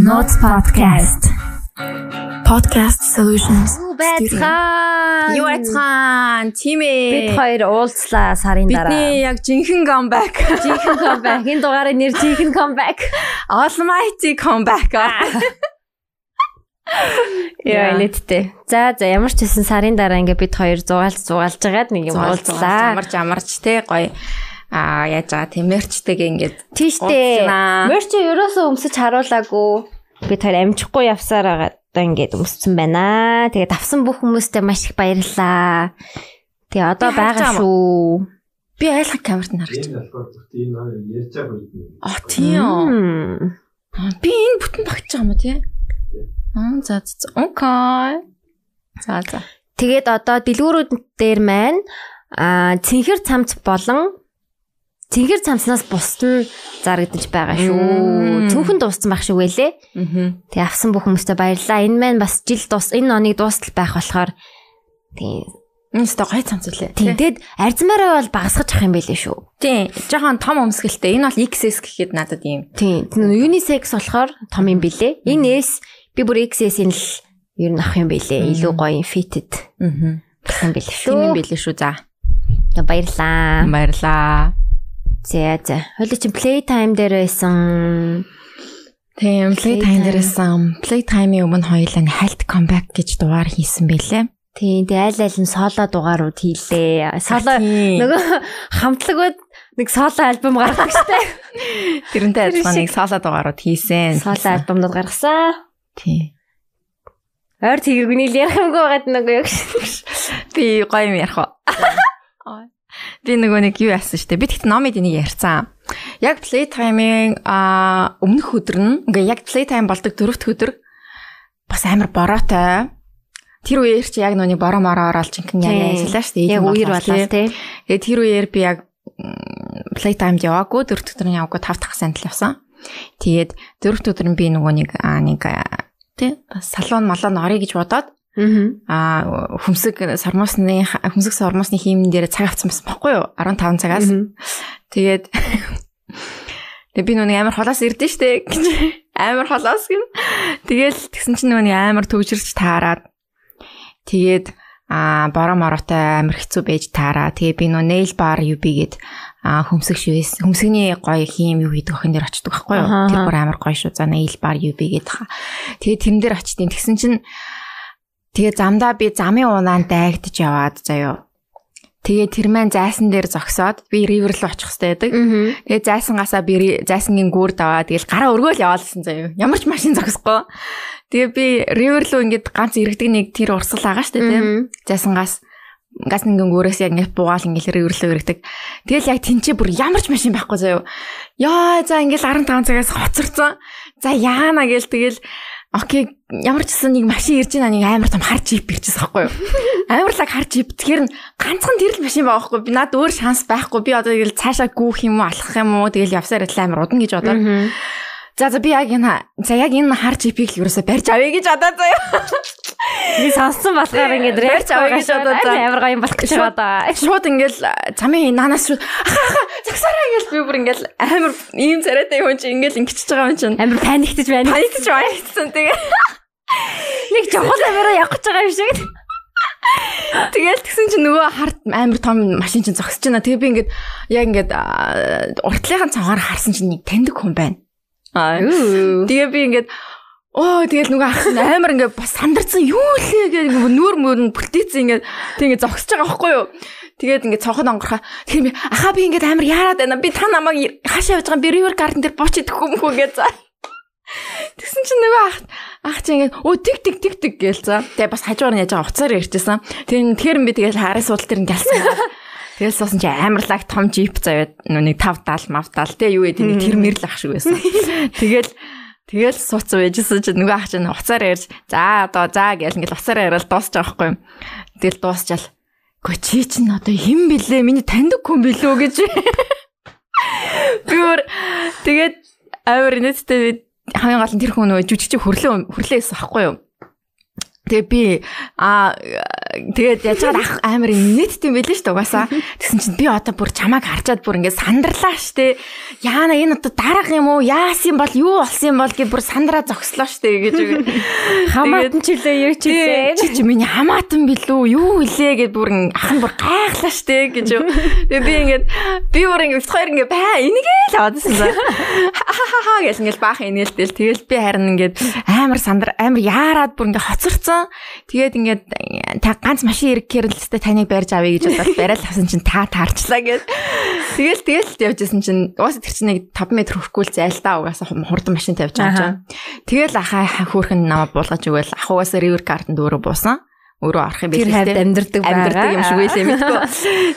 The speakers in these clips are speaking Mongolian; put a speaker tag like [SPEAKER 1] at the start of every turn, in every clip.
[SPEAKER 1] Notes podcast. Podcast solutions.
[SPEAKER 2] Юу айцхан тийм
[SPEAKER 3] Бид
[SPEAKER 2] ээ.
[SPEAKER 3] хоёр уулзлаа сарын дараа.
[SPEAKER 2] Бидний яг жинхэнэ comeback.
[SPEAKER 3] Жинхэнэ comeback. Энэ дугаарыг нэр жинхэнэ comeback.
[SPEAKER 2] Almighty comeback.
[SPEAKER 3] Яа нэттэй. За за ямар ч хэсэн сарын дараа ингээ бид хоёр зугаалж зугаалж байгаад нэг юм уулзлаа.
[SPEAKER 2] Амарч амарч те гоё. Аа яаж байгаа тэмэрчдэг ингээд.
[SPEAKER 3] Тийштэй.
[SPEAKER 2] Уулзлаа.
[SPEAKER 3] Мөрч ерөөсөө өмсөж харуулаагүй. Бид хоёр амжихгүй явсаар байгаа одоо ингээд өмссөн байна. Тэгээд авсан бүх хүмүүстээ маш их баярлалаа. Тэгээ одоо
[SPEAKER 2] Би
[SPEAKER 3] байгаа
[SPEAKER 2] харж байгаа
[SPEAKER 3] шүү.
[SPEAKER 2] Би айлхан камерт нарагч.
[SPEAKER 4] Энэ болохоор зөвхөн энэ хоёр ярьж байгаа үед нэг
[SPEAKER 2] А тийм.
[SPEAKER 3] Мм.
[SPEAKER 2] Би энэ бүтэн багч байгаа юм тий. Аа за за, за. Окей. За за.
[SPEAKER 3] Тэгээд одоо дэлгүүрүүд дээр маань аа цэнхэр цамц болон цэнхэр цамцнаас бусд нь зарагдаж байгаа
[SPEAKER 2] Мм.
[SPEAKER 3] шүү. Цөөхөн дууссан байх шиг байлээ.
[SPEAKER 2] Аа.
[SPEAKER 3] Тэгээ авсан бүх хүмүүстээ баярлалаа. Энэ маань бас жил дуус энэ оны дуустал байх болохоор тийм
[SPEAKER 2] Энэ ч гоё цамц үлээ.
[SPEAKER 3] тийм тэгэд арзмаараа бол багасгаж авах юм байлээ шүү.
[SPEAKER 2] Тийм. Жохон том өмсгөлтэй. Энэ бол XS гэхэд надад ийм.
[SPEAKER 3] Тийм. Unisex болохоор том юм билэ. Энэ S би бүр XS-ийн л ер нь авах юм билэ. Илүү гоё юм fitted
[SPEAKER 2] Аа.
[SPEAKER 3] гэх юм билэ
[SPEAKER 2] Тийм
[SPEAKER 3] шүү.
[SPEAKER 2] юм байлээ шүү. За.
[SPEAKER 3] Баярлаа.
[SPEAKER 2] Баярлаа.
[SPEAKER 3] За за. Хойло чи playtime дээр байсан.
[SPEAKER 2] Тийм, Playtime
[SPEAKER 3] Playtime.
[SPEAKER 2] дээрээсэн Playtime-ийн өмнө хоёулаа хальт comeback гэж дугаар хийсэн бэлээ.
[SPEAKER 3] Тийм. Тэгээ аль аль нь соло дугаарууд хийлээ. Соло
[SPEAKER 2] нөгөө
[SPEAKER 3] нөгөө хамтлагууд нэг соло альбом гаргах гэжтэй.
[SPEAKER 2] тэрнтэй
[SPEAKER 3] тэр
[SPEAKER 2] адилхан
[SPEAKER 3] шиг.
[SPEAKER 2] нэг соло дугаарууд хийсэн.
[SPEAKER 3] Соло альбомнууд гаргасан.
[SPEAKER 2] Тийм.
[SPEAKER 3] Ойр тэгээгүй л ярих юмгүй байгаад нөгөө яг шиг.
[SPEAKER 2] Би гоё юм ярих уу? Ой. Би нөгөө нэг юу яасан штэ. Би тэгт номид энийг ярьсан. Яг Playtime-ийн аа өмнөх өдөр нь, ингээ яг Playtime болдог дөрөвт өдөр бас амар бороотой. Тэр үеэр чи яг нүний бороо мороо оролж ингээ
[SPEAKER 3] Тийм.
[SPEAKER 2] ажиллаа штэ.
[SPEAKER 3] Яг
[SPEAKER 2] эдэн
[SPEAKER 3] үер
[SPEAKER 2] болол, тий.
[SPEAKER 3] болоо тий.
[SPEAKER 2] Тэгээ тэр үеэр би яг м, Playtime-д яваагүй, дөрөв дэх өдөр нь яваагүй, тав дахь санд л явсан. Тэгээд дөрөв дэх өдөр нь би нөгөө нэг аа нэг аа, тий салон малон орё гэж бодоод
[SPEAKER 3] Аа.
[SPEAKER 2] аа хүмсэг сармусны хүмсэг сармусны хиймэн дээр цаг авсан байсан байхгүй юу? 15 цагаас. Тэгээд Тэгээ би нүг амар холоос ирдэ штэ гэж амар холоос гин. Тэгээл тэгсэн чинь нүг амар төвжирч таарад. Тэгээд а бороо моротой амар хэцүү байж таараа. Тэгээ би нүг nail bar UB гээд а хөмсөг шивээс хөмсөгний гоё хийм юу гэдэг охин дээр очдөг байхгүй юу?
[SPEAKER 3] Ахаа.
[SPEAKER 2] Тэр бүр амар гоё шүү. За nail bar UB гээд хаа. Тэгээ тэрэн дээр очдیں۔ Тэгсэн чинь тэгээ замдаа би замын унаанд дайгдж яваад заяо. Тэгээ тэр маань зайсан дээр зогсоод би river руу очих хэрэгтэй байдаг.
[SPEAKER 3] Аа.
[SPEAKER 2] Тэгээ Э, зайсангасаа би зайсангийн гүр даваа. Тэгэл гараа өргөөл яваалсан заяа. Ямар ч машин зогсохгүй. Тэгээ би ривер руу ингээд ганц иргэдэг нэг тэр урсгал байгаа штэ тийм. Зайсангаас гаснынгэн гүрээс яг ингээд буугаал ингээд ривер руу иргэдэг. Тэгэл яг тэнцээ бүр ямар ч машин байхгүй заяа. Яа за ингээд 15 цагаас хоцорсон. За яана гэл тэгэл Окей, ямар ч гэсэн нэг машин ирж байна, нэг амар том хар джип ирчихсэн байхгүй юу? Амарлаг хар джип. Тэгэхээр нь ганцхан тэр л машин байгаа байхгүй юу? Би надад өөр шанс байхгүй. Би одоо тэгэл цаашаа гүүх юм уу, алхах юм уу, тэгэл явсаар л амар удна гэж бодоод. За за би яг энэ за яг энэ хар джипийг л ерөөсө барьж авъя гэж одоо заяа.
[SPEAKER 3] Би сонссон болохоор ингээд рэч
[SPEAKER 2] Барьж авъя
[SPEAKER 3] аваа
[SPEAKER 2] гэж
[SPEAKER 3] гэж одоо
[SPEAKER 2] бодоод за.
[SPEAKER 3] амар гоё юм болох гэж
[SPEAKER 2] Шууд-
[SPEAKER 3] байгаа.
[SPEAKER 2] Шууд ингээл замын нанаас шууд ахаа загсараа ингээл би бүр ингээл амар ийм царайтай хүн чи ингээл ингэчихэж байгаа юм чинь.
[SPEAKER 3] Амар паниктж байна.
[SPEAKER 2] Паниктж баярсан тэгээ.
[SPEAKER 3] Нэг жогол амираа явах гэж байгаа юм шиг.
[SPEAKER 2] Тэгэл тэгсэн чинь нөгөө харт амар том машин чинь зогсож байна. Тэгээ би ингээд яг ингээд аа, уртлынхаа цангаар харсан чинь нэг таньдаг хүн байна. Аа. Тэгээ би ингээд оо тэгэл нөгөө ах нь амар ингээд бас сандарсан юу лээ гэх нөгөө нүүр мөр нь бүлтээсэн ингээд тэг ингээд зогсож байгаа байхгүй юу. Тэгээд ингээд цонход онгорхоо. Тэгээ би ахаа би ингээд амар яарад байна. Би та намайг хаашаа явж байгаа юм? би river garden дээр бууч идэхгүй юм хүү гэж за. Тэгсэн чинь нөгөө ах ах чи ингээд оо тиг тиг тиг тиг гээл за. Тэгээ бас хажуугаар нь яж байгаа уцаар ирчихсэн. Тэр тэр би тэгэл хараа суудал тэр ингээд алсан. Тэгэл суусан чи амарлаг том джип завьад нүг 5 70 мавтал те юу гэдэг нэг тэр мэрл ах шиг байсан. Тэгэл тэгэл сууц байжсэн чи нөгөө ах чинь уцаар ярьж за одоо за гээл ингээд уцаар яриад дуусчих жоохгүй юм. Тэгэл дуусчаал. Гэхдээ чи чинь одоо хэн блэ? Миний таньдаг хүн билүү гэж. Би өөр тэгээд амар нэттэй хамгийн гол нь тэр хүн нөгөө жүжигч хөрлөө хөрлөөс ахгүй юу? Тэгээ би аа тэгээд яаж чад ах амар нийт юм байлээ шүү дээ угаасаа. Тэгсэн чинь би одоо бүр чамааг харчаад бүр ингээд сандарлаа шүү дээ. Яана энэ одоо дарга юм уу? Яасан юм бол юу болсон юм бол гэж бүр сандраа зогслоо шүү дээ гэж.
[SPEAKER 3] Хамаатан чилээ юу
[SPEAKER 2] Чи
[SPEAKER 3] чилээ.
[SPEAKER 2] чи чи миний хамаатан билүү юу хилээ гэд бүр ин- ах нь бүр гайхлаа штэ гэж юу. Тэгээ би ингээд би бүр ингээд хоёр ингээд баа энийгээ л аваадсан за. Хахахаа гэл ингээд баах инээлтэл тэгэл би харин ингээд амар сандар амар яарад бүр ингээд хоцорцсон. Тэгээд ингээд та ганц машин ирэхээр л өстө таныг барьж авъя гэж бодоод барайл авсан чинь та таарчлаа гэд. Тэгэл тэгэл явжсэн чинь уусаа тэр чинь нэг 5 м хөрөхгүй л зайлтаа угаасаа хум- хурдан машин тавьж байгаа юм чинь. Тэгэл ахаа ха- хөөрхөн намайг буулгаж өгөөл ахугаас ривер гарданд өөрөө буусан. Өөрөө арах юм биш
[SPEAKER 3] Тэр хавьд амьдэрдэг байгаа.
[SPEAKER 2] амьддаг юм шиг байлээ мэдгүй.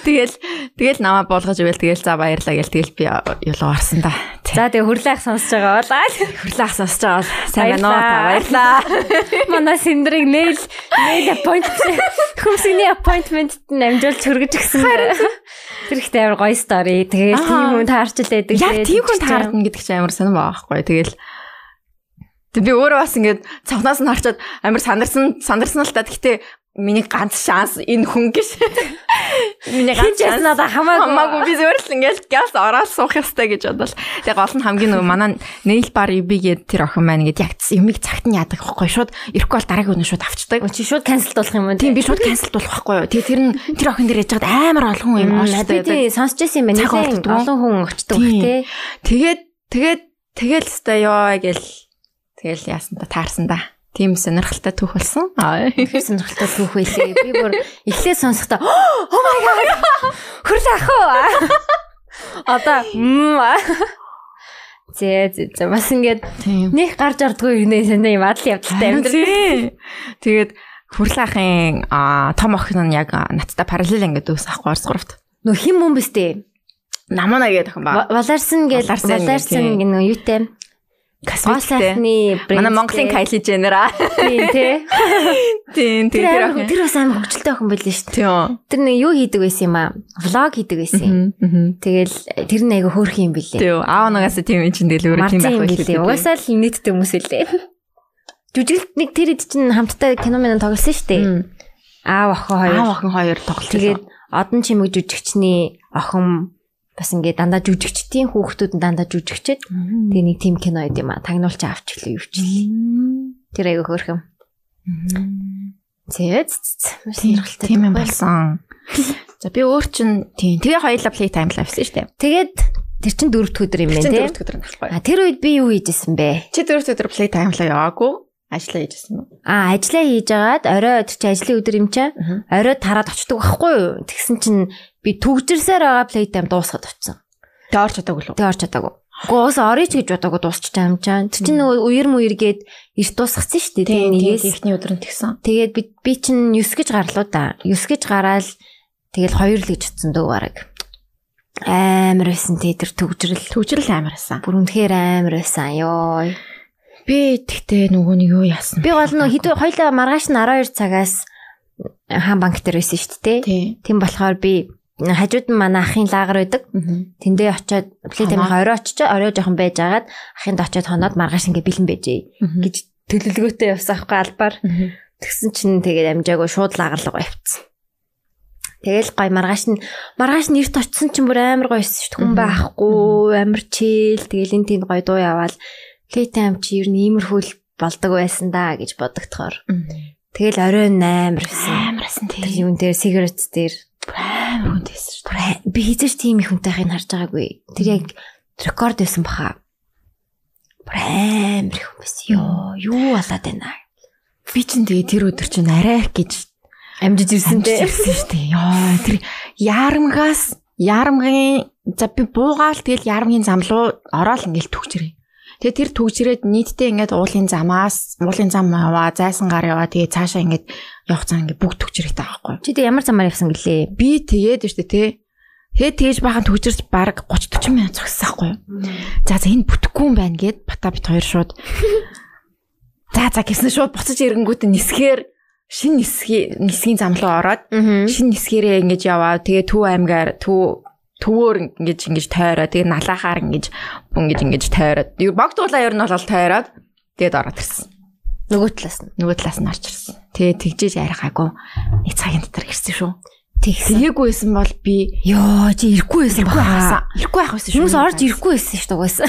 [SPEAKER 2] Тэгэл тэгэл намайг буулгаж өгөөл тэгэл за баярлаа гэл тэгэл би ёлоо гарсан да.
[SPEAKER 3] За тэгээ хөрлөөх сонсож байгаа болаа.
[SPEAKER 2] Хөрлөө асаасч байгаа бол сайн байна уу та
[SPEAKER 3] Баярлалаа.
[SPEAKER 2] баярлаа.
[SPEAKER 3] Манай синдрийг нээл нээл appointment хүмсний appointment-д нь амжуул чөргөж гисэн. Тэр ихтэй амар гоё story. Тэгээд
[SPEAKER 2] Аа.
[SPEAKER 3] тийм хүн таарчлаа гэдэг.
[SPEAKER 2] Яг тийм хүн таарна гэдэг чинь амар сонирм байгаа байхгүй. Тэгэл Тэг би өөрөө бас ингээд цавнаас нь харчаад амар сандарсан сандарсан л та гэхдээ миний ганц шанс энэ хүн гэж. Миний
[SPEAKER 3] Хин
[SPEAKER 2] ганц шанс
[SPEAKER 3] жаснаа хамаагүй.
[SPEAKER 2] хамаагүй би зүгээр л ингээл газ ороод суух ёстой гэж бодвол тэгээ гол нь хамгийн нөгөө манай nail bar UB гээд тэр охин маань ингээд яг юмыг цагт нь яадаг хөхгүй шууд ирэхгүй бол дараагийн өнөө шууд авчдаг
[SPEAKER 3] Чи шууд cancel болох юм уу?
[SPEAKER 2] тийм би шууд cancel болох байхгүй юу тэгээ тэр нь тэр охин дээр яж хаад амар олон
[SPEAKER 3] Би
[SPEAKER 2] юм ооштой
[SPEAKER 3] тийм сонсч байсан юм байна.
[SPEAKER 2] Цаг
[SPEAKER 3] Нэлээд
[SPEAKER 2] ордоггүй.
[SPEAKER 3] Олон хүн очдог
[SPEAKER 2] Тийм.
[SPEAKER 3] их тий.
[SPEAKER 2] тэгээд тэгээд тэгэл өстой ёо гэл тэгэл яасан та таарсан да тийм сонирхолтой түүх болсон аа
[SPEAKER 3] Тэр сонирхолтой түүх байлээ. Би бүр эхлээд сонсохдоо oh my god. Хөрл ах уу? Одоо мм. Зэ зэ зэ. бас ингээд
[SPEAKER 2] тийм
[SPEAKER 3] нэг гарч ардгүй гинэ санаа юм адал явдалтай амьдрал.
[SPEAKER 2] Тий. тэгээд хүрл ахын аа, том охин нь яг аа, надтай параллел ингээд дүүс ахгүй орс гуравт
[SPEAKER 3] Нөх хим юм бэ сте?
[SPEAKER 2] намана гэдэг охин ба
[SPEAKER 3] Валарсан гэл
[SPEAKER 2] Валарсан гэл,
[SPEAKER 3] валарсан
[SPEAKER 2] тий.
[SPEAKER 3] гинэ юутэй. Гол
[SPEAKER 2] Косметиктэй.
[SPEAKER 3] сайхны
[SPEAKER 2] Манай Монголын Кайли Дженер аа.
[SPEAKER 3] тий тий.
[SPEAKER 2] Тийм,
[SPEAKER 3] Тэр амар- тэр бас амар хөвчлөлтэй охин байлээ шүү дээ.
[SPEAKER 2] Тийм.
[SPEAKER 3] Тэр нэг юу хийдэг байсан юм аа? Влог хийдэг байсан. Тэгэл тэр нэг айгаа хөөх юм бэлээ.
[SPEAKER 2] Тийм. Аа нугаас тийм энэ чинь дэлгүүр тийм
[SPEAKER 3] Марцын
[SPEAKER 2] байх
[SPEAKER 3] юм
[SPEAKER 2] байх
[SPEAKER 3] бэлээ.
[SPEAKER 2] лээ.
[SPEAKER 3] Угаасаа л нийттэй хүмүүс үлээ. Жүжиглт нэг тэр хэд чинь хамтдаа кино мэн тоглосон шүү дээ. Аав охин
[SPEAKER 2] аа
[SPEAKER 3] хоёр.
[SPEAKER 2] охин хоёр тоглолт.
[SPEAKER 3] Тэгээд одон чимэг жүжигчний охин бас ингээ дандаа жүжигчдийн хүүхдүүд нь дандаа жүжигчэд
[SPEAKER 2] тэгээд
[SPEAKER 3] тэгээ нэг тим кино байд юм а. Тагнуулч авч гэлээ юу ч. Тэр айгаа хөөх юм. Зээ зээ, зээ. Маш сонирхолтой.
[SPEAKER 2] тийм юм болсон. За би өөр чин тийм. Тэгээ хоёулаа play time live шүү дээ.
[SPEAKER 3] Тэгээд тэр чин дөрөвд өдөр юм байна
[SPEAKER 2] Чин
[SPEAKER 3] тий.
[SPEAKER 2] дөрөвт өдөр нахгүй.
[SPEAKER 3] А тэр үед би юу хийжсэн бэ?
[SPEAKER 2] Чи дөрөвт өдөр play time live яваагүй. Ажлаа хийжсэн юм.
[SPEAKER 3] А ажиллаа хийж агаад орой өдөр чи ажлын өдөр юм чаа.
[SPEAKER 2] Мгм.
[SPEAKER 3] Орой тараад очдөг байхгүй юу? Тэгсэн чинь би төгжирсээр байгаа плейтайм дуусгаад очсон.
[SPEAKER 2] Тэ орч чадаагүй л үү?
[SPEAKER 3] Тэ орч чадаагүй. Гоос орооч гэж бодоагүй дуусчихсан юм чаа. Тэр чинь нөгөө үер мүер гээд эрт дуусгацсан шүү дээ.
[SPEAKER 2] Тийм,
[SPEAKER 3] Тэгээ нэгээс
[SPEAKER 2] ихний өдөр нь тэгсэн.
[SPEAKER 3] тэгээд би би чинь 9 гэж гарлуу да. 9 гэж гараал тэгэл 2 л гэж утсан дөө бараг. Амар байсан тий тэр төгжрөл.
[SPEAKER 2] Төвчрөл амарсан.
[SPEAKER 3] Бүр үнэхээр амар байсан ёо.
[SPEAKER 2] Би тэгтээ нөгөө нь юу яасан?
[SPEAKER 3] Би гол нь хэдүү хоёлаа маргааш нь 12 цагаас хаан банк дээр байсан шүү дээ. тий.
[SPEAKER 2] Тийм.
[SPEAKER 3] Тийм болохоор би хажууд нь манай ахын лагер байдаг. Тэндээ очиод плейтами
[SPEAKER 2] Хоноо.
[SPEAKER 3] орой очиж орой жоохон байж агаад ахынд очиод хоноод маргааш ингээ бэлэн байжээ гэж төлөвлөгөөтэй явсан аахгүй албаар. Тэгсэн чинь тэгээд амжаагүй шууд лагерлог явцсан. Тэгэл гой маргааш нь маргааш нь эрт очисон чинь бүр амар гоё өссөн шүү дээ. Хүн
[SPEAKER 2] Мгм.
[SPEAKER 3] байхгүй, амар чил. Тэгэл энэ тэнд гоё дуу яваал плейтам чи ер нь иймэрхүү л болдог байсан да гэж бодогдохоор. Тэгэл орой 8 гэсэн.
[SPEAKER 2] Амарсан
[SPEAKER 3] Тэр
[SPEAKER 2] тийм.
[SPEAKER 3] юун дээр сигарет дээр
[SPEAKER 2] Амар хүнд байсан шүү
[SPEAKER 3] Бүр аа- би хизээч тийм их хүнтэй хань харж байгаагүй. Тэр яг рекорд байсан баха. Бүр амар их хүн байсан ёо. Юу болоод байна?
[SPEAKER 2] Би ч тэгээ тэр өдөр чинь арай их гэж
[SPEAKER 3] Амжиж ирсэн
[SPEAKER 2] амжилт ирсэн шүү дээ. Йоо тэр яармгаас яармгийн за би буугаал тэгэл яармгийн зам руу ороод ингээл төгчрээ. Тэгээ тэр төгчрээд нийтдээ ингээд уулын замаас уулын зам яваа, зайсан гар яваа тэгээ цаашаа ингээд явах цаа ингээд бүгд төгчрэх таахгүй.
[SPEAKER 3] Чи тэг ямар замаар явсан гэлээ?
[SPEAKER 2] Би тэгээд штэ тий. Тэгээд тэгж бахан төгчөрч баг 30 40 минут зогссахгүй юу? За за энэ бүтэхгүй юм байна гэд бата бит хоёр шууд За за гэсэн шууд буцаж ирэнгүүт нисгээр шин нисгий нисгийн зам руу ороод
[SPEAKER 3] Аа.
[SPEAKER 2] шин нисгэрээ ингэж яваа. Тэгээ төв аймгаар төв төвөр ингэж ингэж тойроо. Тэгээ налахаар ингэж ингэж ингэж тойроод. Юу, Богдуулаа ер нь бол тойроод тэгээд ороод ирсэн.
[SPEAKER 3] Нөгөө талаас нь.
[SPEAKER 2] нөгөө талаас нь орж ирсэн. Тэгээ тэгжээж арихаагүй нэг цагийн дотор ирсэн шүү.
[SPEAKER 3] Тэгсэн.
[SPEAKER 2] Тэгээгүй байсан бол би
[SPEAKER 3] Йоо, чи ирэхгүй байсан
[SPEAKER 2] ирэхгүй
[SPEAKER 3] баха.
[SPEAKER 2] байсан. Ирэхгүй байх байсан шүү.
[SPEAKER 3] Хүмүүс орж ирэхгүй байсан шүү дээ угаасаа.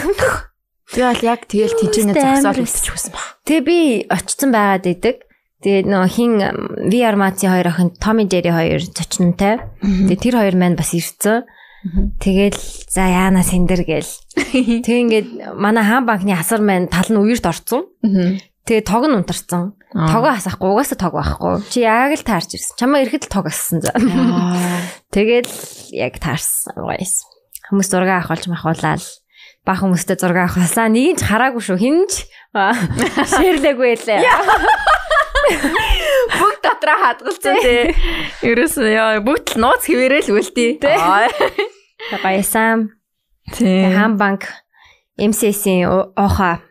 [SPEAKER 2] Тэгээ бол яг тэгэл тэнцэнэ
[SPEAKER 3] Хүмүүстээ
[SPEAKER 2] зогсоол
[SPEAKER 3] амар
[SPEAKER 2] үлдчихсэн баг.
[SPEAKER 3] Тэгээ би очсон байгаад идэг. Тэгээ нөө хин ам, VR Mati хоёр охин Tommy Jerry хоёр зочнонтай. Тэгээ тэр хоёр маань бас ирсэн. Тэгэл за яана сэндэр гээл. Тэг ингээд манай хаан банкны асар маань тал нь үерт орцсон. Тэгээ тог нь унтарсан.
[SPEAKER 2] Аа.
[SPEAKER 3] Тогоо хасахгүй угаасаа тог байхгүй. Чи яг л таарч ирсэн. Чамаа ирэхэд л тог ассан за.
[SPEAKER 2] Аа.
[SPEAKER 3] Тэгэл яг таарсан. Угаас. Хүмүүс зураг авах болж махуулаад баг хүмүүстэй зураг авах болсаа нэг нь ч хараагүй шүү. Хин ч аа, шеэрлээгүй лээ.
[SPEAKER 2] Бүгд дотроо хадгалцсан тий. Ерөөс нь яа бүгд л нууц хിവэрэл үлдээ тий.
[SPEAKER 3] Гоёсан.
[SPEAKER 2] Тий.
[SPEAKER 3] Хам банк MCS-ийн ооха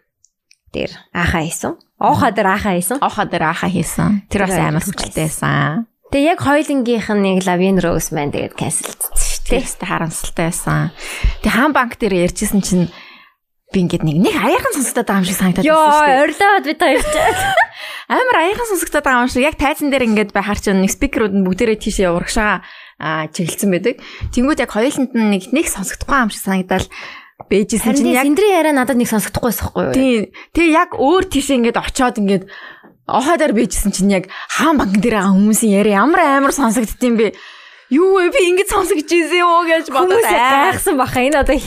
[SPEAKER 3] дээр ааха хийсэн. Ооха дээр ааха хийсэн.
[SPEAKER 2] Охоо дээр ахаа хийсэн. Тэр бас
[SPEAKER 3] Тэр
[SPEAKER 2] амар
[SPEAKER 3] бас
[SPEAKER 2] хүчтэйсэн.
[SPEAKER 3] Тэгээ яг хоёлынгийнх нь нэг Lavin Rose маань тэгээд
[SPEAKER 2] Тэр
[SPEAKER 3] cancelдчихсэн шүү дээ.
[SPEAKER 2] ихтэй харамсалтай байсан. Тэг хаан банк дээр ярьжсэн чинь би ингээд нэг нэг аяхан сонсогдоод байгаа юм шиг санагдаад байсан шүү дээ.
[SPEAKER 3] Йоо, орилоод бид хоёр ч.
[SPEAKER 2] Амар аяхан сонсогдоод байгаа юм шиг яг тайзан дээр ингээд бай харч нэг спикерүүд нь бүгдээрээ тийшээ урагшаа аа, чиглэлсэн байдаг. Тэнгүүд яг хоёуланд нь нэг нэг сонсогдохгүй юм шиг санагдаад бэжсэн
[SPEAKER 3] Харин
[SPEAKER 2] чинь
[SPEAKER 3] яг
[SPEAKER 2] яг
[SPEAKER 3] Синдри яриа надад нэг сонсохдохгүй байсахгүй юу?
[SPEAKER 2] тий тэг яг өөр тийшээ ингээд очиод ингээд охоо дээр бэжсэн чинь яг хаан банк дээр байгаа хүмүүсийн яриа ямар амар сонсогддtiin бэ? Юу вэ би ингэж сонсогдож ийсэн юм уу гэж бодоод
[SPEAKER 3] Хүмүүс
[SPEAKER 2] амар
[SPEAKER 3] гайхсан баха. Энэ одоо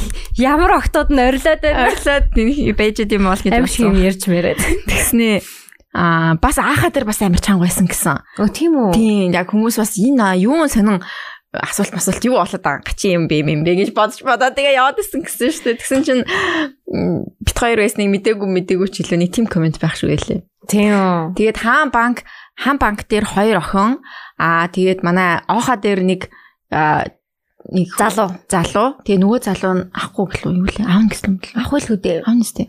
[SPEAKER 3] ямар октод нь орилоод байна.
[SPEAKER 2] Орилоод нэг байж идэм бол гэж
[SPEAKER 3] Амш юм ярьж мэрэд.
[SPEAKER 2] Тэгснээ аа бас аахаа дээр бас амар чанга байсан гэсэн.
[SPEAKER 3] Өө тийм үү?
[SPEAKER 2] Тийм яг хүмүүс бас энэ аа, юун сонин асуулт масуулт юу болоод байгаа гачи юм бэ юм бэ гэж бодож бодоо тэгээ яваад исэн гэсэн шүү дээ. Тэгсэн чинь м, бит хоёр байсныг мдээгүй мдээгүй ч илүү нэг тим комент байх шүү гэлээ.
[SPEAKER 3] Тийм үү?
[SPEAKER 2] Тэгээд хаан банк хаан банк дээр хоёр охин аа тэгээд манай оохоо дээр нэг аа, нэг
[SPEAKER 3] Залуу.
[SPEAKER 2] залуу тэгээ нөгөө залуу нь ахгүй гэлөө юу лээ аав гэсэн юм лээ.
[SPEAKER 3] Ахвал хөдөө.
[SPEAKER 2] Honestly.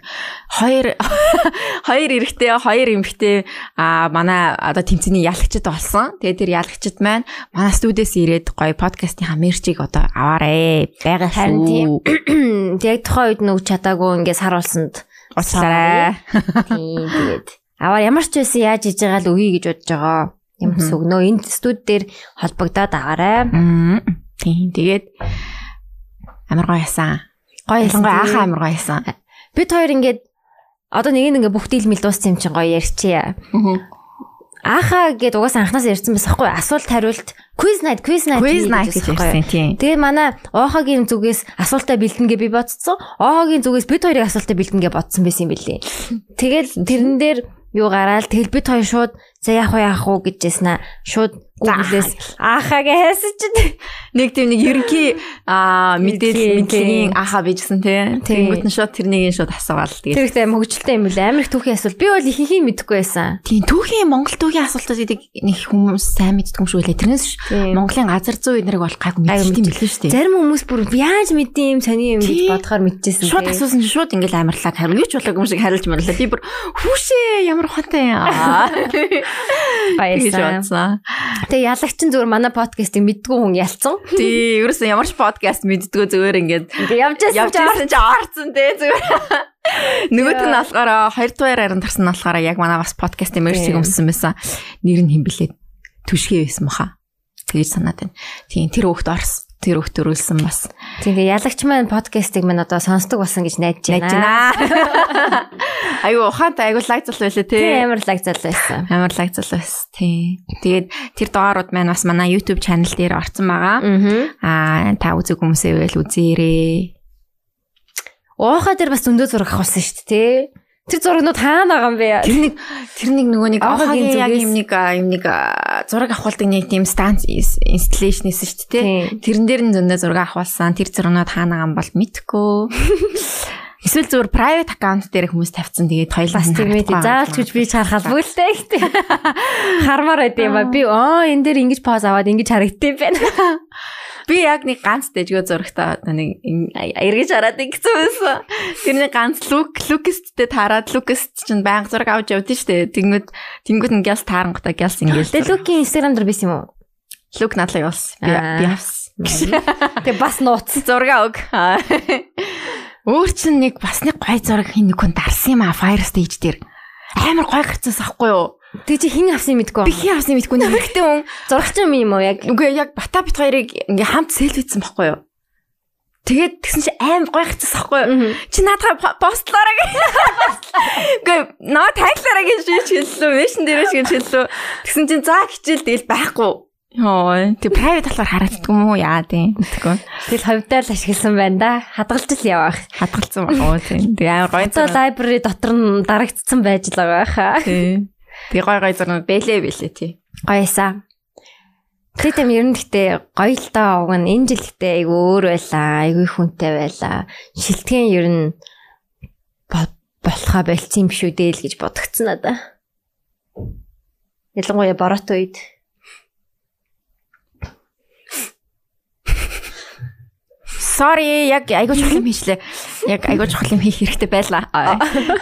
[SPEAKER 2] Хоёр хоёр эрэгтэй, хоёр эмэгтэй а манай одоо тэмцээний ялагчд болсон. Тэгээ тэр ялагчд маань манай студиэс ирээд гоё подкастынхаа мерчийг одоо аваарэ. Байгаа
[SPEAKER 3] Харин тийм.
[SPEAKER 2] шүү.
[SPEAKER 3] Яг тухайн үед нүг чадаагүй ингээд сар болсонд
[SPEAKER 2] Уучлаарай.
[SPEAKER 3] Тийм тэгээд аваа ямар ч байсан яаж хийж байгаа л үгүй гэж бодож байгаа. Ямар ч
[SPEAKER 2] Мгм.
[SPEAKER 3] сүгнөө энэ студ дээр холбогдоод аваарай.
[SPEAKER 2] Мм. Тийм. Тэгээд амар гоё ясан.
[SPEAKER 3] Гоё
[SPEAKER 2] Ялангуяа
[SPEAKER 3] тий.
[SPEAKER 2] аахаа амар гоё ясан.
[SPEAKER 3] Бид хоёр ингээд одоо нэг нь ингээд бүх дийл мэл дууссан юм чинь гоё ярьчихъя. Ааха гэд угаасаа анханаас ярьсан байсан хгүй асуулт хариулт quiz night quiz night
[SPEAKER 2] Quiz night
[SPEAKER 3] байсан байхгүй
[SPEAKER 2] гэж
[SPEAKER 3] юу?
[SPEAKER 2] ярьсан тийм.
[SPEAKER 3] Тэгээ манай Оохагийн зүгээс асуултаа бэлдэнэ гэж би бодсон. Оохагийн зүгээс бид хоёрыг асуултаа бэлдэнэ гэж бодсон байсан юм билээ. Тэгэл тэрэн дээр юу гараал тэгэл бид хоёр шууд за яах вэ яах вэ гэж яснаа. Шууд Google-с аахаа гэсэн чинь
[SPEAKER 2] Нэг тийм нэг ерөнхий а мэдээлэл
[SPEAKER 3] Тийм, тийм.
[SPEAKER 2] мэдлэгийн аахаа бийжсэн тийм.
[SPEAKER 3] Тийм.
[SPEAKER 2] Тэнгүүт нь шууд тэрнийг нь шууд асуувал тэгээд
[SPEAKER 3] тэр ихтэй мөгжөлтэй юм билээ. Амар их түүхийн асуулт. Би бол ихэнхийг мэдэхгүй байсан.
[SPEAKER 2] Тийм түүхийн Монгол түүхийн асуултууд гэдэг нэг хүмүүс сайн мэддэг юм шүү лээ. Тэрнээс ш-
[SPEAKER 3] Тийм.
[SPEAKER 2] Монголын газар зүй эднэрийг бол гайгүй
[SPEAKER 3] Гайгүй
[SPEAKER 2] мэддэг юм билээ шүү дээ.
[SPEAKER 3] Зарим хүмүүс бүр яаж мэдээ юм сони юм гэж
[SPEAKER 2] Тийм.
[SPEAKER 3] бодохоор мэдчихсэн.
[SPEAKER 2] Шууд асуусан чинь шууд ингээл амарлаад хариу юу ч болоогүй юм шиг харилж марлаа. Би бүр хүүшээ ямар хонтой юм.
[SPEAKER 3] баярлалаа. Тэгээ ялагч нь зүгээр манай подкастыг мэддгүй хүн ялцсан.
[SPEAKER 2] Тий, ерөөсөн ямар ч подкаст мэддгөө зүгээр ингээд
[SPEAKER 3] Ингээ явж байсан
[SPEAKER 2] явж
[SPEAKER 3] чинь
[SPEAKER 2] ирсэн чи орцсон тий зүгээр. Нөгөөт нь болохоор хоёр дугаар арын тарсан нь болохоор яг манай бас подкаст эмэрсиг
[SPEAKER 3] Тийм.
[SPEAKER 2] өмссөн байсан. Нэр нь химбэлээ түшгэ байсан баха. Тэгж санаад байна. Тийм тэр хөөхд орсон. Тэр хөөхд төрүүлсэн бас.
[SPEAKER 3] Тэгээ ялагч маань подкастыг маань одоо сонсдог болсон гэж найдаж
[SPEAKER 2] Найж
[SPEAKER 3] байна.
[SPEAKER 2] байна. Айгу ухаантай айгу лайк зал байлаа
[SPEAKER 3] Тэ
[SPEAKER 2] тий.
[SPEAKER 3] амар лаг зал байсан.
[SPEAKER 2] Амар лайк зал байсан тий. Тэгээд тэр дугаарууд маань бас манай YouTube channel дээр орсон байгаа.
[SPEAKER 3] Аа.
[SPEAKER 2] Аа та үзег хүмүүсээ байл үзээрэй.
[SPEAKER 3] Ууха дээр бас зөндөө зураг авахсан шүү дээ, тэ. Тэр зурагнууд хаана байгаа юм бэ?
[SPEAKER 2] Тэр нэг тэр нэг нөгөө нэг
[SPEAKER 3] Ахагийн
[SPEAKER 2] ахагийн яг
[SPEAKER 3] зүгээс.
[SPEAKER 2] юм нэг аа, юм нэг аа, зураг авахулдаг нэг тийм станц инсталлейшн эсэн шүү дээ.
[SPEAKER 3] Тийм.
[SPEAKER 2] тий. Тэрэн дээр нь зөндөө зураг авахулсан. Тэр зурнууд хаана гам бол мэдхгүй. Эсвэл зүгээр private account дээр хүмүүс тавьсан. Тэгээд хоёлаас
[SPEAKER 3] Бас
[SPEAKER 2] нь
[SPEAKER 3] тийм ээ.
[SPEAKER 2] харагдахгүй
[SPEAKER 3] Заавалч
[SPEAKER 2] байгаа.
[SPEAKER 3] гэж би чархал бүлтэй гэдэг. Хармаар байд юм ба. Би оо энэ дээр ингэж поз аваад ингэж харагдтив байна.
[SPEAKER 2] Би яг нэг ганц дэжгөө зурагтаа одоо нэг ин- а- эргэж хараад ингэсэн байсан. Тэр нэг ганц лук лукесттэй таарад лукест чинь байнга зураг авч явдсан шүү дээ. Тэнгүүд тэнгүүд нь гялс таарангуудаа гялс
[SPEAKER 3] Тэгээ
[SPEAKER 2] ингээл.
[SPEAKER 3] Лүкийн Instagram дээр биш юм уу?
[SPEAKER 2] Лук надлаа явуулсан. Би
[SPEAKER 3] Аа.
[SPEAKER 2] би авсан.
[SPEAKER 3] Тэгээ бас нууц.
[SPEAKER 2] Зурга өг. Өөр чинь нэг бас нэг гой зураг хин нэг хүн дарсан юм а Fire Stage дээр. амар гой гарцаас авахгүй юу?
[SPEAKER 3] Тэг чи хин авсан мэдгүй.
[SPEAKER 2] Би хий авсан мэдгүй нэг хэрэгтэй хүн.
[SPEAKER 3] зурагч юм юм уу яг?
[SPEAKER 2] Үгүй яг бата бит хоёрыг ингээ хамт селфицсэн байхгүй юу? Тэгээд тэгсэн чи амар гой гарцаас авахгүй юу? Чи наадхаа постлоорой гэх. Үгүй наа таглаарай гэж шийдэж хэллээ. Мэшин дээрээш гэж хэллээ. Тэгсэн чи заа хичээл дээл байхгүй. Йоо, тэг private талаар харагддаг юм уу яа тийм. Тэггүй.
[SPEAKER 3] Тэгэл ховдоор л ашигласан байна да. Хадгалж л явах.
[SPEAKER 2] Хадгалцсан байна уу тийм. Тэг амар гой
[SPEAKER 3] Одоо library дотор нь дарагдсан байж л байгаа хаа.
[SPEAKER 2] Тийм. Тэг гой гой зурнууд бэлээ бэлээ тийм.
[SPEAKER 3] Гоёсаа. Тэтэм ер нь гэтээ гоё л даа уг нь энэ жил гэтээ айгүй өөр байлаа. Айгүй хүнтэй байлаа. Шилтгэн ер нь бо- болохоо болцсон юм шүү дээ л гэж бодогцсон надаа. Ялангуяа бороотой үед.
[SPEAKER 2] Sorry, яг айгуу чухал юм хийшлээ. Яг айгуу чухал юм хийх хэрэгтэй байлаа.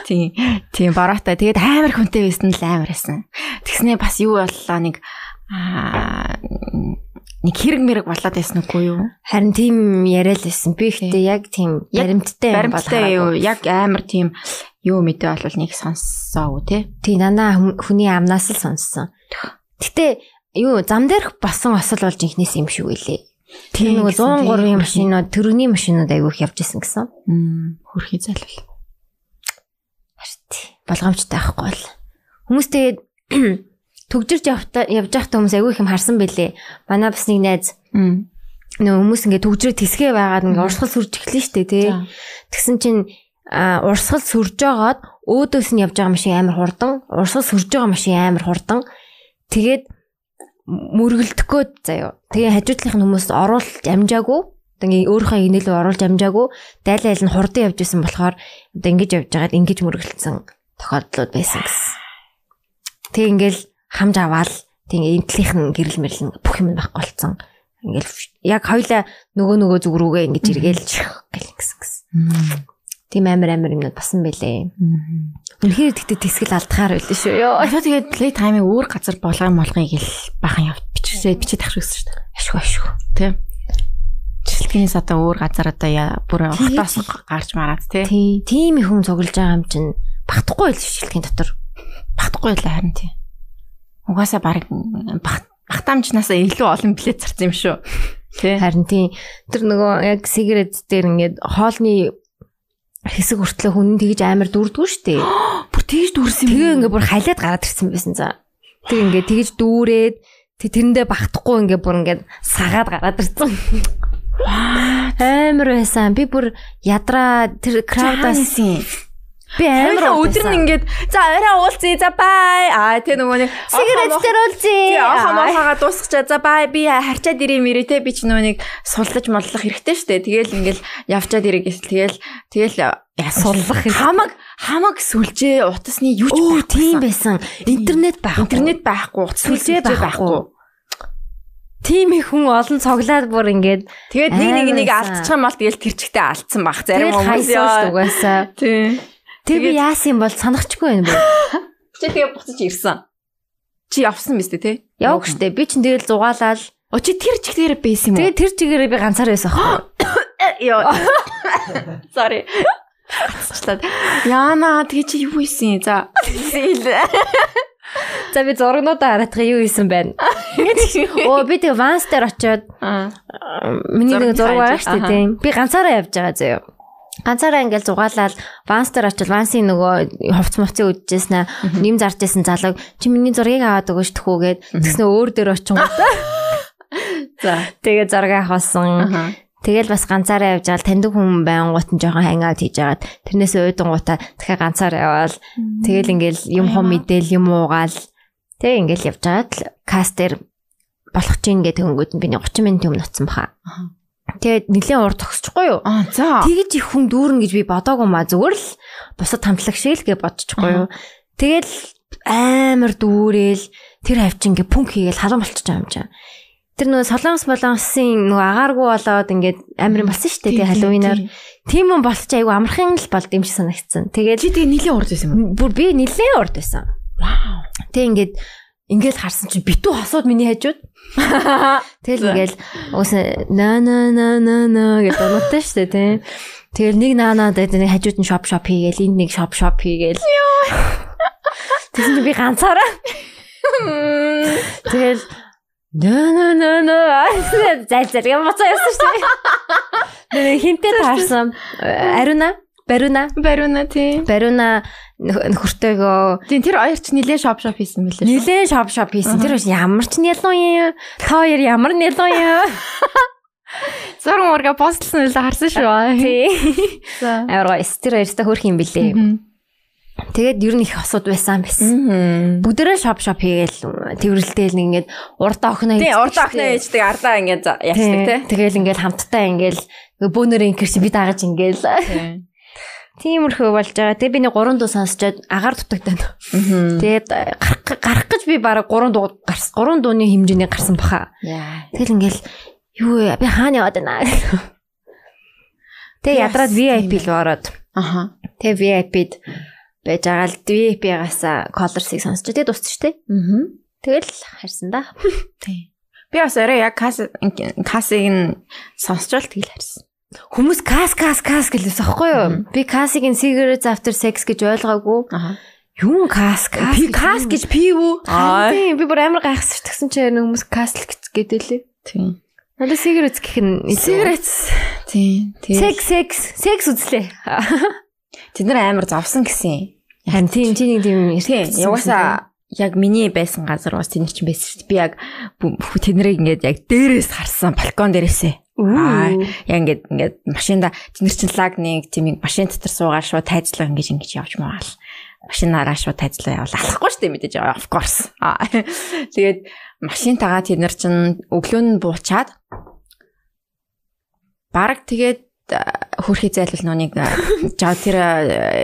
[SPEAKER 2] Тийм. Тийм, бороотой. Тэгээд амар хүнтэй байсан л амар байсан. Тэгснээ бас юу боллоо нэг аа нэг хэрэг мэрэг болоод байсан үгүй юу?
[SPEAKER 3] Харин тийм яриа л байсан. Би ихтэй яг тийм
[SPEAKER 2] Яг
[SPEAKER 3] баримттай юм
[SPEAKER 2] Баримттай юу?
[SPEAKER 3] болоо.
[SPEAKER 2] Яг амар тийм юу мэдээ болвол нэг сонссоо тий.
[SPEAKER 3] Тийм нанаа хүм- хүний амнаас л сонссон. Гэтэ юу зам дээрх босон осол болж инхнээс юм шүү гэлээ. Тэр нөгөө 103-ийн машинууд, төрөний машинууд айгүйх явж исэн гэсэн.
[SPEAKER 2] Хөрхий залвал.
[SPEAKER 3] Харин болгоомжтой байхгүй бол. Хүмүүс тэгээд төгжирж явтаа явж байхдаа хүмүүс айгүй их юм харсан бэлээ. Манай бас нэг найз нөө хүмүүс ингээд төгжрөө тэсгээ байгаад ингээд урсгал сүрж эхлэн штэ тий.
[SPEAKER 2] За.
[SPEAKER 3] Тэгсэн чинь а урсгал сүрж байгаад өөдөөс нь явж байгаа машин амар хурдан, урсгал сүрж байгаа машин амар хурдан. Тэгээд мөргөлдөхөө заяо. Тэгээ хажуу талынх нь хүмүүс оруулж амжаагүй. Одоо ингээд өөрийнхөө инээлөө оруулж амжаагүй. Дайлал айл нь хурдан явж исэн болохоор одоо ингэж явж байгаад ингэж мөргөлдсөн тохиолдлууд байсан гэсэн. Тэг ингээл хамж аваал тэг энтлийнх нь гэрэл мэрлэн бүх юм нь байхгүй болсон. Ингээл яг хоёлаа нөгөө нөгөө зүг рүүгээ ингэж эргээл гэл гисэн гэсэн. Тийм амар амар юмнууд басан байлээ. Үнэхээр тэгтээ тэсгэл алдахаар байлээ шүү. Йоо.
[SPEAKER 2] Ачаа тэгээд play time-ыг өөр газар болгоом болгоё гэл бахан явт бичсээ бичиж тахшигсэн шүү дээ.
[SPEAKER 3] Ашгүй ашгүй.
[SPEAKER 2] тий. Жилтгээс одоо өөр газар одоо яа- бүр
[SPEAKER 3] Тий.
[SPEAKER 2] хотоос гарч мараад тий.
[SPEAKER 3] Тийм тийм их хүн цуглаж байгаа юм чинь багтахгүй л шилжлэхийн дотор.
[SPEAKER 2] Багтахгүй л харин тий. Угаасаа баг багтаамжнаас илүү олон билет зарсан юм шүү. Тий.
[SPEAKER 3] Харин тийм тэр нөгөө яг сигарет дээр ингээд хоолны хэсэг хүртлэх хүн нь тэгж амар дүрдгүй шүү дээ.
[SPEAKER 2] Бүр тийж дүрсэн
[SPEAKER 3] Тэгээ ингээ бүр халиад гараад ирсэн байсан за. Тэг ингээ тэгж дүүрээд тэг тэрэндээ багтахгүй ингээ бүр ингээ сагаад гараад ирсэн. Амар байсан. Би бүр ядраа тэр краудаас
[SPEAKER 2] Таадасан.
[SPEAKER 3] би амар
[SPEAKER 2] Амар өдөр нь ингээд за орой уулзъя за бай. Аа тий нөгөө нэг
[SPEAKER 3] сигарет дээр үлзээ.
[SPEAKER 2] Тий охоо мохоога дуусчихаа за бай би харчаад ирээ мэрэ те би ч нөгөө нэг суллаж моллох хэрэгтэй штэ тэгэл ингээл явчаад ирээ гэсэн тэгэл тэгэл яа
[SPEAKER 3] Суллах хэрэгтэй.
[SPEAKER 2] хамаг хамаг сүлжээ утасны юу ч
[SPEAKER 3] Оо
[SPEAKER 2] байхгүй
[SPEAKER 3] тийм
[SPEAKER 2] байсан.
[SPEAKER 3] байсан. Интернет байх.
[SPEAKER 2] интернет байхгүй утас сүлжээ
[SPEAKER 3] Сүлжээ
[SPEAKER 2] байхгүй
[SPEAKER 3] тийм их хүн олон цоглаад бүр ингээд
[SPEAKER 2] тэгээд нэг нэг нэг
[SPEAKER 3] Аймарсан.
[SPEAKER 2] алдчихсан мал тэгэл тэр чигтээ алдсан баг зарим
[SPEAKER 3] тэгэл
[SPEAKER 2] хүмүүс
[SPEAKER 3] хайсан шүү
[SPEAKER 2] яа
[SPEAKER 3] дугаасаа.
[SPEAKER 2] тий
[SPEAKER 3] Тэр би
[SPEAKER 2] Тэгээд-
[SPEAKER 3] яасан юм бол санахчгүй юм бэ?
[SPEAKER 2] чи тэгээ буцаж ирсэн чи явсан мэт те
[SPEAKER 3] Явах штэ. Би чинь тэгэл зугаалаад
[SPEAKER 2] О чи тэр чигтээр байсан юм уу?
[SPEAKER 3] тэгээ тэр чигээрээ би ганцаар байсан аахгүй.
[SPEAKER 2] Йоо. Sorry. Ацчлаад. Яана тэгээ чи юу хийсэн? За. Зээл.
[SPEAKER 3] За би зургнуудаа хараадах юу исэн байна. Оо би тэг ванс дээр очиод
[SPEAKER 2] Аа.
[SPEAKER 3] э, миний нэг
[SPEAKER 2] Зургийг
[SPEAKER 3] зураг байгаа
[SPEAKER 2] хайж,
[SPEAKER 3] шүү
[SPEAKER 2] аха.
[SPEAKER 3] дээ тийм. Би ганцаараа явж байгаа зөө. Ганцаараа ингээл зугаалаад ванс дээр очиод вансын нөгөө хувц мувц үдчихсэн аа. Нэм зарж байсан залуу чи миний зургийг аваад өгөөч тэхүүгээд тэгснэ өөр дээр очин.
[SPEAKER 2] За.
[SPEAKER 3] Тэгээ зураг авахсан.
[SPEAKER 2] Аа.
[SPEAKER 3] Тэгэл бас ганцаараа явж байгаа л таньдаг хүн байнгут нь жоохон хангаут хийж агаад тэрнээс уйдангуудаа дахиад ганцаараа яваал тэгэл ингээл юм хум мэдээл юм уугаал тэг ингээл явж агаад л кастер болох чинь гэдэг өнгөд нь би нэг 30 минут өмнө оцсон баха.
[SPEAKER 2] Аха.
[SPEAKER 3] Тэгээд нэлээд уур тогсчихгүй юу?
[SPEAKER 2] Аа за.
[SPEAKER 3] Тэгж их хүн дүүрнэ гэж би бодоагүй маа зүгээр л бусад хамтлаг шиг л гэж бодчихгүй юу. Тэгэл амар дүүрэл тэр хавчин ингээ пүнк хийгээл халуун болчихж байгаа юм чинь. Тэр нөгөө солонгос болонсын нөгөө агааргүй болоод ингээд амар юм болсон шүү дээ тэгээ халуунаар. Тийм юм болчих айгүй амархан л болд юм шиг санагдсан. Тэгээд
[SPEAKER 2] Чи тэгээ нилийн урд байсан юм уу?
[SPEAKER 3] бүр би нилээ урд байсан. Вау. Тэг ингээд ингээл харсан чинь битүү хасууд миний хажууд. Тэгэл ингээл өөсөө на на на на на гэж дунаатай шүү дээ тийм. Тэгэл нэг наа наа дээр нэг хажууд нь шоп шоп хийгээл энд нэг шоп шоп хийгээл. Тэгсэн чинь би ганцаараа. Тэгэл нөө нөө нөө нөө айсаа зал зал юм боцоо явсан шүү дээ. Нөө хинтээ таарсан. Ариуна, Бариуна,
[SPEAKER 2] Бариуна тийм.
[SPEAKER 3] Бариуна нөхөртэйгөө
[SPEAKER 2] Тийм тэр оёрч нилээ шоп шоп хийсэн мөлий.
[SPEAKER 3] нилээн шоп шоп хийсэн. Тэр хүн ямар ч нялуу юм. Та хоёр ямар нялуу юм.
[SPEAKER 2] Зурм урга постлсан үлээ харсан шүү.
[SPEAKER 3] Тий.
[SPEAKER 2] За.
[SPEAKER 3] Аварга стер хоёртаа хөрх юм бэлээ. Тэгээд ер нь их осууд байсан байсан.
[SPEAKER 2] Мм.
[SPEAKER 3] Бүгдээрээ шоп шоп хийгээл тэрвэрлдэл ингээд урд окно
[SPEAKER 2] Тийм урд охноо ээждэг арлаа ингээд за- яцдаг тий.
[SPEAKER 3] Тэгэл ингээд хамтдаа ингээд бөөнөр инкер чи би даагаж ингээд. Тиймэрхүү болж байгаа. Тэгээ би нэг 3 дуу сонсчоод агаар дутагдана.
[SPEAKER 2] Мм.
[SPEAKER 3] Тэгээд э, гарах гарах гэж би бараг 3 дуу гарсан. 3 дууны хэмжээний гарсан баха.
[SPEAKER 2] Яа.
[SPEAKER 3] Тэгэл ингээл юу вэ? би хаана яваад байна. Тэгээ ядраад VIP л ороод.
[SPEAKER 2] Аха.
[SPEAKER 3] Тэгээ VIP-д байж байгаа л VIP-гаас colors-ыг сонсч тэгээ дуусчих штэ.
[SPEAKER 2] Мм.
[SPEAKER 3] Тэгэл харсан да.
[SPEAKER 2] Тийм. Би бас орой яг кас касыг нь сонсчвал тэгэл харсан.
[SPEAKER 3] Хүмүүс кас кас кас гэлээс аахгүй юу? Би касыг ин cigarettes after sex гэж ойлгоогүй.
[SPEAKER 2] Аха.
[SPEAKER 3] Юу кас кас?
[SPEAKER 2] Би кас гэж
[SPEAKER 3] пив үү?
[SPEAKER 2] Аа.
[SPEAKER 3] Тийм, би бүр амар гайхсаж тгсэн чинь нэг хүмүүс кас л гэц- гэдэлээ.
[SPEAKER 2] Тийм.
[SPEAKER 3] Надаа cigarettes гэх нь
[SPEAKER 2] Сигаретс. Тийм. Тийм.
[SPEAKER 3] sex sex sex үзлээ.
[SPEAKER 2] Тэд нар амар зовсон гэсэн.
[SPEAKER 3] Харин тийм тийм тийм
[SPEAKER 2] Тийм, угаасаа яг миний байсан газар бас тэнд чинь байсан шүү дээ. Би яг бүх тэднийг ингээд яг дээрээс харсан, балкон дээрээсээ. Аа, яг ингээд ингээд машинда тэнд чинь лаг нэг тийм ингээд машин дотор суугаа шууд тайзлаа ингээд ингэж явж маагаал. Машинаараа шууд тайзлаа явал алахгүй шүү дээ мэдээж of course. Аа. Тэгээд машинтагаа тэд нар чинь өглөө нь буучаад Бараг тэгээд а, хөрхий зайлвал нүг жаа тэр а,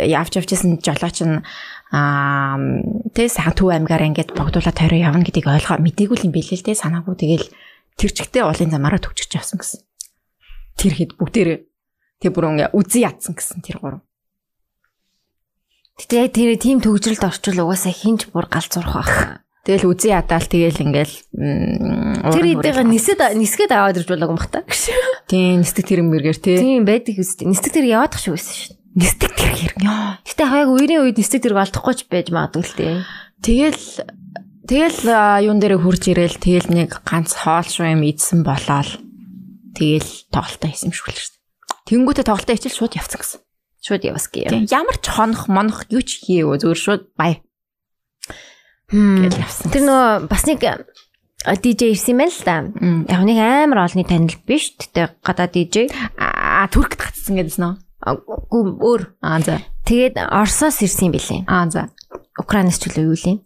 [SPEAKER 2] явж явжсэн жолооч нь аа тэг сахан төв аймгаар ингээд богдуулаад хорио явна гэдгийг ойлгоо мэдээгүй л юм билээ л тэг санаагүй тэгэл тэр чигтээ уулын замаараа төвчөж явсан гэсэн. Тэр хэд бүгдээрээ тэг бүр ингээд үзий ядсан гэсэн тэр гурав.
[SPEAKER 3] Тэгтээ тэр тийм төгжрөлд орчвол угаасаа хинч бүр галзуурах байх.
[SPEAKER 2] Тэгэл үзий ядаал тэгэл ингээд
[SPEAKER 3] Тэр эдэгээ нисэд нисгээд аваад ирж болоог юм бах та.
[SPEAKER 2] тийм нэстэг тэр мэрэгэр тэг
[SPEAKER 3] Тийм байдаг үст. Нисдэг тэр яваадах шиг байсан шүү.
[SPEAKER 2] нэстэг тэр хэрэг ёо
[SPEAKER 3] Гэтэ хаяг үерийн үед нисдэг тэр алдахгүй ч байж магадгүй л дээ.
[SPEAKER 2] Тэгэл тэгэл а, юун дээрээ хурж ирээл тэгэл нэг ганц хоол шүү юм идсэн болоод тэгэл тоглолтоо хийсэн юм шиг л шүү. дээ. Тэнгүүтээ тоглолтоо хийчихэл шууд явцсан гэсэн.
[SPEAKER 3] Шууд явасгүй юм.
[SPEAKER 2] Тийм ямар ч хонох монох юу ч хийв зүгээр шууд бай
[SPEAKER 3] Хм.
[SPEAKER 2] гэж явсан.
[SPEAKER 3] Тэр нөгөө бас нэг а, DJ ирсэн юм байна л да.
[SPEAKER 2] Мм.
[SPEAKER 3] Яг нэг амар олны танил биш. Гэтэ гадаа DJ.
[SPEAKER 2] аа түркт гацсан гэдсэн нөө.
[SPEAKER 3] А, гү- Өөр.
[SPEAKER 2] Аа за.
[SPEAKER 3] Тэгээд Оросоос ирсэн юм билээ.
[SPEAKER 2] Аа за.
[SPEAKER 3] Украинаас ч үгүй юу лээ.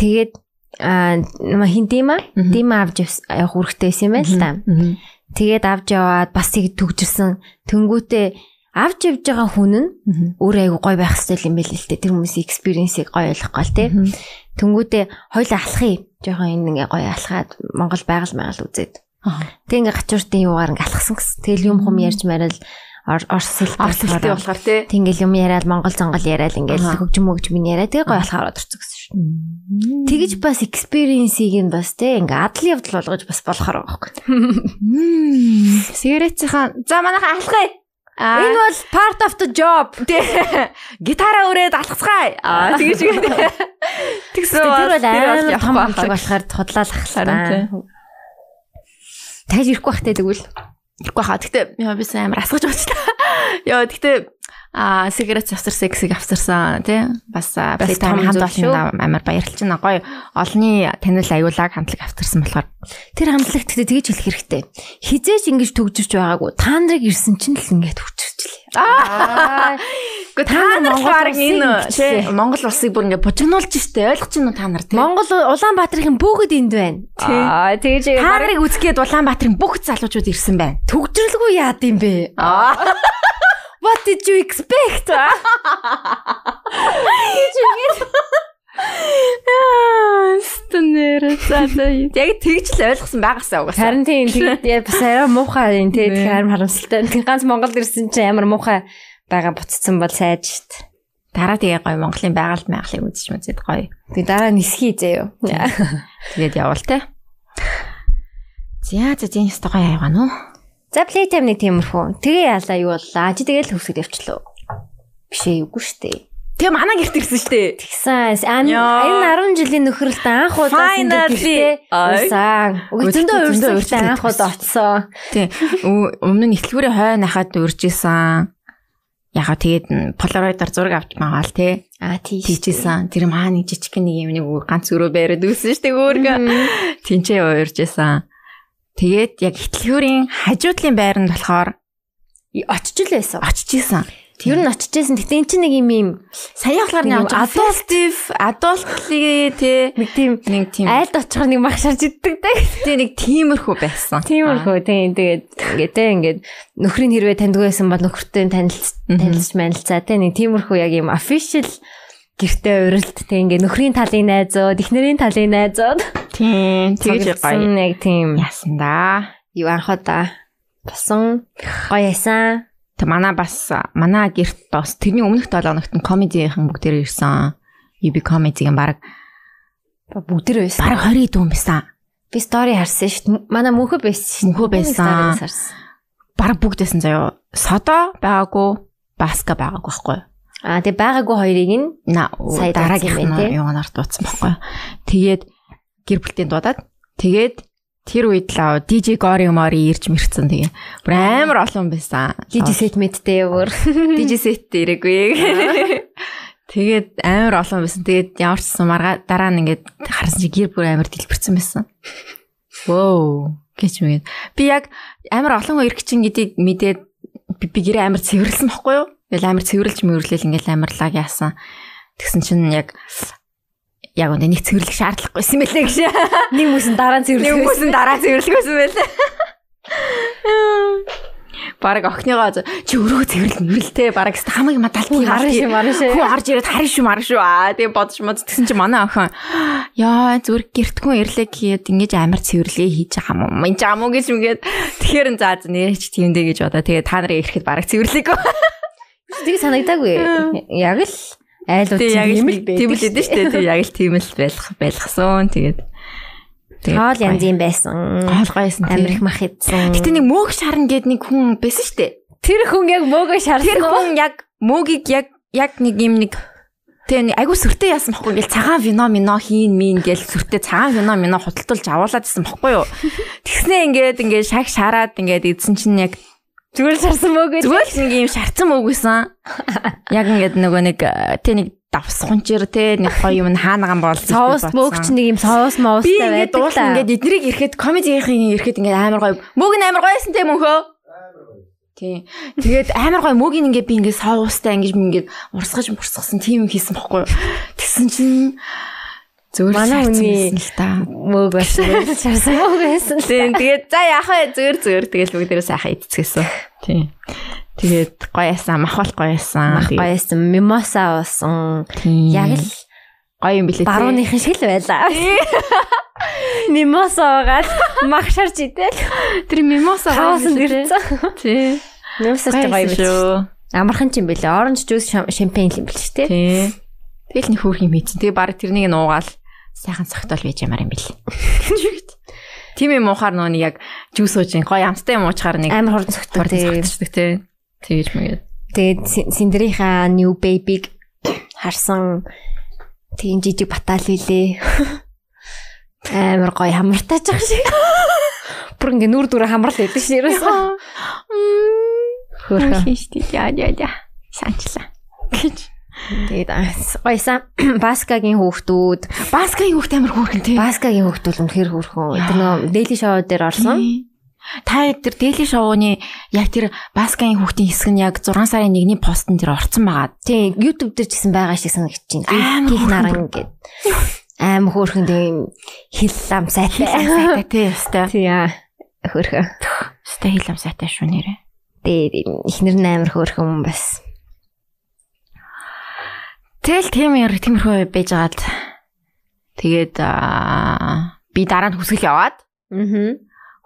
[SPEAKER 3] Тэгээд аа нама хин дима
[SPEAKER 2] Мгм.
[SPEAKER 3] дима авч явс- явах үүрэгтэй байсан юм байна л да.
[SPEAKER 2] Мгм.
[SPEAKER 3] Тэгээд авч яваад бас тийг төгжирсэн. Тэнгүүтээ авч явж байгаа хүн нь
[SPEAKER 2] Мгм.
[SPEAKER 3] өөр айгу гой байх хэвэл юм байл л те. Тэр хүмүүсийн экспириенсийг гой ойлгохгүй л те.
[SPEAKER 2] Мгм.
[SPEAKER 3] Тэнгүүтээ хоёул алхахыг жоохон энэ ингээ гой алхаад Монгол байгаль маяг үзээд.
[SPEAKER 2] Аа.
[SPEAKER 3] Тэг ингээ гачууртын юугаар ингээ алхсан гэсэн. Тэгэл юм хум ярьж марил орс хэл
[SPEAKER 2] Арс хэлтэй болохоор тий.
[SPEAKER 3] Тэгэл юм яриад монгол цонгол яриад
[SPEAKER 2] Аха.
[SPEAKER 3] ингээл хөгжим хөгжим яриад тэгээ гой алхаар орцсон гэсэн шүү. Тэгж бас экспириенсийг нь бас те ингээ адал явдал болгож бас болохоор байгаа байхгүй.
[SPEAKER 2] Мм. Сигаретийнхаа за манайхаа алхая. Аа.
[SPEAKER 3] Энэ бол part of the job.
[SPEAKER 2] Тий. Гитараа өрөөд алхацгаая. Аа тэгэж игээд. Тэгсэн.
[SPEAKER 3] Тэр бол амар том
[SPEAKER 2] явах
[SPEAKER 3] хамтлаг болохоор худлаалах
[SPEAKER 2] Харин
[SPEAKER 3] хэрэгтэй. Тааж ирэхгүй бах те тэгвэл.
[SPEAKER 2] Ирэхгүй хаа. Гэтэ яа бисээ амар асгаж уучлаа. Йоо гэтэ аа сигарет завсарсан гэсийг авсарсан тий. Бас аа,
[SPEAKER 3] Бас том
[SPEAKER 2] Playtime хамт
[SPEAKER 3] зүйл шүү.
[SPEAKER 2] олонда амар баярлж байна. Гоё олонний танил аюулааг хамтлаг авсарсан болохоор.
[SPEAKER 3] Тэр хамтлагт гэдэг тэгж хэлэх хэрэгтэй. Хизээч ингэж төгжирч байгаагүй. Та нарыг ирсэн чинь л ингэ төгжирчлээ. Аа.
[SPEAKER 2] Гэхдээ та
[SPEAKER 3] нар
[SPEAKER 2] нар
[SPEAKER 3] Монгол
[SPEAKER 2] баг
[SPEAKER 3] улсыг
[SPEAKER 2] энэ
[SPEAKER 3] мэдчихсэн.
[SPEAKER 2] тий Монгол улсыг бүр ингээ бужигнуулж штэ ойлгож байна уу та нар тий.
[SPEAKER 3] Монгол Улаанбаатарын бүгд энд байна. Аа, тэгж
[SPEAKER 2] Та
[SPEAKER 3] та нарыг
[SPEAKER 2] нарыг үзгээд Улаанбаатарын бүх залуучууд ирсэн байна.
[SPEAKER 3] төгжрлгүй яад юм бэ?
[SPEAKER 2] Аа.
[SPEAKER 3] What did you expect?
[SPEAKER 2] Стэнээр залуу. Яг тэгж л ойлгосон байгаасаа угаасаа.
[SPEAKER 3] Харин тийм тэгээд яа, бас арай муухай юм тий
[SPEAKER 2] Нэ.
[SPEAKER 3] тэгэхээр амар харамсалтай. Тэг ганц Монгол ирсэн чинь амар муухай байгаа буцсан бол сайж штт.
[SPEAKER 2] дараа тэгээ гоё Монголын байгальд маяглыг үзэж мэдээд гоё.
[SPEAKER 3] Тэг дараа нисхий заяа.
[SPEAKER 2] Тэгээд явуул те. За за зин өстой гоё яваа нү.
[SPEAKER 3] За playtime нэг тиймэрхүү. Тэгээ яалаа юу боллаа? Чи тэгэл хөвсөд явчлаа. Биш ээ, үгүй штэ.
[SPEAKER 2] Тэгээ манай гэрт ирсэн шүү дээ.
[SPEAKER 3] Тэгсэн ань
[SPEAKER 2] Яа.
[SPEAKER 3] энэ 10 жилийн нөхрөлт анх удаа
[SPEAKER 2] Finally. Ай.
[SPEAKER 3] Уурсан. Өгцөндөө
[SPEAKER 2] Өглөө
[SPEAKER 3] уурсан
[SPEAKER 2] уурсан
[SPEAKER 3] гэхдээ анх удаа очсон.
[SPEAKER 2] Тий. Ө- Өмнө нь ихтлгүүрийн хой нахад уржсэн. Ягаа тэгээд полароидаар зураг авч байгаа л тий.
[SPEAKER 3] Аа тийш.
[SPEAKER 2] Тийчээсэн. Тэр маа нэг жижиг гэн нэг юм нэг өөр ганц өрөө байраад үсэн штэ өөргөө. Тинчээ ууржсэн. Тэгээд яг ихтлгүүрийн хажуудлын байранд болохоор
[SPEAKER 3] Очиж л байсан.
[SPEAKER 2] очиж исэн.
[SPEAKER 3] Тэр нь очиж байсан. Гэтэ эн чинь нэг юм юм.
[SPEAKER 2] Саяхан болохоор нэг
[SPEAKER 3] Нэг
[SPEAKER 2] adultive, adult-ийн тий
[SPEAKER 3] Нэг тийм
[SPEAKER 2] нэг тийм
[SPEAKER 3] айлд очихор нэг мах шарж иддэг дээ.
[SPEAKER 2] тий нэг тиймэрхүү байсан.
[SPEAKER 3] Тиймэрхүү тийм тэгээд ингээд те ингээд нөхрийн хэрвээ таньдгүй байсан бол нөхөртэй танилц
[SPEAKER 2] Мгм.
[SPEAKER 3] танилцж манилцаа те нэг тиймэрхүү яг юм official гэртээ урилт те ингээд нөхрийн талын найзууд, эхнэрийн талын найзууд
[SPEAKER 2] Тийм тэгж гоё.
[SPEAKER 3] тоглосон яг тийм
[SPEAKER 2] Яасан да.
[SPEAKER 3] юу анх удаа болсон гоё ясан.
[SPEAKER 2] Тэ манай бас манай гэрт бас тэрний өмнөх 7 хоногт нь комедигийн бүгд дээр ирсэн. UB comedy-гийн баг
[SPEAKER 3] Бүгдэр байсан.
[SPEAKER 2] баг 20 дүүн байсан.
[SPEAKER 3] Би стори харсан шүү. дээ. Манай мөнхөө байсан. шүү дээ.
[SPEAKER 2] Мөнхөө
[SPEAKER 3] Би нэг
[SPEAKER 2] байсан.
[SPEAKER 3] story-г харсан.
[SPEAKER 2] Баг бүгд байсан заяо. Содо байгаагүй, баска байгаагүй байхгүй. юу?
[SPEAKER 3] Аа тэгээ байгаагүй хоёрыг нь
[SPEAKER 2] На
[SPEAKER 3] Сая
[SPEAKER 2] дараагийнх
[SPEAKER 3] дуудсан байх,
[SPEAKER 2] нь
[SPEAKER 3] тий?
[SPEAKER 2] юунаар дуудсан байхгүй. юу? Тэгээд гэр бүлтэй дуудаад тэгээд тэр үед л аа, DJ Gory Mori ирж мэрцэн тэгээ. Бүр амар олон байсан.
[SPEAKER 3] DJ set мэдтэй өөр.
[SPEAKER 2] DJ set ирээгүй. Тэгээд амар олон байсан. Тэгээд ямар ч юм маргаа дараа нь ингээд харсан чи гэр бүр амар дэлбэрсэн байсан. Воо гэж мэгэд. Би яг амар олон хоёр гिचин гэдгийг мэдээд би, би гэрээ амар цэвэрлсэн байхгүй юу? Ингээл амар цэвэрлж мөрлөл ингээл амарлаг яасан. Тэгсэн чинь яг яг үнэ нэг цэвэрлэх шаардлагагүйсэн мэлээ гэж.
[SPEAKER 3] Нэг хүмүүс нь дараа нь
[SPEAKER 2] Нэг
[SPEAKER 3] цэвэрлэх.
[SPEAKER 2] хүмүүс нь дараа цэвэрлэхсэн байлаа. Бараг охиныгоо зо- чи өрөө цэвэрлэн нүрэлтэй бараг ста- хамаг мадалт юм
[SPEAKER 3] Харин шим харин шим.
[SPEAKER 2] Хүү орж ирээд харин шүү маран шүү аа тэгээ бодож мод тэгсэн чи манай охин ёо зүрх гэртгүн ирлээ гэхэд ингэж амар цэвэрлэе хийж байгаа юм энэ жам уу гэж ингээд тэгэхэр нь заа зэн нэрч тиймдээ гэж бодоо тэгээ та нарыг ирэхэд бараг цэвэрлэегүй
[SPEAKER 3] Тэг санагдаагүй. Яг л айлууд
[SPEAKER 2] тэгээ яг
[SPEAKER 3] чинь
[SPEAKER 2] л
[SPEAKER 3] юм л байдаг.
[SPEAKER 2] тийм л өгдөө шүү дээ тэгээ яг л тийм л байх байлгсан тэгээд
[SPEAKER 3] Хоол янз юм байсан.
[SPEAKER 2] хоол гойсон
[SPEAKER 3] Амир их мах идсэн.
[SPEAKER 2] Гэтэ нэг мөөг шарна гэд нэг хүн байсан шүү дээ.
[SPEAKER 3] тэр хүн яг мөөгөө
[SPEAKER 2] Тэр хүн яг мөөгийг яг яг нэг юм нэг тэгээ нэг айгу сүртэй яасан бохгүй ингээл цагаан вино мино хийн мийн ингээл сүртэй цагаан вино мино худалдуулж авуулаад исэн бохгүй юу. Тэгснээ ингээд ингээд шаг шараад ингээд идсэн чинь яг
[SPEAKER 3] зүгээр шарсан мөөгөө.
[SPEAKER 2] зүгээр л нэг юм шарцсан мөөг байсан. Яг ингээд нөгөө нэг э, тэ нэг давс хунчир тэ нэг гоё юм хаанагаан бол
[SPEAKER 3] Соус мөөгч нэг юм соус моустай
[SPEAKER 2] Би
[SPEAKER 3] байдаг.
[SPEAKER 2] ингээд дуулсан ингээд эднэрийг ирэхэд комедигийн ирэхэд ингээд амар гоё. Мөг нь амар гоёсэн тийм мөнхөө. Тий. Тэгээд амар гоё мөгийг ингээд би ингээд соустай ингээд би ингээд урсгаж мурсгасан тийм юм хийсэн бохгүй юу. Тэгсэн чинь зөвөр
[SPEAKER 3] Манай хүний-
[SPEAKER 2] л та.
[SPEAKER 3] мөөг байсан. Зүгээр л Шарсан мөөг байсан.
[SPEAKER 2] Тийм тэгээд за яах вэ зөвөр зөвөр тэгэл бүгдээрээ сайхан идцгээсэн. Тий. Тэгээд гоё ясан, мах бол гоё ясан.
[SPEAKER 3] Мах гоё байсан. Мимоса уусан. Яг л
[SPEAKER 2] гоё юм билээ.
[SPEAKER 3] барууныхан шиг л байлаа. Мимоса уугаад мах шарж идэл.
[SPEAKER 2] тэр мимоса
[SPEAKER 3] Хаасан дэрсэн.
[SPEAKER 2] Тий.
[SPEAKER 3] Мимоса ч гоё
[SPEAKER 2] Гоё юм
[SPEAKER 3] байсан.
[SPEAKER 2] шүү.
[SPEAKER 3] Амархан ч юм бэлээ. Orange juice шам- шампань л юм бэл шүү дээ.
[SPEAKER 2] Тий. Тэгэл нэг хөөрх юм хийчихсэн. Тэгээ баг тэрнийг нуугаал сайхан согтол байж ямар юм бэл. Тийм юм уухаар нөө нэг яг жүүс ууж ин гоё амттай юм уучаар нэг
[SPEAKER 3] Амар хурдан цогтдог.
[SPEAKER 2] хурдан
[SPEAKER 3] тийм.
[SPEAKER 2] согтчихдаг тий. Тэгэж мэгээд.
[SPEAKER 3] Тэгээд Син- Синдерийнхаа New Baby-г харсан тийм жижиг батал билээ. Амар гоё хамартаж байгаа шиг. Бүр ингээ нүр дүрэ хамрал байдаг шээ ерөөсөө. Хөөх.
[SPEAKER 2] Шиштэй яа яа яа. Санчлаа. Гэж.
[SPEAKER 3] Тэгээд аас- гоёсан Баскагийн хүүхдүүд,
[SPEAKER 2] Баскагийн хүүхд амар хөөрхөн тий.
[SPEAKER 3] Баскагийн хүүхдүүд үнэхээр хөрхөн. Тэр нөө Daily Show дээр орсон.
[SPEAKER 2] Тий. Та тэр Daily Show-ны яг тэр Баскагийн хүүхдийн хэсэг нь яг 6 сарын 1-ний постн тэр орцсон байгаа.
[SPEAKER 3] Тийм YouTube дээр ч гэсэн байгаа шиг санагч чинь.
[SPEAKER 2] Амар
[SPEAKER 3] Гих наран гэдэг. Аим хөөрхөн тийм хил лам сайтай.
[SPEAKER 2] Сайтай тий. Өстэй.
[SPEAKER 3] Тийм аа. Хөөрхөн.
[SPEAKER 2] Өстэй хил ам сайтай шүү нэрээ.
[SPEAKER 3] Тэгээд эхнэр нь амар хөөрхөн бас.
[SPEAKER 2] Тэгэл тийм яар тиймэрхүү байж гаад тэгээд аа, би дараа нь хүсгэл яваад
[SPEAKER 3] Аа.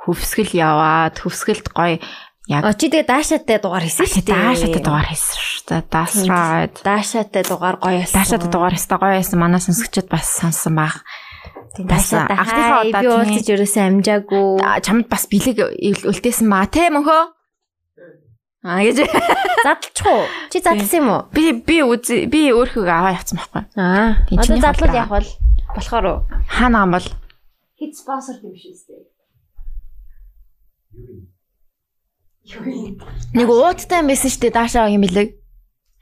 [SPEAKER 2] хүсгэл яваад хүсгэлд гоё
[SPEAKER 3] Очи тэгээ даашаатай дугаар хийсэн шүү дээ.
[SPEAKER 2] даашаатай дугаар хийсэн шүү дээ. That's right.
[SPEAKER 3] Даашаатай дугаар гоё байсан.
[SPEAKER 2] Даашаатай дугаар хийсэн гоё байсан. Манай сонсогчид бас сонсон баг.
[SPEAKER 3] Тийм,
[SPEAKER 2] байсан.
[SPEAKER 3] Даашаатай.
[SPEAKER 2] Анхныхаа
[SPEAKER 3] Хай,
[SPEAKER 2] удаа
[SPEAKER 3] би
[SPEAKER 2] тийм.
[SPEAKER 3] уулзаж ерөөсөө амжаагүй.
[SPEAKER 2] А, Чамд бас бэлэг үлдээсэн баа те мөнхөө. Аа гэж
[SPEAKER 3] Задлчих уу? Чи задлсан юм уу?
[SPEAKER 2] би би үзи би өөрхөө аваа явцсан байхгүй.
[SPEAKER 3] Аа.
[SPEAKER 2] Тийм, чиний
[SPEAKER 3] Одоо задлал
[SPEAKER 2] хол
[SPEAKER 3] явах бол болохоор уу?
[SPEAKER 2] Хаана ам бол
[SPEAKER 3] Хит спонсор юм шиг үстэй.
[SPEAKER 4] Юу юм?
[SPEAKER 2] нэг уудтай юм байсан шүү дээ даашаа авах юм билэг.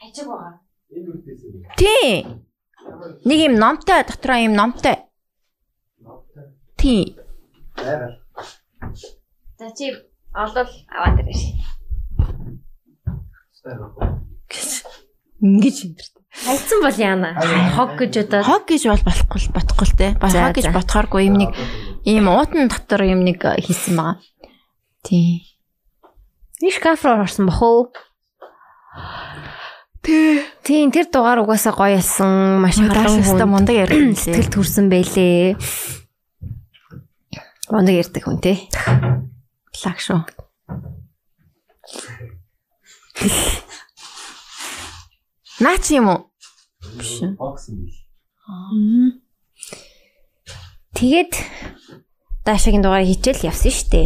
[SPEAKER 3] Ажиг байгаа.
[SPEAKER 4] Энэ үгтэйс юм.
[SPEAKER 2] Тий. Нэг юм номтой дотроо юм номтой.
[SPEAKER 4] Навтай.
[SPEAKER 2] Тий.
[SPEAKER 4] Байгаад.
[SPEAKER 3] За чи олол аваад ирэх шээ.
[SPEAKER 4] Стайгаа.
[SPEAKER 2] Ингиж өндөрт.
[SPEAKER 3] Хайцсан бол яана. Хог гэж одоо
[SPEAKER 2] Хог гэж бол болохгүй л бодохгүй л дээ. Бас
[SPEAKER 3] За,
[SPEAKER 2] хог гэж
[SPEAKER 3] за.
[SPEAKER 2] бодохооргүй юм нэг ийм уутан дотор юм нэг э, хийсэн байгаа. Тий.
[SPEAKER 3] энэ шкаф руу орсон бохоо.
[SPEAKER 2] Тий.
[SPEAKER 3] Тийм тэр дугаар угаасаа гоё ялсан. Маш халуун
[SPEAKER 2] Даашаа
[SPEAKER 3] хүн.
[SPEAKER 2] та мундаг ярина лээ.
[SPEAKER 3] Сэтгэл төрсэн байлээ. Мундаг ярьдаг хүн тий.
[SPEAKER 2] Лаг шүү. Наа чи юм уу? Биш.
[SPEAKER 4] Бокс юм биш.
[SPEAKER 3] Тэгээд Дашагийн дугаар хичээл явсан штэ.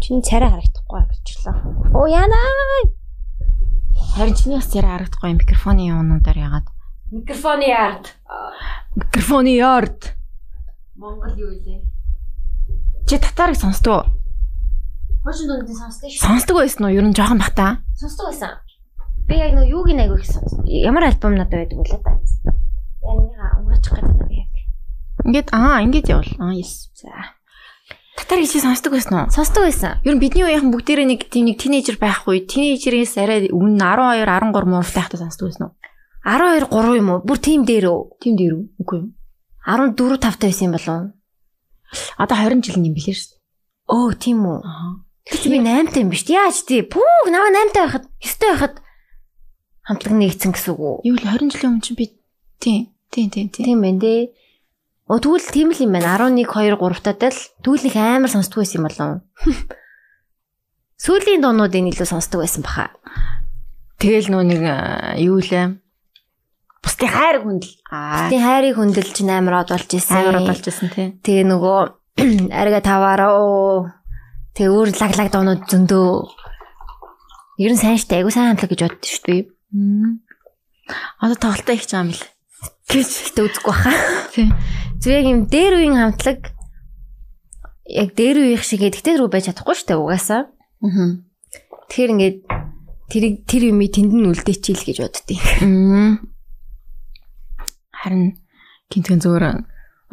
[SPEAKER 3] Чиний царай харагдахгүй болчихлоо. Оо яана.
[SPEAKER 2] Харин чиний бас яриа харагдахгүй юм микрофоны юунуудаар ягаад.
[SPEAKER 3] Микрофоны ярд.
[SPEAKER 2] Микрофоны ярд.
[SPEAKER 3] Монгол юу вэ?
[SPEAKER 2] Чи татарыг сонсдог уу?
[SPEAKER 3] Хожин дундын сонсдог шүү.
[SPEAKER 2] Сонсдог байсан уу? Ер нь жоохон бата.
[SPEAKER 3] Сонсдог байсан. Би яг нөө юуг нэг их сонсон. Ямар альбом надад байдаг вэ та? Яг нэг унгаачих гэдэг юм яг.
[SPEAKER 2] Ингээд аа, ингэж явуул. Аа, yes. За. Татарыг чи сонсдог байсан уу?
[SPEAKER 3] Сонсдог байсан.
[SPEAKER 2] Ер нь бидний үеийнхэн бүгдээрээ нэг тийм нэг тинейжер байх үе, тинейжерээс арай өмнө 12, 13 мууртай хата сонсдог байсан уу?
[SPEAKER 3] 12 3 юм уу? Бүр тийм дээр үү?
[SPEAKER 2] Тийм дээр үү? Үгүй юу?
[SPEAKER 3] 14 5 таа байсан юм болов.
[SPEAKER 2] Одоо 20 жил юм билээ шүү дээ.
[SPEAKER 3] Оо тийм үү.
[SPEAKER 2] Аа.
[SPEAKER 3] Гэтэл би 8 таа юм биш. Яаж тий? Пүүг наваа 8 таа байхад 9 таа байхад хамтлаг нэгцэн гэсэн үг үү?
[SPEAKER 2] Юу л 20 жилийн өмнө чи би тий, тий, тий, тий.
[SPEAKER 3] Тийм байна дээ. Оо тэгвэл тийм л юм байна. 11 2 3 таатай л тэгвэл их амар сонсдог байсан юм болов. Сүүлийн дуунуудын илүү сонсдог байсан баха.
[SPEAKER 2] Тэгэл нөө нэг э, юу лээ. Бусдын хайр хүндэл. Аа.
[SPEAKER 3] Тийм хайрыг хүндэл чинь амар од болж исэн.
[SPEAKER 2] Амар удалжсэн тий.
[SPEAKER 3] Тэгээ нөгөө арига таваараа. Тэгээ өөр лаглаг дуунууд зөндөө. Ер нь сайн штэ. Айгу сайн хамтлаг гэж боддоо шүү дээ.
[SPEAKER 2] Одоо тоглолтоо их жаам бил.
[SPEAKER 3] Гэж ихтэй үзэхгүй баха.
[SPEAKER 2] Тий.
[SPEAKER 3] Зүгээр яг юм дээр үеийн хамтлаг яг дээр үеийнх шиг гэдэгтэй рүү байж чадахгүй штэ угаасаа.
[SPEAKER 2] Аа.
[SPEAKER 3] Тэгэхээр ингээд тэр тэр юмыг тэнд нь үлдээчихил гэж боддیں۔
[SPEAKER 2] Харин гинтгэн зөөр.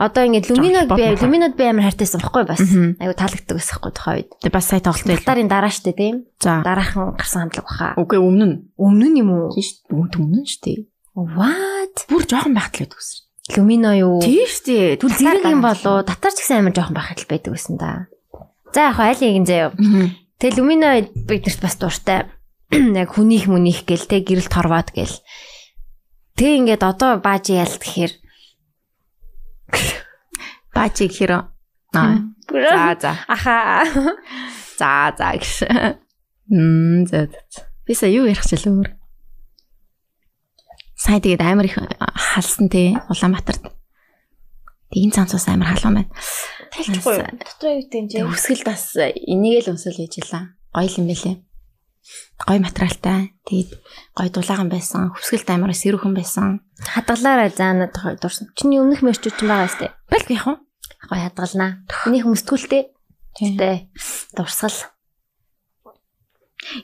[SPEAKER 3] Одоо ингээд люминод
[SPEAKER 2] Жоох
[SPEAKER 3] би
[SPEAKER 2] бодно.
[SPEAKER 3] люминод би амар хартайсан байхгүй бас.
[SPEAKER 2] Мгм.
[SPEAKER 3] Айгу таалагддаг байсан байхгүй тухай үед.
[SPEAKER 2] Тэ бас сая тоглолтоо ил.
[SPEAKER 3] Талтарын дараа штэ тийм.
[SPEAKER 2] За.
[SPEAKER 3] Дараахан гарсан хамтлаг баха.
[SPEAKER 2] Үгүй өмнө нь.
[SPEAKER 3] Өмнө нь юм уу?
[SPEAKER 2] Тийш өмнө нь шүү дээ.
[SPEAKER 3] What?
[SPEAKER 2] Бүр жоохон байхтал байдаг ус.
[SPEAKER 3] Люмино юу?
[SPEAKER 2] Тийш дээ.
[SPEAKER 3] Түл зэрэг юм болоо. Татарч гэсэн амар жоохон байхад л байдаг гэсэн да. За яг хоо аль нэгэн заяа. Тэгээ люмино бид нарт бас дуртай. Яг хүнийх мөнийх гэл те гэрэл торваад гэл. Тэг ингээд одоо баажи ялт гэхээр
[SPEAKER 2] Баачи гэхээр аа. За за.
[SPEAKER 3] аха
[SPEAKER 2] За за гэж. Мм за. за, за. Би сая юу ярих ч л өөр. Сая тэгээд амар их халсан тий Улаанбаатарт. Тэгин цанцус амар халуун байна. Тайлхгүй юу?
[SPEAKER 3] Дотроо юу гэдэг
[SPEAKER 2] Тэг үсгэл бас энийг л өмсөл хийж илаа. Гоё л юм байлээ. Гоё материалтай. Тэгээд гоё дулаахан байсан. Хүсгэлт амар сэрүүхэн байсан.
[SPEAKER 3] хадгалаарай заа надад дурсан. Чиний өмнөх мэрч үчин байгаа штэ.
[SPEAKER 2] Бол би яах вэ?
[SPEAKER 3] Гой хадгалнаа. Миний хүмүүстгүүлтэй.
[SPEAKER 2] Тэ.
[SPEAKER 3] Тэ. Дурсгал.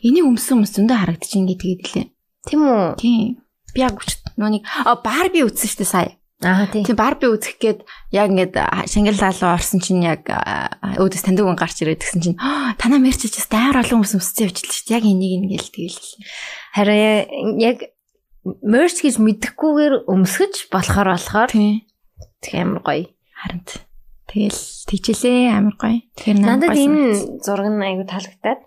[SPEAKER 2] Энийг өмсөн өмсөндөө харагдчихин гээ тэгээд лээ.
[SPEAKER 3] Тэм үү?
[SPEAKER 2] Тийм. Би яг үчт нүг а барби үзсэн штэ сая.
[SPEAKER 3] Аа тий.
[SPEAKER 2] Тийм Барби үзэх гээд яг ингээд а, Шангилла руу орсон чинь яг а, өөдөөс таньдаг хүн гарч ирээд гэсэн чинь «Аа, танаа мерч ч гэсэн амар олон хүмүүс өмсөж явж л шүү дээ. Яг энийг ингээл тэгэлээ.
[SPEAKER 3] Харин яг мерч гэж мэдэхгүйгээр өмсгөж болохоор болохоор
[SPEAKER 2] Тийм.
[SPEAKER 3] тэг амар гоё.
[SPEAKER 2] Харин т- тэгэл тэгжлээ амар гоё. Тэр
[SPEAKER 3] Надад энэ зураг нь айгу таалагдаад.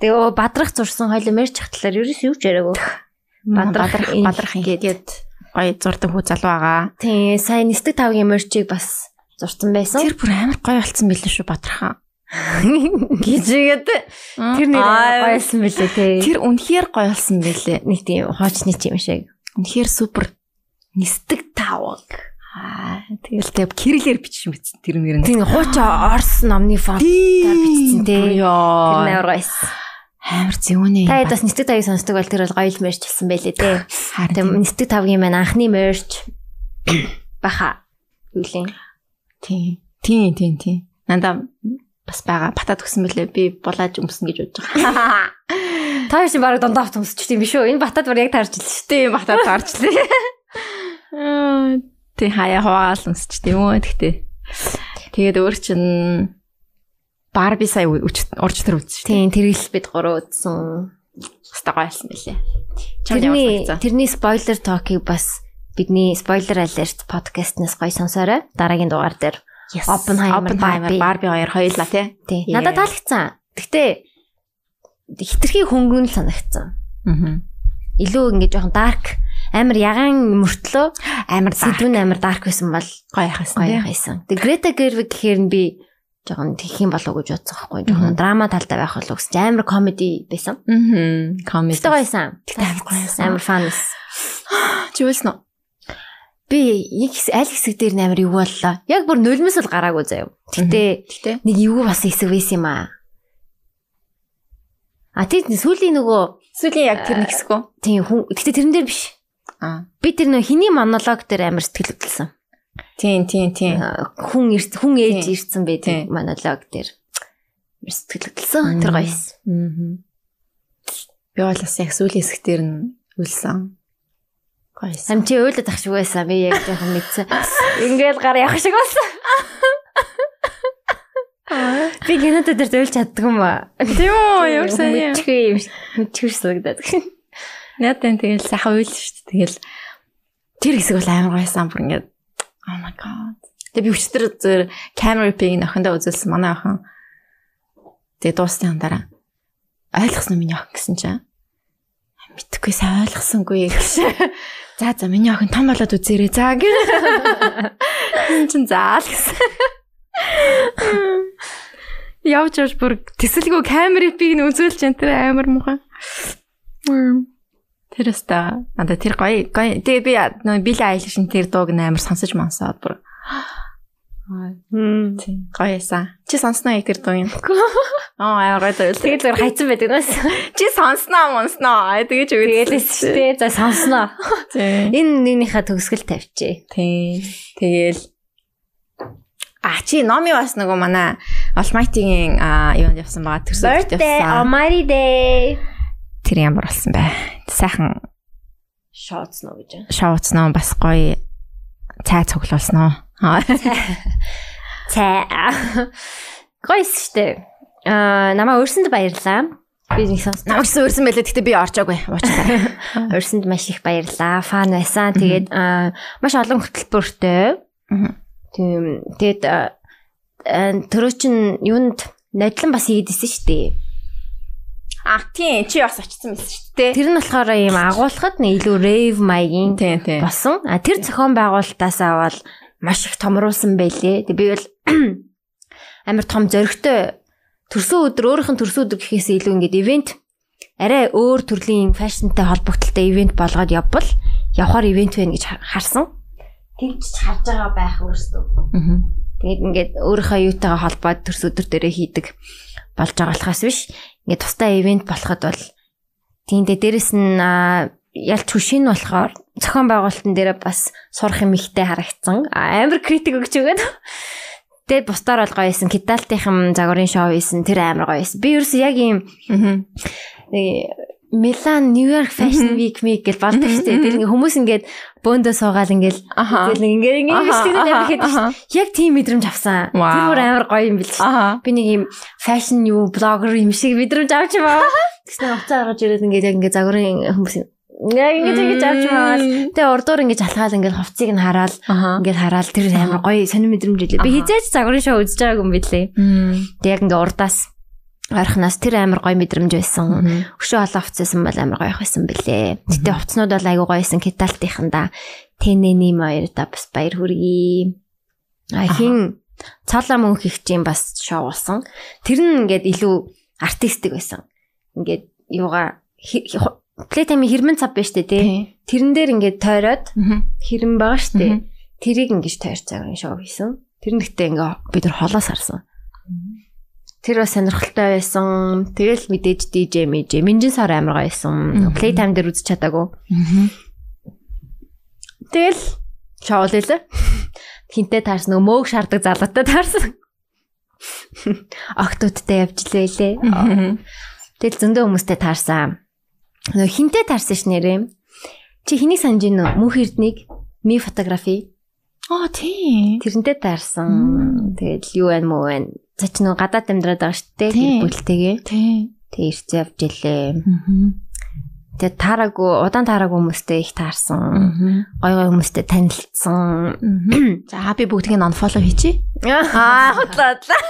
[SPEAKER 3] Тэгээ оо, бадрах зурсан хоёул мерч хатлаар ерөөс юу ч яриаггүй. Бадрах,
[SPEAKER 2] бадрах
[SPEAKER 3] энэ-
[SPEAKER 2] бадрах ингээд гоё зурдаг хүү залуу байгаа.
[SPEAKER 3] Тий, сайн нэстэг тавгийн мерчийг бас зурсан байсан.
[SPEAKER 2] Тэр бүр амар гоё болцсон билээ шүү бадрахаа.
[SPEAKER 3] Гижигэд тэр нэр
[SPEAKER 2] Аа,
[SPEAKER 3] гоёсэн билээ тий.
[SPEAKER 2] Тэр үнэхээр гоё болсон билээ.
[SPEAKER 3] нэг тийм хуучны ч юм шиг.
[SPEAKER 2] Үнэхээр супер нисдэг тавг. Аа тэгэл тэг кириллээр бичсэн биз тэр нэр нь.
[SPEAKER 3] Тийм хууч орс номны фонтаар бичсэн те. Тэр
[SPEAKER 2] Яа.
[SPEAKER 3] амар гоё байсан.
[SPEAKER 2] Амар зүүнэ.
[SPEAKER 3] Та хэд бас нэстэг тавыг сонсдог бол тэр бол гоё л мерч хэлсэн байлээ те.
[SPEAKER 2] Харин
[SPEAKER 3] Тэгээ нэстэг тавгийн маань анхны мерч баха. Юулын.
[SPEAKER 2] тийм. Тийм тийм тийм. Надаа бас байгаа. Батат өгсөн мөлий би булааж өмсөн гэж бодож байгаа.
[SPEAKER 3] Та яшин баг дондоо авт өмсчихдээ юм биш үү? Энэ батад бүр яг таарч л шүү.
[SPEAKER 2] Тийм батат гарчлаа. Тэ хаяа хаваал өмсч тийм үү тэгтээ. Тэгээд өөр чинь Барби сая ү- үч- урч төр үзсэн шүү.
[SPEAKER 3] Тийм тэргэл бид гурав үзсэн.
[SPEAKER 2] Хаста гойлсон байлээ. Чамд
[SPEAKER 3] Тэрний
[SPEAKER 2] яваасан.
[SPEAKER 3] тэрний спойлер токийг бас бидний спойлер алерт подкастнаас гоё сонсоорой. Дараагийн дугаар дээр. Oppenheimer,
[SPEAKER 2] Oppenheimer, Барби хоёр хоёулаа тий.
[SPEAKER 3] Тийм.
[SPEAKER 2] Yeah.
[SPEAKER 3] Надад таалагдсан. Гэтэ хитрхи хөнгөн л санагдсан.
[SPEAKER 2] Аа.
[SPEAKER 3] Илүү ингэ жоохон dark амар ягаан мөртлөө
[SPEAKER 2] Амар дарк.
[SPEAKER 3] сэдвэн амар dark байсан бол
[SPEAKER 2] гоё хасан
[SPEAKER 3] гоё
[SPEAKER 2] тий.
[SPEAKER 3] байсан. Тэг Greta Gerwig гэхээр нь би жоохон тэгэх юм болов уу гэж бодсон байхгүй. Жоохон драма талтай байх болов уу гэсэн. чинь Амар comedy байсан.
[SPEAKER 2] Аа. Коммент.
[SPEAKER 3] Тэ гоёсан.
[SPEAKER 2] Гэтэ амар гоё байсан.
[SPEAKER 3] Амар fun. байсан.
[SPEAKER 2] Чи үлсэн үү?
[SPEAKER 3] Би яг хэс- аль хэсэг дээр нь амар юу боллоо. Яг бүр нулимс л гараагүй заяа. Гэтэ
[SPEAKER 2] Гэтэ.
[SPEAKER 3] нэг юу бас хэсэг байсан юм аа. А тийм сүүлийн нөгөө
[SPEAKER 2] Сүүлийн яг тэр нэг хэсэг үү?
[SPEAKER 3] тийм хүн гэтээ тэрэн дээр биш.
[SPEAKER 2] Аа.
[SPEAKER 3] Би тэр нөгөө хиний монолог дээр амар сэтгэл хөдлөсөн.
[SPEAKER 2] Тийм, тийм, тийм.
[SPEAKER 3] Аа, Хүн ирс- хүн ээж
[SPEAKER 2] Тийм.
[SPEAKER 3] ирсэн байдаг
[SPEAKER 2] Тийм.
[SPEAKER 3] монолог дээр. Амар Сэтгэл хөдлөсөн. Тэр
[SPEAKER 2] Мм.
[SPEAKER 3] гоёс.
[SPEAKER 2] Би бол бас яг сүүлийн хэсэг дээр нь үлсэн. Гоёс.
[SPEAKER 3] Сам чи ойлоод ах шиг байсан. Би яг жоохон мэдсэн. Ингээл гар явах шиг болсон. Би генетэ дээр зөвлөж чаддаг юм аа.
[SPEAKER 2] Тийм үү?
[SPEAKER 3] Мэдчихгүй юм. шиг- Мэдчихгүй санагдаад.
[SPEAKER 2] Надад тэгэл сайхан үйл шүү дээ. Тэгэл тэр хэсэг бол амар гоёсан бүр ингээд oh my god. Тэгээ би өчтөр зэр camera ping охиндоо үзүүлсэн манай охин. Тэгээ дуусны андараа ойлгосноо миний охин гэсэн чинь мэдхгүй сайн ойлгосонгүй гэж. За за миний охин том болоод үзээрэй. За гэх. Чин заал гэсэн. Явж явж бүр тэсэлгүй камерыг би н үзүүлж энэ тэр амар мухан. Тэр өста надаа тэр гоё гоё тэгээ би нөө бил айлшин тэр дууг нь амар сонсож мансаад бүр
[SPEAKER 3] Хм.
[SPEAKER 2] тийм гоё эсэн. Чи сонсноо яг тэр дуу юм. Аа амар гоё дуу.
[SPEAKER 3] Тэгээд зөвөр хайцсан байдаг нас.
[SPEAKER 2] Чи сонсноо монсноо тэгэж үү.
[SPEAKER 3] Тэгэлээс шүү дээ. За сонсноо.
[SPEAKER 2] Тийм.
[SPEAKER 3] Энэ нэгнийхээ төгсгөл тавьчих.
[SPEAKER 2] Тийм. Тэгэл А чи номи бас нөгөө манай Almighty-гийн аа, юунд явсан байгаа төрсөлд явсан.
[SPEAKER 3] Amari Day.
[SPEAKER 2] Тэр ямар болсон бэ? Сайхан
[SPEAKER 3] Шооцно гэж.
[SPEAKER 2] шоуцноо бас гоё цай цуглуулсноо. Аа.
[SPEAKER 3] Цай. Гойс штэ. Аа намаа өрсөнд баярлаа. Би нэг сонсон.
[SPEAKER 2] Намайг ч өөрсөн байлээ. Гэтэ би орчоогүй. Уучлаарай.
[SPEAKER 3] Өрсөнд маш их баярлаа. Фан байсан. Тэгээд аа маш олон хөтөлбөртэй.
[SPEAKER 2] Мгм.
[SPEAKER 3] Тийм. Тэгээд аа, аа, төрөө чин юунд нодлон бас хийдэсэн штэ.
[SPEAKER 2] А тийм чи бас очсон байсан шүү дээ.
[SPEAKER 3] Тэр нь болохоор ийм агуулхад нэг илүү rave маягийн
[SPEAKER 2] Тийм тийм.
[SPEAKER 3] болсон. А тэр зохион байгуулалтаасаа бол маш их томруулсан байлээ. Тэг би бол амар том зөрөгтэй төрсөн өдөр өөрийнх нь төрсөн өдөр гэхээс илүү ингээд ивент арай өөр төрлийн фэшнтэй холбогдлолтой ивент болгоод явбал явхаар ивент байна гэж хар- харсан. Тэгж ч харж байгаа байх өөрсдөө. Тэгээд ингээд өөрийнхөө юутайгаа холбоод төрс өдөр дээрээ хийдэг болж байгаа болохоос биш. Ингээд тустай ивент болоход бол тиймдээ дээрэс нь аа, ялч хөшин болохоор зохион байгуулалтын дээрээ бас сурах юм ихтэй харагдсан. Аа, Амар критик өгч өгөөд. Тэгээд бусдаар бол гоё исэн. Кидалтынхан загварын шоу исэн. Тэр амар гоё исэн. Би ерөөсөө яг ийм
[SPEAKER 2] Мгм.
[SPEAKER 3] нэг Милан Нью-Йорк Fashion
[SPEAKER 2] Мгм.
[SPEAKER 3] Week мэг гэж болдог шүү дээ. Тэр ингээ хүмүүс ингээд бөөндөө суугаад ингээд
[SPEAKER 2] Аха.
[SPEAKER 3] тэгэл ингээ ингээ
[SPEAKER 2] Аха,
[SPEAKER 3] бичлэгтэй
[SPEAKER 2] аха,
[SPEAKER 3] байхад
[SPEAKER 2] аха.
[SPEAKER 3] яг тийм мэдрэмж авсан. Тэр
[SPEAKER 2] Вау.
[SPEAKER 3] бүр амар гоё юм бил шүү.
[SPEAKER 2] Аа.
[SPEAKER 3] Би нэг юм fashion юу блогер юм шиг мэдрэмж авч яваа. Тэснэ уцаа гаргаж ирээд ингээд яг ингээ загварын хүмүүс яг ингээ тэгэж авч яваа. Тэгээ урдуур ингээ алхаал ингээ хувцыг нь хараад
[SPEAKER 2] Аха.
[SPEAKER 3] ингээд хараад тэр амар гоё сонир мэдрэмж илээ. Би
[SPEAKER 2] Аха.
[SPEAKER 3] хизээч загварын шоу үзэж байгаагүй юм билээ. Тэг яг ингээ урдаас ойрхоноос тэр амар гоё мэдрэмж байсан. Өшөө олон хувцсан бол амар гоё байсан бэлээ. Гэтэ хувцснууд бол айгүй гоёсэн киталтынхан да. Тэнэний маяр да бас баяр хүргэе. А хин цаалаа мөнх их чинь бас шоу болсон. Тэр нь ингээд илүү артистик байсан. Ингээд юугаа хи- хи- ху- плейтами хэрмэн цав байж тээ тий. Тэрэн дээр ингээд тойроод
[SPEAKER 2] Мгм.
[SPEAKER 3] хэрэм байгаа штэ.
[SPEAKER 2] Мгм.
[SPEAKER 3] Тэрийг ингэж таарцааг нь шоу хийсэн. Тэр нэгтээ ингээ бид нар холоос харсан. Тэр бас сонирхолтой байсан. Тэгэл мэдээж DJ мэж Минжин сар амар гоё байсан.
[SPEAKER 2] Мгм.
[SPEAKER 3] Playtime дээр үзэж чадаагүй. Тэгэл шоу л хэлээ. Хинтээ таарсан нөгөө мөөг шардаг залгатай таарсан. Октодтай явж л байлээ. Тэгэл зөндөө хүмүүстэй таарсан. Нөгөө хинтээ таарсан ш нэрээ. Чи хэнийг санаж гин нөө мөнх эрднийг ми фотографи
[SPEAKER 2] Аа тийм.
[SPEAKER 3] Тэрнтэй таарсан. Тэгэл юу байна мүү байна. За чи нөгөө гадаад амьдраад байгаа шүү дээ.
[SPEAKER 2] Тийм.
[SPEAKER 3] Тэр бүлтэйгээ.
[SPEAKER 2] Тийм.
[SPEAKER 3] Тэг ирцээ явж илээ. Тэг таараагүй, удаан таараагүй хүмүүстэй их таарсан. Гой гой хүмүүстэй танилцсан.
[SPEAKER 2] За би бүгдийг нь unfollow хийчихье.
[SPEAKER 3] Аа, хутлаадлаа.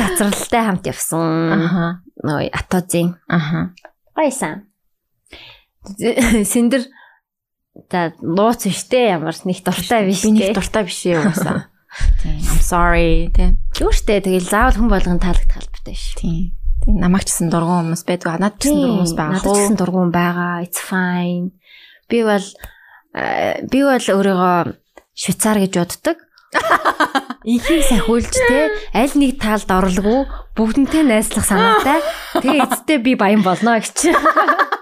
[SPEAKER 3] Цацралтай хамт явсан.
[SPEAKER 2] Аха.
[SPEAKER 3] Нөгөө Атозын.
[SPEAKER 2] Аха.
[SPEAKER 3] Гойсан. Синдэр та нууц шүү дээ. Ямар ч нэг дуртай биш
[SPEAKER 2] Би
[SPEAKER 3] дээ.
[SPEAKER 2] нэг дуртай биш юм уусаа. Тийм. I'm sorry. Тийм.
[SPEAKER 3] Юу шүү дээ. Тэгэл заавал хүн болгон таалагдах албатай шүү.
[SPEAKER 2] Тийм. Тийм, Намайг ч гэсэн дургуун хүмүүс байдгүй. Надад ч гэсэн дургуун хүмүүс байгаа.
[SPEAKER 3] Надад ч гэсэн дургуун байгаа. It's fine. Би бол э, би бол өөрийгөө швейцар гэж боддог. Ихийг сахиулж те аль нэг таалд оролгүй бүгднтэй найзлах санаатай. Тэгээ эцэстээ би баян болно гэж.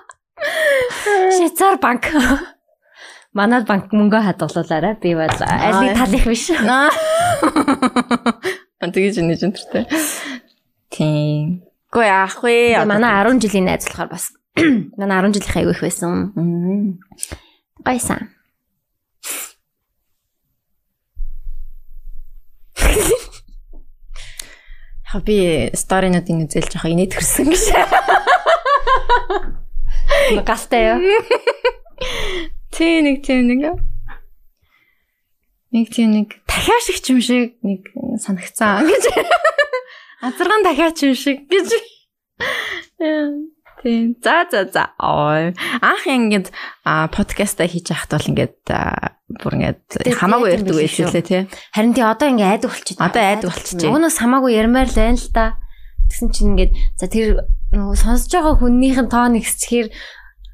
[SPEAKER 3] Швейцар банк. Манад банк мөнгө хадгалуулаарай. Би бол э, аль нэг тал их биш.
[SPEAKER 2] Аа тэгэж нэг зэнтэртэй. Тийм. Гүй аахгүй.
[SPEAKER 3] Манай 10 жилийн найз болохоор бас манай 10 жилийн хайгуу их байсан. Гайсан.
[SPEAKER 2] Яг би сторинуудын үзэл жоох инээд хөрсөн гэж.
[SPEAKER 3] Галтай юу?
[SPEAKER 2] Тий нэг тийм нэг. Нэг тийм нэг дахиад шиг юм шиг нэг санагцсан гэж. Азарган дахиад юм шиг гэж. Тийм. За за за. Ой. Анх ингээд а, подкаста хийж яхад бол ингээд а, бүр ингээд
[SPEAKER 3] Тэ,
[SPEAKER 2] хамаагүй
[SPEAKER 3] дээд юм
[SPEAKER 2] ярьдаг
[SPEAKER 3] биш
[SPEAKER 2] байсан
[SPEAKER 3] шүү.
[SPEAKER 2] лээ тий.
[SPEAKER 3] Харин тий одоо ингээ айдаг болчих.
[SPEAKER 2] Одоо айдаг болчихжээ.
[SPEAKER 3] Өгнөөс хамаагүй ярмаар л байна л да. Тэгсэн чинь ингээд за тэр нөгөө сонсож байгаа хүннийх нь тоо нэгсчихэр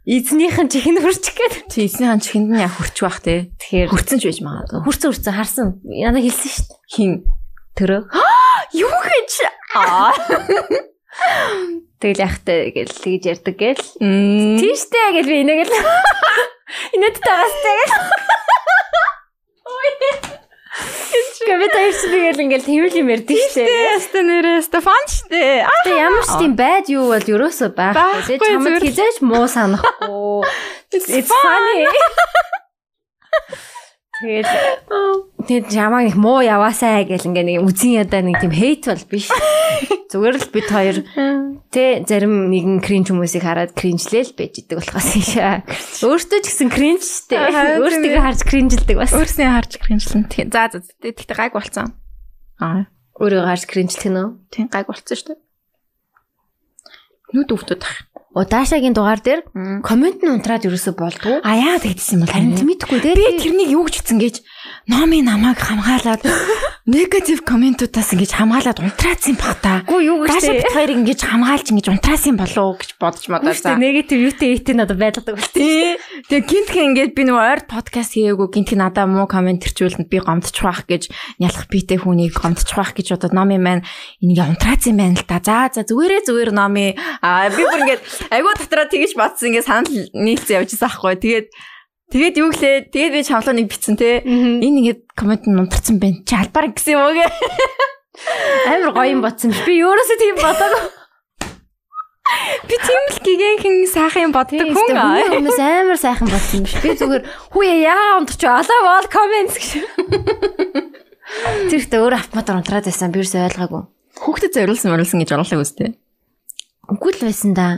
[SPEAKER 3] эзнийх нь чихэн хүрчих гээд.
[SPEAKER 2] Тий эзний хан чихэнд нь яа хүрч байх тий.
[SPEAKER 3] Тэгэхээр
[SPEAKER 2] Хүрцэн ч байж магадгүй.
[SPEAKER 3] хүрцэн хүрцэн харсан. Яна хэлсэн шүү дээ.
[SPEAKER 2] Хин.
[SPEAKER 3] Төрөө.
[SPEAKER 2] Юу гэж?
[SPEAKER 3] Тэгэл яхтай гэл тэгж ярьдаг гэл.
[SPEAKER 2] Мм.
[SPEAKER 3] Тийш дээ гэл би инээгэл. Инээд тагаас тэгэл. Гэвь тааш тэгэл ингээл тэмэл юм ярьдэн шүү дээ.
[SPEAKER 2] Тэстэ нэрээ Стефан штэ.
[SPEAKER 3] Тэгээ ямар ч тийм байд юу бол ерөөсөө байхгүй.
[SPEAKER 2] Байхгүй,
[SPEAKER 3] Тэгээ чамд
[SPEAKER 2] зүгээр.
[SPEAKER 3] хизээч муу санахгүй. It's funny. Тэгээд тэгээд чамаа нэг муу яваасай гэл ингээ нэг үзэн ядаа нэг тийм хейт бол биш. Зүгээр л бид хоёр тэ зарим нэгэн кринж хүмүүсийг хараад кринжлээл байж идэг болохоос ийшээ. Өөртөө ч гэсэн кринж штэ.
[SPEAKER 2] Харин тийм
[SPEAKER 3] Өөртөө
[SPEAKER 2] ээ.
[SPEAKER 3] харж кринжилдэг бас.
[SPEAKER 2] Өөрснөө харж гэрэнжлэн. Тэгээ за за за. тэгтээ гайг болцсон. Аа.
[SPEAKER 3] Өөрөө харж кринжлэх нь үү?
[SPEAKER 2] Тийм гайг болцсон шүү дээ. Нүд өвдөд тах.
[SPEAKER 3] Удаашагийн дугаар дээр комент нь унтраад ерөөсөө болдгоо.
[SPEAKER 2] А яа тэгдсэн юм бол
[SPEAKER 3] Харин мэдхгүй дээ.
[SPEAKER 2] Би тэрнийг юу гэж утсан гэж номи намайг хамгаалаад негатив комментуудаас ингэж хамгаалаад унтраасан бах та.
[SPEAKER 3] Гүү юу гэж
[SPEAKER 2] Даша
[SPEAKER 3] те.
[SPEAKER 2] бит хоёрыг ингэж хамгаалж ингэж унтраасан болов уу гэж бодож мадаа
[SPEAKER 3] Гэхдээ
[SPEAKER 2] за.
[SPEAKER 3] негатив юутэй ийтэй надад байдалдаг байна.
[SPEAKER 2] Тий. Тэгээ гинтхэн ингээд би нөгөө ойр подкаст хийгээгүй гинтхэн надаа муу комент төрчүүлэнд би гомдчих واخ гэж нялх битэй хүнийг гомдчих واخ гэж одоо номи маань энийг унтраац юм байна л та. За за зүгээрээ зүгээр номи аа би бүр ингээд айгүй татраа тгийж батсан ингээд санал нийлцэн явж байгаа байхгүй. Тэгээд тэгээд юу гэлээ тэгээд би чамлаа нэг битсэн те. Энэ ингээд комент нь унтарсан байна. Чи албаар гэсэн юм уу гээ.
[SPEAKER 3] Амар гоё юм бодсон. Би өөрөөсөө тийм бодоагүй.
[SPEAKER 2] Би тийм л гигэнхэн сайхан юм боддог
[SPEAKER 3] Хүн хүмүүс амар сайхан болсон биш. Би зүгээр хүү яа унтарч олоо бол коммент гэж. Тэр ихтэй өөр автомат унтраад байсан. Би ерөөсөө ойлгоогүй.
[SPEAKER 2] Хүүхдэд зориулсан мөрүүлсэн гэж оруулаа үстэй.
[SPEAKER 3] Үгүй л байсан да.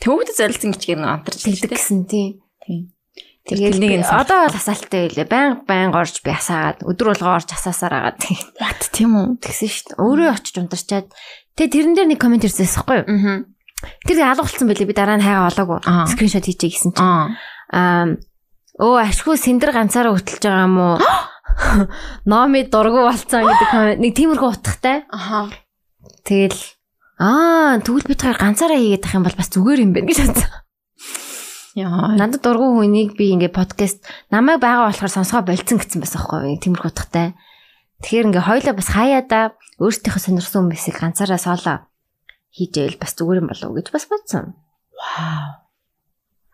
[SPEAKER 2] Төвөгдөд зориулсан гэж гэн унтарч
[SPEAKER 3] Тэгдэг гэсэн тий.
[SPEAKER 2] Тийм.
[SPEAKER 3] Тэгээд
[SPEAKER 2] Тэрнийг
[SPEAKER 3] би-
[SPEAKER 2] нь
[SPEAKER 3] одоо бол асаалттай байлээ. Баян баян орж би асаагаад өдөр болгоо орж асаасаар агаад
[SPEAKER 2] What тийм үү?
[SPEAKER 3] тэгсэн шүү дээ. Өөрөө очиж унтарчаад тэгээ тэрэн дээр нэг коммент ирсэн байхгүй юу?
[SPEAKER 2] Аа.
[SPEAKER 3] Тэр алгуулсан байлээ. Би дараа нь хайгаа олоогүй.
[SPEAKER 2] Аа.
[SPEAKER 3] Скриншот хийчихье гэсэн чинь.
[SPEAKER 2] Аа.
[SPEAKER 3] Аа өө ашгүй сэндэр ганцаараа хөтлж байгаа юм уу? Номи дургу болцсон гэдэг коммент. Нэг тиймэрхүү утгатай.
[SPEAKER 2] Аха.
[SPEAKER 3] Тэгэл аа тэгвэл бид хоёр ганцаараа хийгээд ах юм бол бас зүгээр юм байна гэж бодсон.
[SPEAKER 2] Яа.
[SPEAKER 3] Надад дургу хүнийг би ингээ подкаст намайг байгаа болохоор сонсгоо болцсон гэсэн байсан байхгүй юу? Тэмэрх утгатай. Тэгэхээр ингээ хоёлаа бас хаяада өөртөөхөө сонирсон хүмүүсийг ганцаараа соолоо хийжээл бас зүгээр юм болов уу гэж бас бодсон.
[SPEAKER 2] Wow.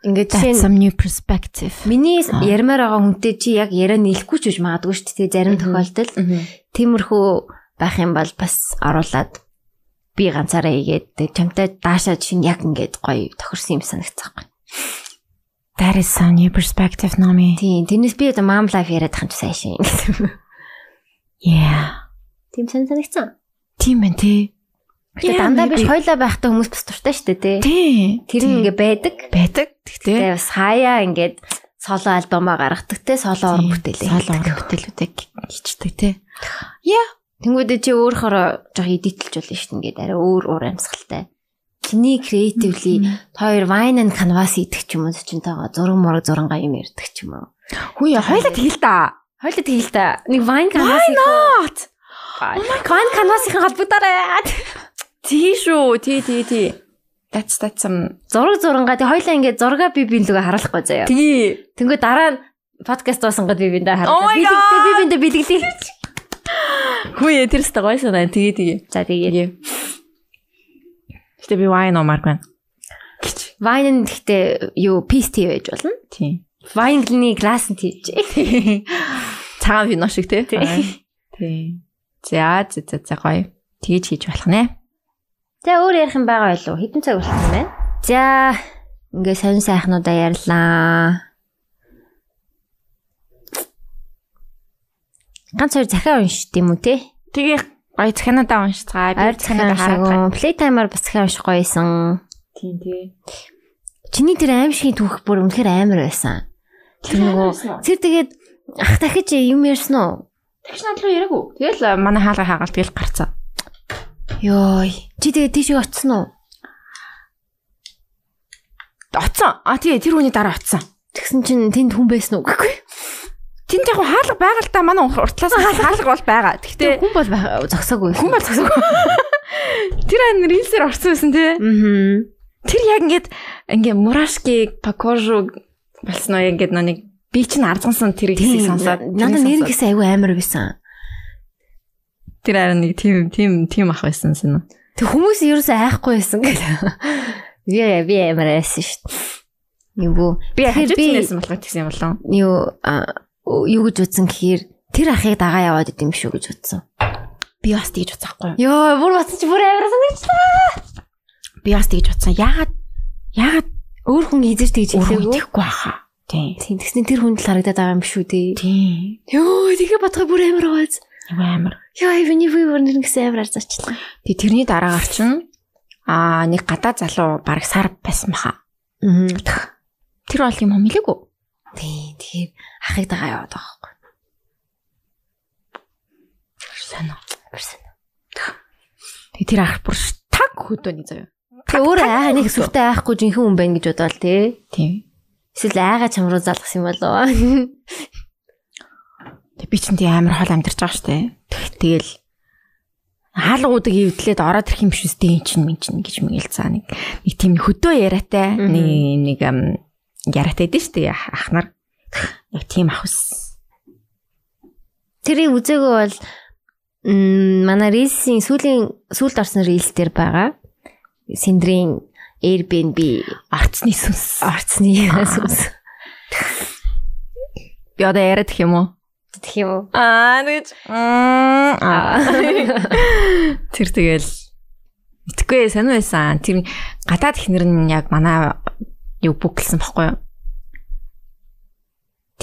[SPEAKER 3] Ингээ жишээ
[SPEAKER 1] That's
[SPEAKER 3] нь
[SPEAKER 1] some new perspective.
[SPEAKER 3] миний
[SPEAKER 1] Аа.
[SPEAKER 3] ярмаар байгаа хүнтэй чи яг яриа нийлэхгүй ч гэж магадгүй шүү дээ. Зарим
[SPEAKER 2] Мгм.
[SPEAKER 3] тохиолдолд тиймэрхүү байх юм бол бас оруулаад би ганцаараа хийгээд тэг чамтай даашаа чинь яг ингээд гоё тохирсон юм санагцсан.
[SPEAKER 1] That is some new perspective, Nomi.
[SPEAKER 3] Тийм, тэрнээс би одоо mom life яриад байгаа юм чи сайн шин.
[SPEAKER 1] Yeah.
[SPEAKER 3] Тийм сайн санагцсан.
[SPEAKER 1] Тийм байна тий.
[SPEAKER 3] Гэтэ
[SPEAKER 1] Yeah,
[SPEAKER 3] дандаа биш
[SPEAKER 1] maybe.
[SPEAKER 3] хоёлаа байхдаа хүмүүс бас туртай шүү дээ, тий.
[SPEAKER 1] Тий.
[SPEAKER 3] Тэр
[SPEAKER 1] Тий.
[SPEAKER 3] нь ингээ байдаг.
[SPEAKER 1] байдаг. Тэгтээ
[SPEAKER 3] Тэгээ бас хаяа ингээд соло альбомаа гаргадаг те, соло уран бүтээлээ.
[SPEAKER 1] Солон
[SPEAKER 3] хийдэг.
[SPEAKER 1] уран бүтээлүүдийг хийчдэг тий.
[SPEAKER 3] Тэнгүүдээ чи өөрөөр жоох эдитэлж болно шүү дээ. Ингээд арай өөр уур амьсгалтай. Чиний creatively хоёр wine and canvas идэх ч юм уу зочинтойгоо зураг мураг зурангаа юм ярьдаг ч юм уу.
[SPEAKER 2] Хүн яа хоёлаа тэгэл да.
[SPEAKER 3] Хоёлаа тэгэл та. Нэг wine canvas
[SPEAKER 2] Not.
[SPEAKER 3] Oh wine canvas-ийн холбогдоорой.
[SPEAKER 2] Тий шүү. Тий тий тий. That's that's some.
[SPEAKER 3] Зураг зурангаа тэг хоёлаа ингээд зургаа би биелүүгээ харуулахгүй заяа.
[SPEAKER 2] Тий.
[SPEAKER 3] Тэнгүү дараа нь подкаст дуусангад би биндээ
[SPEAKER 2] Oh
[SPEAKER 3] хараад
[SPEAKER 2] my
[SPEAKER 3] би
[SPEAKER 2] God!
[SPEAKER 3] тэгтээ би биндээ бэлгэлээ.
[SPEAKER 2] Хүн яа тэр сты гойсон аа. Тий тий.
[SPEAKER 3] За тэгээд
[SPEAKER 2] Тий. Гэтэ би wine омар байна. Гэж.
[SPEAKER 3] Vine-ын тэгтээ юу piece tea байж болно.
[SPEAKER 2] Тий.
[SPEAKER 3] Vine-ны glass нь тийж.
[SPEAKER 2] Цагаан вино шиг тий. Тий. За за за за гоё. Тэгэж хийж болох нэ.
[SPEAKER 3] За өөр ярих юм байгаа байлуу. Хэдэн цаг болсон юм бэ? За ингээ сонир сайхнуудаа ярьлаа. Ганц хоёр захиа уншд юм уу те?
[SPEAKER 2] Тэгээ гоё цахинадаа уншицгаа.
[SPEAKER 3] Ойр захиа уншаагүй. Playtime-аар бас захиа унших гоёсэн.
[SPEAKER 2] Тий тий.
[SPEAKER 3] Чиний тэр аимшигний түүх бүр үнэхээр амар байсан. Тэр нөгөө тэр тэгээд ах дахиж юм ярьсан уу?
[SPEAKER 2] Тэгш над руу яриаг уу. Тэгэл э, манай хаалга хаагаал тэгэл гарцаа.
[SPEAKER 3] Йой. Чи тэгээ тийш очсон уу?
[SPEAKER 2] Оцсон. А тий тэр хүний дараа оцсон.
[SPEAKER 3] Тэгсэн чинь тэнд хүн байсан уу гэхгүй.
[SPEAKER 2] Тэнд яг хаалга байгаа л да манай уртлаас хаалга бол байгаа. Тэгтээ
[SPEAKER 3] Хүн бол байх- зогсоогүй.
[SPEAKER 2] хүн бол зогсоогүй. Тэр ан рилсээр орсон байсан тий.
[SPEAKER 3] Аа.
[SPEAKER 2] Тэр яг ингээд ингээ мурашки пакожу болсон уу ингээд нөө нэг би чинь ардгансан тэр хэсгийг сонсоод
[SPEAKER 3] надад нэр гэсэн айгүй амар байсан.
[SPEAKER 2] тэр харин нэг тийм тийм тийм ах байсан юм.
[SPEAKER 3] Тэг хүмүүс ерөөсөө айхгүй байсан гэл. Би би амар байсан шүү дээ. Юу
[SPEAKER 2] Би
[SPEAKER 3] Тэгэхээр
[SPEAKER 2] хажууд
[SPEAKER 3] би-
[SPEAKER 2] нээсэн болохоо тэгсэн юм болов.
[SPEAKER 3] юу а, юу гэж утсан гэхээр тэр ахыг дагаа яваад идэм шүү гэж утсан.
[SPEAKER 2] Би бас тэгж уцахгүй.
[SPEAKER 3] Йой, бүр утсан чи бүр амар санагчлаа.
[SPEAKER 2] Би бас тэгж утсан. Яагаад яагаад
[SPEAKER 3] Өөр хүн хизэж тэгж
[SPEAKER 2] өөрөө
[SPEAKER 3] хэлээгүй.
[SPEAKER 2] итгэхгүй байхаа. Тийм.
[SPEAKER 3] Тийм тэгснэ тэр хүн л харагдаад байгаа юм шүү дээ.
[SPEAKER 2] Тийм.
[SPEAKER 3] Йой, тэгээ батгаа бүр амар байгааз.
[SPEAKER 2] Юу амар.
[SPEAKER 3] Яа, эвний би бүр нэр гэсэн амар зарчлаа.
[SPEAKER 2] Тэг тэрний дараагаар чинь аа нэг гадаа залуу баг сар байсан баха.
[SPEAKER 3] Аа.
[SPEAKER 2] Тэр бол юм хэмлээгүү.
[SPEAKER 3] Тий, тэгэхээр ахыг дагаа яваад байгаа байхгүй.
[SPEAKER 2] Сонио.
[SPEAKER 3] Персон.
[SPEAKER 2] Тэг тэр ах бүр ш- таг хөдөөний заяа.
[SPEAKER 3] Тэг өөр айгаа нэг сүртэй айхгүй жинхэнэ хүн байна гэж бодоол тий.
[SPEAKER 2] Тийм.
[SPEAKER 3] Эсвэл айгаа чам руу залгсан юм болоо.
[SPEAKER 2] Тэг би чинь тий амар хол амьдарч байгаа штэ. Тэгэл хаалгуудаг ивдлээд ороод ирэх юм биш үстэй эн чинь минь чинь гэж мэгэл цаа нэг нэг тийм хөдөө яриатай
[SPEAKER 3] Мгм.
[SPEAKER 2] нэг нэг ам, яриатай дээ штэ ах- ах нар. Яг тийм ах ус.
[SPEAKER 3] Тэрийг үзээгөө бол м, манай рилсийн сүүлийн сүүлд орсон рилс дээр байгаа. Синдрийн Airbnb
[SPEAKER 2] Арцны сүнс.
[SPEAKER 3] орцны сүнс.
[SPEAKER 2] Би одоо яриад их юм уу?
[SPEAKER 3] Тэгэх юм уу?
[SPEAKER 2] Аа тэгэж.
[SPEAKER 3] Аа.
[SPEAKER 2] Тэр тэгэл итгэхгүй ээ, сонир байсан. Тэр гадаад ихнэр нь яг манай юу бүгэлсэн баггүй юу?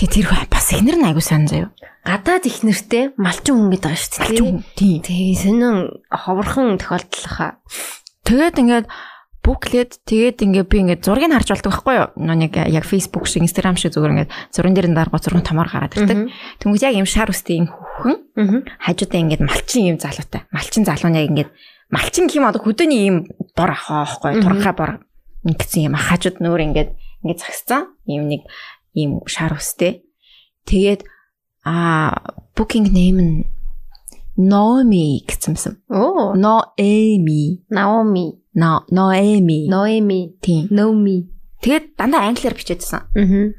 [SPEAKER 2] Тэ тэр хүн бас ихнэр нь айгуу сонир заяа.
[SPEAKER 3] Гадаад их нэртэй малчин хүн гэдэг байгаа шүү дээ. тий?
[SPEAKER 2] Тийм.
[SPEAKER 3] Тэгээ сонин ховорхон тохиолдол хаа.
[SPEAKER 2] Тэгээд ингээд бүклээд тэгээд ингээд би ингээд зургийг харж болдог байхгүй юу? Нөө нэг яг Facebook шиг Instagram шиг зүгээр ингээд зургийн дээр нь дарга зургийн томор гараад ирдэг. Тэнгүүд яг юм шар үстэй юм хөхөн
[SPEAKER 3] Мгм.
[SPEAKER 2] хажуудаа ингээд малчин юм залуутай. Малчин залуу нь яг ингээд малчин гэм одоо хөдөөний юм бор ахаа байхгүй
[SPEAKER 3] Мгм.
[SPEAKER 2] турхаа бор ингэсэн юм аа. хажууд нөр ингээд ингээд загссан юм нэг юм шар үстэй. Тэгээд а booking name нь Noemi гэсэн.
[SPEAKER 3] Оо,
[SPEAKER 2] Noemi.
[SPEAKER 3] Наоми,
[SPEAKER 2] No Noemi.
[SPEAKER 3] Ноэми,
[SPEAKER 2] Тийм.
[SPEAKER 3] Номи.
[SPEAKER 5] Тэгээд дандаа англиар бичээдсэн.
[SPEAKER 3] Аа.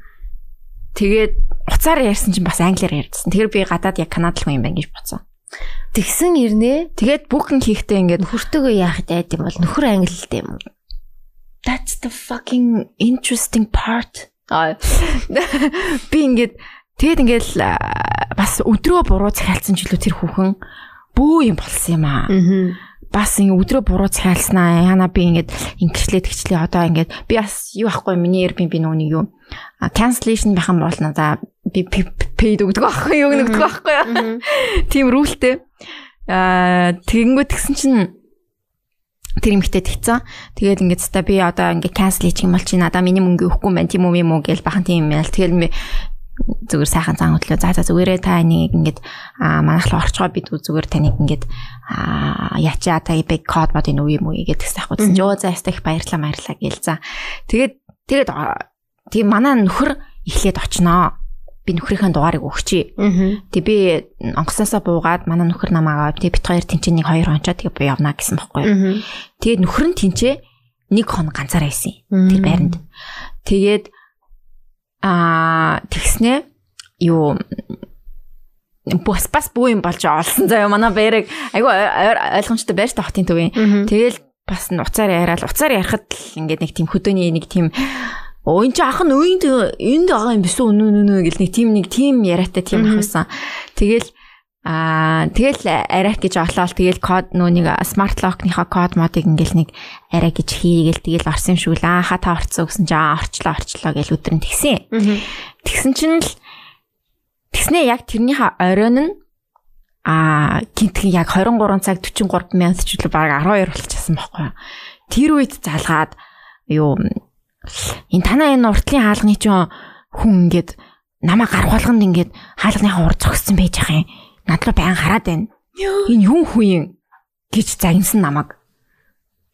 [SPEAKER 5] Тэгээд уцаар ярьсан чинь бас англиар ярьдсан. Тэр би гадаад яг Канадад хүн юм байна гэж бодсон.
[SPEAKER 3] Тэгсэн ирнэ.
[SPEAKER 5] Тэгээд бүгд нь хийхдээ ингээд
[SPEAKER 3] Нөхөртөөгөө яах гэдэг юм бол нөхөр англилд юм уу?
[SPEAKER 5] That's the fucking interesting part. Аа. Би ингээд тэгэд ингээд л, аа, бас өдрөө буруу захиалсан ч илүү тэр хүүхэн бөө юм болсон юм аа.
[SPEAKER 3] Аа.
[SPEAKER 5] Бас ингээд өдрөө буруу захиалснаа. Яна би ингээд ингэчлээ тэгчлээ одоо ингээд би бас юу ахгүй миний Airbnb нүг юу. А, Cancellation байх юм бол надаа би п- п- paid өгдөг байхгүй юу өгдөг байхгүй юу. тийм рүүлтэй. Аа тэгэнгүүт гсэн чинь тэр юмхтэй тэгцэн. Тэгээд ингээд та би одоо ингээд cancel хийчих юм бол чи надаа миний мөнгө өгөхгүй юм байна тийм үү юм уу гэж бахан тийм юм яа. Тэгэл би зүгээр сайхан зан хөтлөө. За за зүгээрээ та энийг ингээд аа манайх руу орчгоо бид зүгээр таныг ингээд аа ячаа та big code бод энэ үе юм уу гэдэг гэсэн яг үзсэн. Йоо за ястах баярлаа баярлаа гээл за. Тэгээд тэгээд аа, тийм манай нөхөр эхлээд очноо. Би нөхрийнхээ дугаарыг өгчээ.
[SPEAKER 3] Аа.
[SPEAKER 2] Тэг би онгосоосоо буугаад манай нөхөр намаагаа тэг бит хоёр тэнцээ нэг хоёр ончоо тэг би явна гэсэн баггүй.
[SPEAKER 3] Аа.
[SPEAKER 2] Тэгээд нөхөр нь тэнцээ нэг хон ганцаараа байсан юм.
[SPEAKER 3] Тэр
[SPEAKER 2] Тэр байранд. Тэгээд аа тэгснэ юу бас бас буу юм болж олсон заяа манай байрыг айгүй ойлгомжтой байж таахтын төв юм. Тэгэл бас н уцаар яриад уцаар ярихад л ингээд нэг тийм хөдөөний нэг тийм оо энэ чи ах нь үйнд энд байгаа юм биш үү нүү нүү нүү гэл нэг тийм нэг тийм яриатай тийм ах
[SPEAKER 3] Мгм.
[SPEAKER 2] байсан. Тэгэл аа тэгэл арайх гэж олоол тэгэл код нүунийг смарт локныхоо код модыг ингээл нэг арай гэж хийгээл тэгэл орсон юм шиг л аа ха та орцсон гэсэн чи аа орчлоо орчлоо гэл өдөр нь тэгсэн. Тэгсэн чинь л тэгснээ яг тэрнийхээ оройн нь аа гинтгэн яг 23 цаг 43 минут ч үлээ баг 12 болчихсон байхгүй юу. Тэр үед залгаад юу энэ танаа энэ уртлын хаалганы чинь хүн ингээд намаа гарах болгонд ингээд хаалганыхаа урд зогссон байж ах юм. Надлуу баян хараад байна. Энэ юу хүн юм гэж загнасан намайг.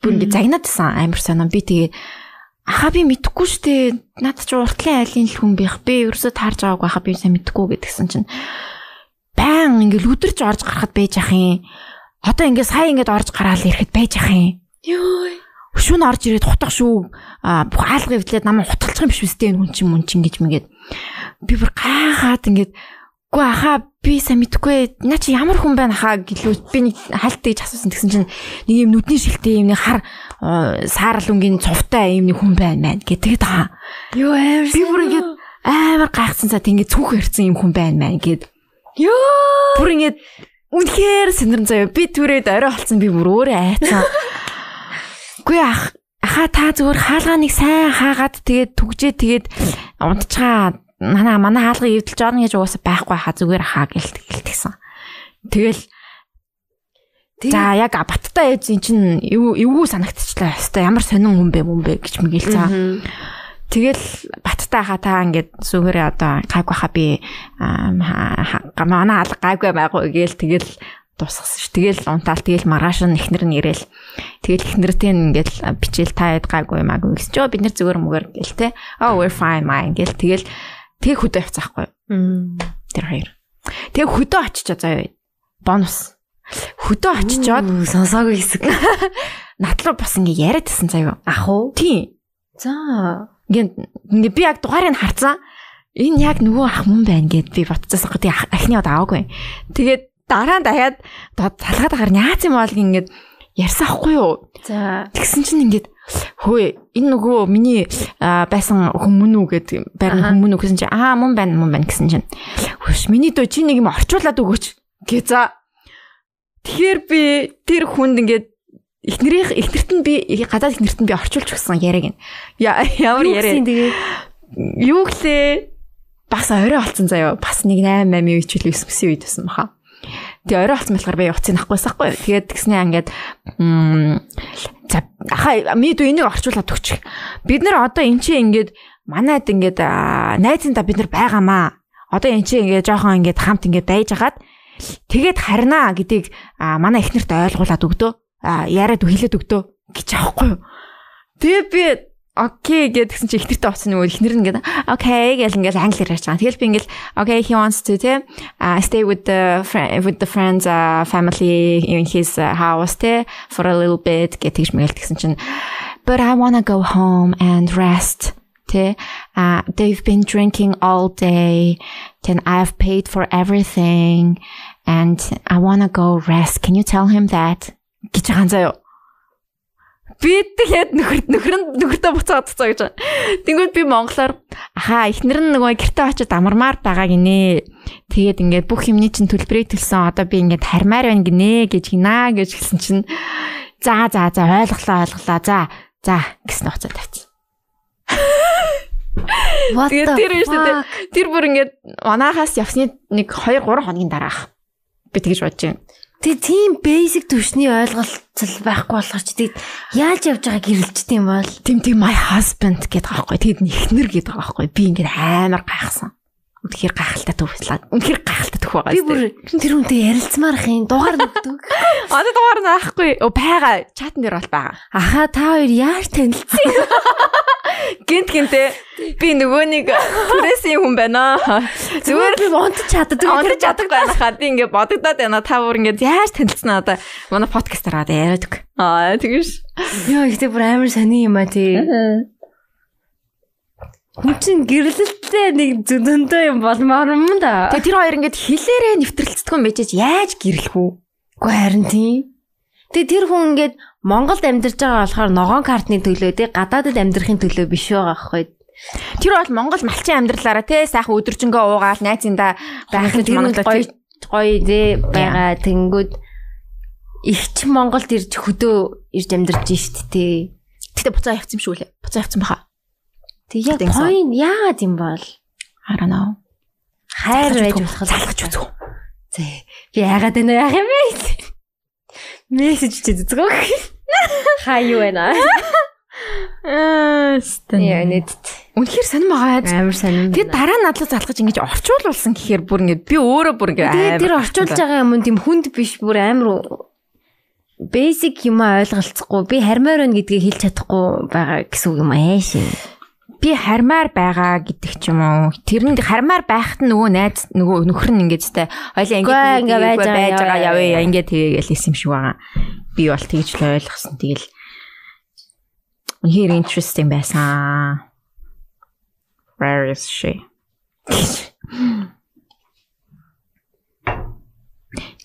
[SPEAKER 2] Бүр ингээд загнаадсан амар сонио би тэгээ Аха би мэдэхгүй шүү дээ. Наад чи уртлын айлын л хүн байх. Би ерөөсөө таарж байгаагүй хаа би сайн мэдэхгүй гэдгсэн чинь баян ингээл өдөрч орж гарахад байж ах юм. Одоо ингээ сая ингээд орж гараал ирэхэд байж ах юм. Йой. Шүн орж ирээд хутах шүү. Аа бүх хаалга эвлээд намайг хутгалчих юм биш үстэй энэ хүн чинь мөн чинь гэж мэгээд би бүр гайхаад ингээд Гүү аха би сайн мэдгүй ээ. Наа чи ямар хүн байна аха гэлөө би нэг хальт гэж асуусан тэгсэн чинь нэг юм нүдний шилтэй юм нэг хар э, саарл өнгийн цувтай юм нэг хүн байна мэн гэдэг таа.
[SPEAKER 5] Юу амар
[SPEAKER 2] Би бүр ингээд амар гайхсан цаа тийм ингээд цүнх ирсэн юм хүн байна мэн гэд. Йоо! Бүр ингээд үнэхээр сэнэрэн заяа. Би түрээд орой холцсон би бүр өөрөө айцсан. Гүү ах аха та зүгээр хаалганыг сайн хаагаад тэгээд түгжээ тэгээд унтчихаа манай манай хаалгыг эвдэлж орно гэж угаасаа байхгүй хаа зүгээр хаа гэлт гэлтгсэн. Тэгэл За яг баттай ээж эн чинь эв- эвгүй санагдчихлаа. Хэвээ ямар сонин хүн бэ юм бэ гэж мгил цаа. Тэгэл баттай хатаа ингээд зүгээрээ одоо гайгүй хаа би аа, ха- ха- манай алга гайгүй байгу гээл тэгэл тусгасан ш. Тэгэл унтаал тэгэл маргааш нь эхнэр нь ирээл. Тэгэл эхнэртэй нь ингээд бичээл таад гайгүй маягүй гэсэн ч "Оо, бид нэр зүгээр мөгөр гээл те. Oh we're fine mine гээл тэгэл тэг хөдөө явцаахгүй тэр хоёр. Тэг хөдөө очиж заяа. Бонус. Хөдөө очижод
[SPEAKER 3] сонсоогүй хэсэг.
[SPEAKER 2] натлуу бас ингээ яриадсэн заяа.
[SPEAKER 3] Ах уу?
[SPEAKER 2] Тийм.
[SPEAKER 3] За.
[SPEAKER 2] Ингээд ингээд би яг дугаарыг нь харцсан. Энэ яг нөгөө ах мөн байна гэд би бодчихсон гоо. Тэгээ ах- ахны удаа аваагүй. Тэгээд дараа нь дахиад дод- залгаад агаар наац юм бол ингээд ярьсан ахгүй юу?
[SPEAKER 3] За.
[SPEAKER 2] Тэгсэн чинь ингээд хөөе энэ нөгөө миний аа, байсан хүмүүн үү гэд
[SPEAKER 3] Аха.
[SPEAKER 2] барин хүмүүн үү гэсэн чинь аа мөн байна мөн байна гэсэн чинь. Хөөш миний дөө чи нэг юм орчуулад өгөөч гэ за. Тэгэхээр би тэр хүнд ингээд эхнэрийн эхнэрт нь би гадаад эхнэрт нь би орчуулж өгсөн яриаг нь. Я- Ямар яриа
[SPEAKER 3] Юусын тэгээ.
[SPEAKER 2] юу гэлээ бас орой олцсон заяа бас нэг 8 8 үеч л 9 9 үед байсан баха. Тэгээ орой олцсон болохоор би уцын ахгүйсахгүй. Тэгээд тэгснээ ингээд м, за аха мэд энийг орчуулад өгчих. Бид нэр одоо энэ чинь ингээд манайд ингээд аа, найзанда бид нар байгаамаа. Одоо энэ чинь ингээд жоохон ингээд хамт ингээд байж хагаад тэгээд харнаа гэдгийг аа, манай эхнэрт ойлгуулад өгдөө. Аа, яриад хэлээд өгдөө гэж аахгүй юу. Тэгээ би окей гэдгсэн чи эхнэртээ оцсон нөгөө эхнэр нь ингээд окей гэл ингээд англиар ярьж байгаа. Тэгэл би ингээд okay he wants to те uh, stay with the friend with the friends uh, family in his uh, house те for a little bit гэж тэгж мэгэл тэгсэн чинь but I want to go home and rest. Тэ а they've been drinking all day. Then I've paid for everything and I want to go rest. Can you tell him that? гэж байгаа юм заяа.
[SPEAKER 6] Би тэгээд нөхөр нөхөр нь- нөхөртөө буцаад цаа гэж. байна. Тэнгүүд би монголоор
[SPEAKER 2] Аха эхнэр нь нөгөө гэртээ очиод амармаар байгаа гинэ. Тэгээд ингээд бүх юмний чинь төлбөрийг төлсөн. Одоо би ингээд хармаар байна гинэ гэж гинэ гэж хэлсэн чинь за за за ойлголоо ойлголоо. За за гэсэн хуцаа тавьчих.
[SPEAKER 3] What
[SPEAKER 6] Тэгээд
[SPEAKER 3] the
[SPEAKER 6] тэр биш үү,
[SPEAKER 3] fuck?
[SPEAKER 6] тэр бүр ингээд манахаас явсны нэг 2 3 хоногийн дараах. Би тэгж бодож байна.
[SPEAKER 3] Тэг тийм basic төвшний ойлголцол байхгүй болохоор ч тэг яаж явж байгаа гэрэлжтэй юм бол
[SPEAKER 2] Тим тим my husband гэдэг байгаа байхгүй. Тэгэд нь эхнэр гэдэг байгаа байхгүй. Би ингээд амар гайхсан. Үнэхээр гайхалтай төвслээ. Үнэхээр гайхалтай төх байгаа.
[SPEAKER 3] би бүр тэр хүнтэй ярилцмаар их юм дугаар нүгдөг.
[SPEAKER 2] одоо дугаар нь аахгүй. Өө байгаа. Чат нэр бол байгаа.
[SPEAKER 3] Аха та хоёр яаж танилцсан?
[SPEAKER 6] Гинт гинтээ би нөгөө нэг пресийн хүн байна. Зүгээр
[SPEAKER 3] Зүгээр би унтж чаддаг.
[SPEAKER 6] Ондож чадах байх хаа би ингээд бодогдоод байна. Та бүр ингээд яаж танилцсан одоо манай подкаст аваад яриад. Аа тэгвш.
[SPEAKER 3] Йоо ихтэй бүр амар сони юм а тий. Хүн чинь гэрлэлттэй нэг зөндөө юм болмоор юм да.
[SPEAKER 2] Тэгээ тэр хоёр ингээд хилээрээ нэвтрэлцдэг юм байжээч яаж гэрэлэх үү?
[SPEAKER 3] Тэгэхгүй харин тий. Тэг тэр хүн ингээд Монголд амьдарч байгаа болохоор ногоон картны төлөө тий гадаадд амьдрахын төлөө биш байгаа аахгүй.
[SPEAKER 2] Тэр бол Монгол малчин амьдралаараа те сайхан өдөржингөө уугаал найзындаа байхад
[SPEAKER 3] Тэр нь
[SPEAKER 2] Монголоо
[SPEAKER 3] гоё
[SPEAKER 2] тий-
[SPEAKER 3] гоё дээ байгаа тэнгүүд ихч Монголд ирж хөдөө ирж амьдарч штт тий.
[SPEAKER 2] Тэгтээ буцаа явцсан юм шүү лээ. Буцаа явцсан баха.
[SPEAKER 3] Тэг яг
[SPEAKER 2] Тэнгэсэн.
[SPEAKER 3] point яагаад юм бол
[SPEAKER 2] I don't know.
[SPEAKER 3] хайр
[SPEAKER 2] Залгаж
[SPEAKER 3] байж
[SPEAKER 2] үзв.
[SPEAKER 3] болох
[SPEAKER 2] Залгаж үзв.
[SPEAKER 3] Зээ. Би яагаад энэ яах юм бэ? Мессеж чи зүгөө. Хай юу вэ наа? Яа нэт.
[SPEAKER 2] Үнэхээр сонирм байгаа.
[SPEAKER 3] Амар сонирм.
[SPEAKER 2] Тэгээ дараа нь надлаа залгаж ингэж орчуулсан гэхээр бүр ингэж би өөрөө бүр ингэ
[SPEAKER 3] Тэгээ тэр орчуулж байгаа юм нь тийм хүнд биш бүр амар у- basic юм ойлголцохгүй би хармаар байна гэдгийг хэлж чадахгүй байгаа гэсэн үг юм аа шин.
[SPEAKER 2] би хармаар байгаа гэдэг ч юм уу. Тэрэнд хармаар байхад нь нөгөө найз нөгөө нөхөр нь ингэж тэ хоёлаа ингэж
[SPEAKER 3] Гүй,
[SPEAKER 2] нэг
[SPEAKER 3] ингээ
[SPEAKER 2] нэг
[SPEAKER 3] байж
[SPEAKER 2] гүй
[SPEAKER 3] байгаа, явъя,
[SPEAKER 2] явъя,
[SPEAKER 3] явъя.
[SPEAKER 2] ингэ тэгээгээл хэлсэн юм шиг байгаа. Би бол тэгж л ойлгосон. Тэгэл үнээр interesting байсан. Where is she?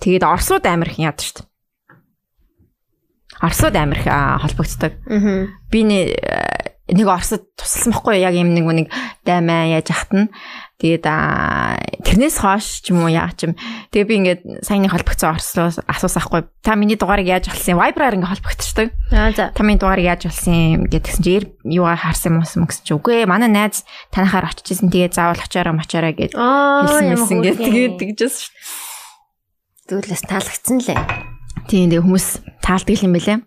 [SPEAKER 2] Тэгээд Оросууд амирх яд шүү дээ. Оросууд амирх аа, холбогддог
[SPEAKER 3] Аа.
[SPEAKER 2] би нэ- э, нэг Оросд тусалсан байхгүй юу? яг юм нэг нэг даймаа яаж ахтана. Тэгээд аа, тэрнээс хойш ч юм уу яа ч юм. Тэгээ би ингээд саяны холбогдсон Орслоос асуусан байхгүй. юу? Та миний дугаарыг яаж олсон? Viber-аар ингээд холбогдчихдаг.
[SPEAKER 3] За.
[SPEAKER 2] Та миний дугаарыг яаж олсон гэдгсэн чи эр юугаар харсан юм уу гэсэн чи үгүй ээ. Манай найз танахаар очижсэн. Тэгээ заавал очоороо мочоороо гэж
[SPEAKER 3] Аа
[SPEAKER 2] хэлсэн
[SPEAKER 3] ямар
[SPEAKER 2] мэсэн
[SPEAKER 3] хөөе.
[SPEAKER 2] гэдэг. Тэгээд тэгжээс шүү.
[SPEAKER 3] Зүйлээс таалагдсан лээ.
[SPEAKER 2] Тийм тэгээ хүмүүс таалдаг юм бэлээ.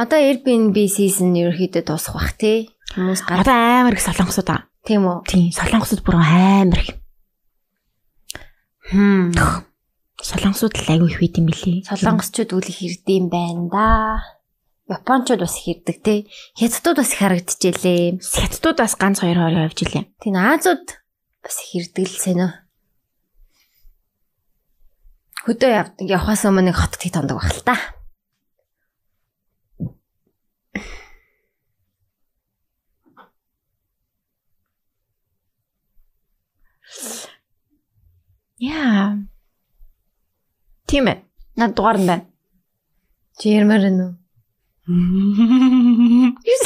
[SPEAKER 3] Одоо Airbnb season ерөөхдөө дуусах бах тий. Хүмүүс гад
[SPEAKER 2] Одоо амар их солонгосууд аа.
[SPEAKER 3] тийм үү?
[SPEAKER 2] Тийм солонгосууд бүр амар их.
[SPEAKER 3] Хм.
[SPEAKER 2] Солонгосууд л аягүй их байд юм бэлээ.
[SPEAKER 3] Солонгосчууд үл их ирдэм байна да. Японочууд бас их ирдэг те. Хятадууд бас их харагдчихжээ.
[SPEAKER 2] Сэтдүүд бас ганц хоёр хоёр явж илээ.
[SPEAKER 3] Тин Азууд бас их ирдэг л сэнэ. Хөдөө яв- явахаас өмнө нэг хотод хит ондог баг л та.
[SPEAKER 2] Яа. Тийм ээ. Над дугаар нь байна.
[SPEAKER 3] Чи ярмаар байна уу?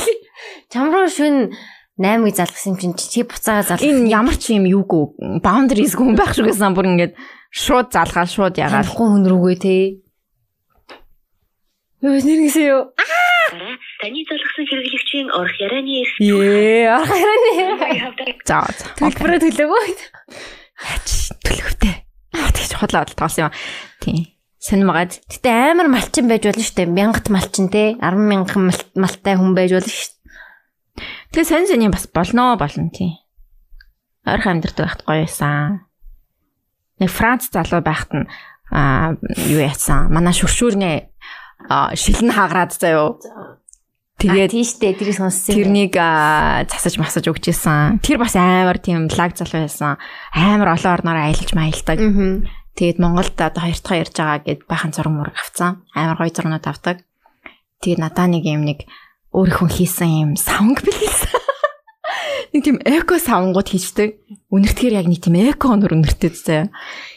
[SPEAKER 3] Чамруу шүн 8-ыг залгасан юм чинь чи буцаага залгах.
[SPEAKER 2] Энэ ямар ч юм юугүй boundaries гүн байх шиг гэсэн бүр ингээд шууд залгаал шууд ягаал.
[SPEAKER 3] Галахгүй хүн рүүгээ те. Юу нэргсэн юу?
[SPEAKER 7] таны залгсан хэрэглэгчийн орох ярианы эс
[SPEAKER 3] Ее, арахаараа нэ.
[SPEAKER 2] За. за.
[SPEAKER 3] Төлбөрөө төлөөгөө.
[SPEAKER 2] Аач, төлөвтэй. Аа тэгж хотлоо бол тоолсон юм. Тийм. Сэнмагад.
[SPEAKER 3] Гэтэ амар малчин байж болно шүү дээ. Мянgat малчин те. 10 мянган мал- малтай хүн байж болно шүү дээ.
[SPEAKER 2] Тэгээ сонь сонь юм бас болно болно тийм. Ойрхон амьдрт байхад гоё байсан. Нэг Франц залуу байхад нь аа юу яасан? Манай шүршүүрний аа, шилэн хаграад заяо.
[SPEAKER 3] Тэгээ
[SPEAKER 2] Тэгээд
[SPEAKER 3] тийш дээ. Тэрийг сонссон. юм.
[SPEAKER 2] тэрнийг аа, засаж масаж өгчээсэн. Тэр бас амар тийм лаг залуу байсан. Амар олон орноор аялж маялдаг.
[SPEAKER 3] Мгм.
[SPEAKER 2] Тэгээд Монголд одоо хоёр дахь ярьж байгаа гэд бахан зураг мураг авцсан. Амар гоё зурнууд авдаг. Тэгээд надаа нэг юм нэг өөрийнхөө хийсэн юм савнг бэлгэлсэн. Нэг тийм эко савнгууд хийждэг. Үнэртгэр яг нэг тийм эко нөр үнэртэй зөө.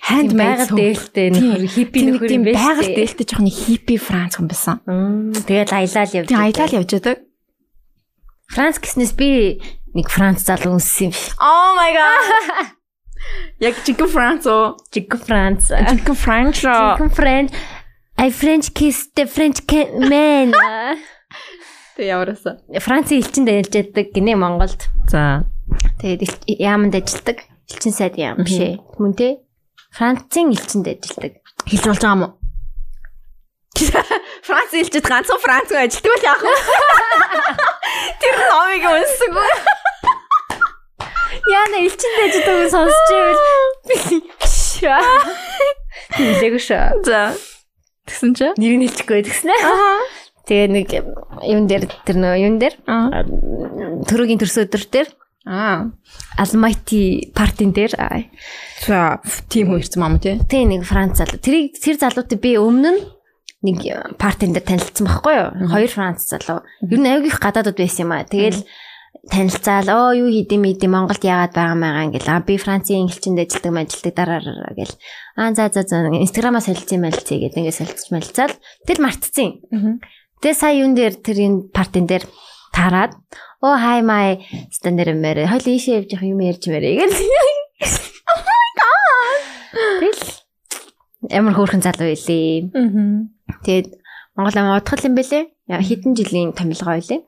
[SPEAKER 2] Ханд
[SPEAKER 3] байгаль дээлтэй
[SPEAKER 2] Тийм.
[SPEAKER 3] нөхөр хиппи
[SPEAKER 2] Тийм нэг
[SPEAKER 3] нөхөр
[SPEAKER 2] тийм
[SPEAKER 3] юм биш.
[SPEAKER 2] байгаль дээлтэй жоохон нэг хиппи Франц хүн байсан.
[SPEAKER 3] Тэгээд аялал явж.
[SPEAKER 2] Тийм аялал явж байдаг.
[SPEAKER 3] Франц гиснээс би нэг Франц залуу үнссэн юм биш.
[SPEAKER 2] Oh my god. Яг чигэн Франц оо.
[SPEAKER 3] Жиг Франц.
[SPEAKER 2] Чигэн Франц оо.
[SPEAKER 3] Жиг Франц. I French kiss the French ca- man.
[SPEAKER 2] Тэ явараасаа.
[SPEAKER 3] Францын элчинд ажиллаж байдаг гинэ Монголд.
[SPEAKER 2] За.
[SPEAKER 3] Тэгээд элч- яаманд ажилладаг? Элчин сайд яам биш ээ. Мөн тэ? Францын элчинд ажилладаг.
[SPEAKER 2] Хэлж болж байгаа юм уу? Франц хэлчихэд ганцхан Франц хүн ажилтдаг л яах вэ? Тэр номыг унссан үү?
[SPEAKER 3] Яна элчинд ажилладаг нь сонсож байвал хэлээгүй шүү.
[SPEAKER 2] За. Тэгсэн чи?
[SPEAKER 3] Нэр нь хэлчихгүй тэгснэ. Тэгээ нэг юм дээр тэр нөө юм дээр
[SPEAKER 2] Аа.
[SPEAKER 3] төрөгийн төрсө өдөр дээр
[SPEAKER 2] Аа.
[SPEAKER 3] Almighty party-н дээр аа,
[SPEAKER 2] За, тийм хүн ирсэн юм аа тий.
[SPEAKER 3] тэг нэг Франц залуу. Тэрийг тэр залуутай би өмнө нь нэг партин дээр танилцсан байхгүй юу? Хоёр Франц залуу. Ер нь аяг их гадаадд байсан юм аа. Тэгэл танилцаал оо юу хийдэм хийдэм Монголд яагаад байгаа маяг ингээл аа би Францын англичэнд ажилладаг мэжилдэг дараараа гэл аа за за за инстаграмаа солилцсон мэлцээ гэдэг ингээд солилцож мэлцаал тэл мартцсан. Тэгээ сая юун дээр тэр энэ партин дээр тараад оо хай май стандарт мэрэ хойл ийшээ явж явах юм ярьж мэрэ гэл Oh Тэгэл ямар хөөрхөн залуу илээ.
[SPEAKER 2] Аа.
[SPEAKER 3] Тэгээд Монгол амын удахл юм бэлээ. Яа, Хэдэн жилийн томилгоо илээ.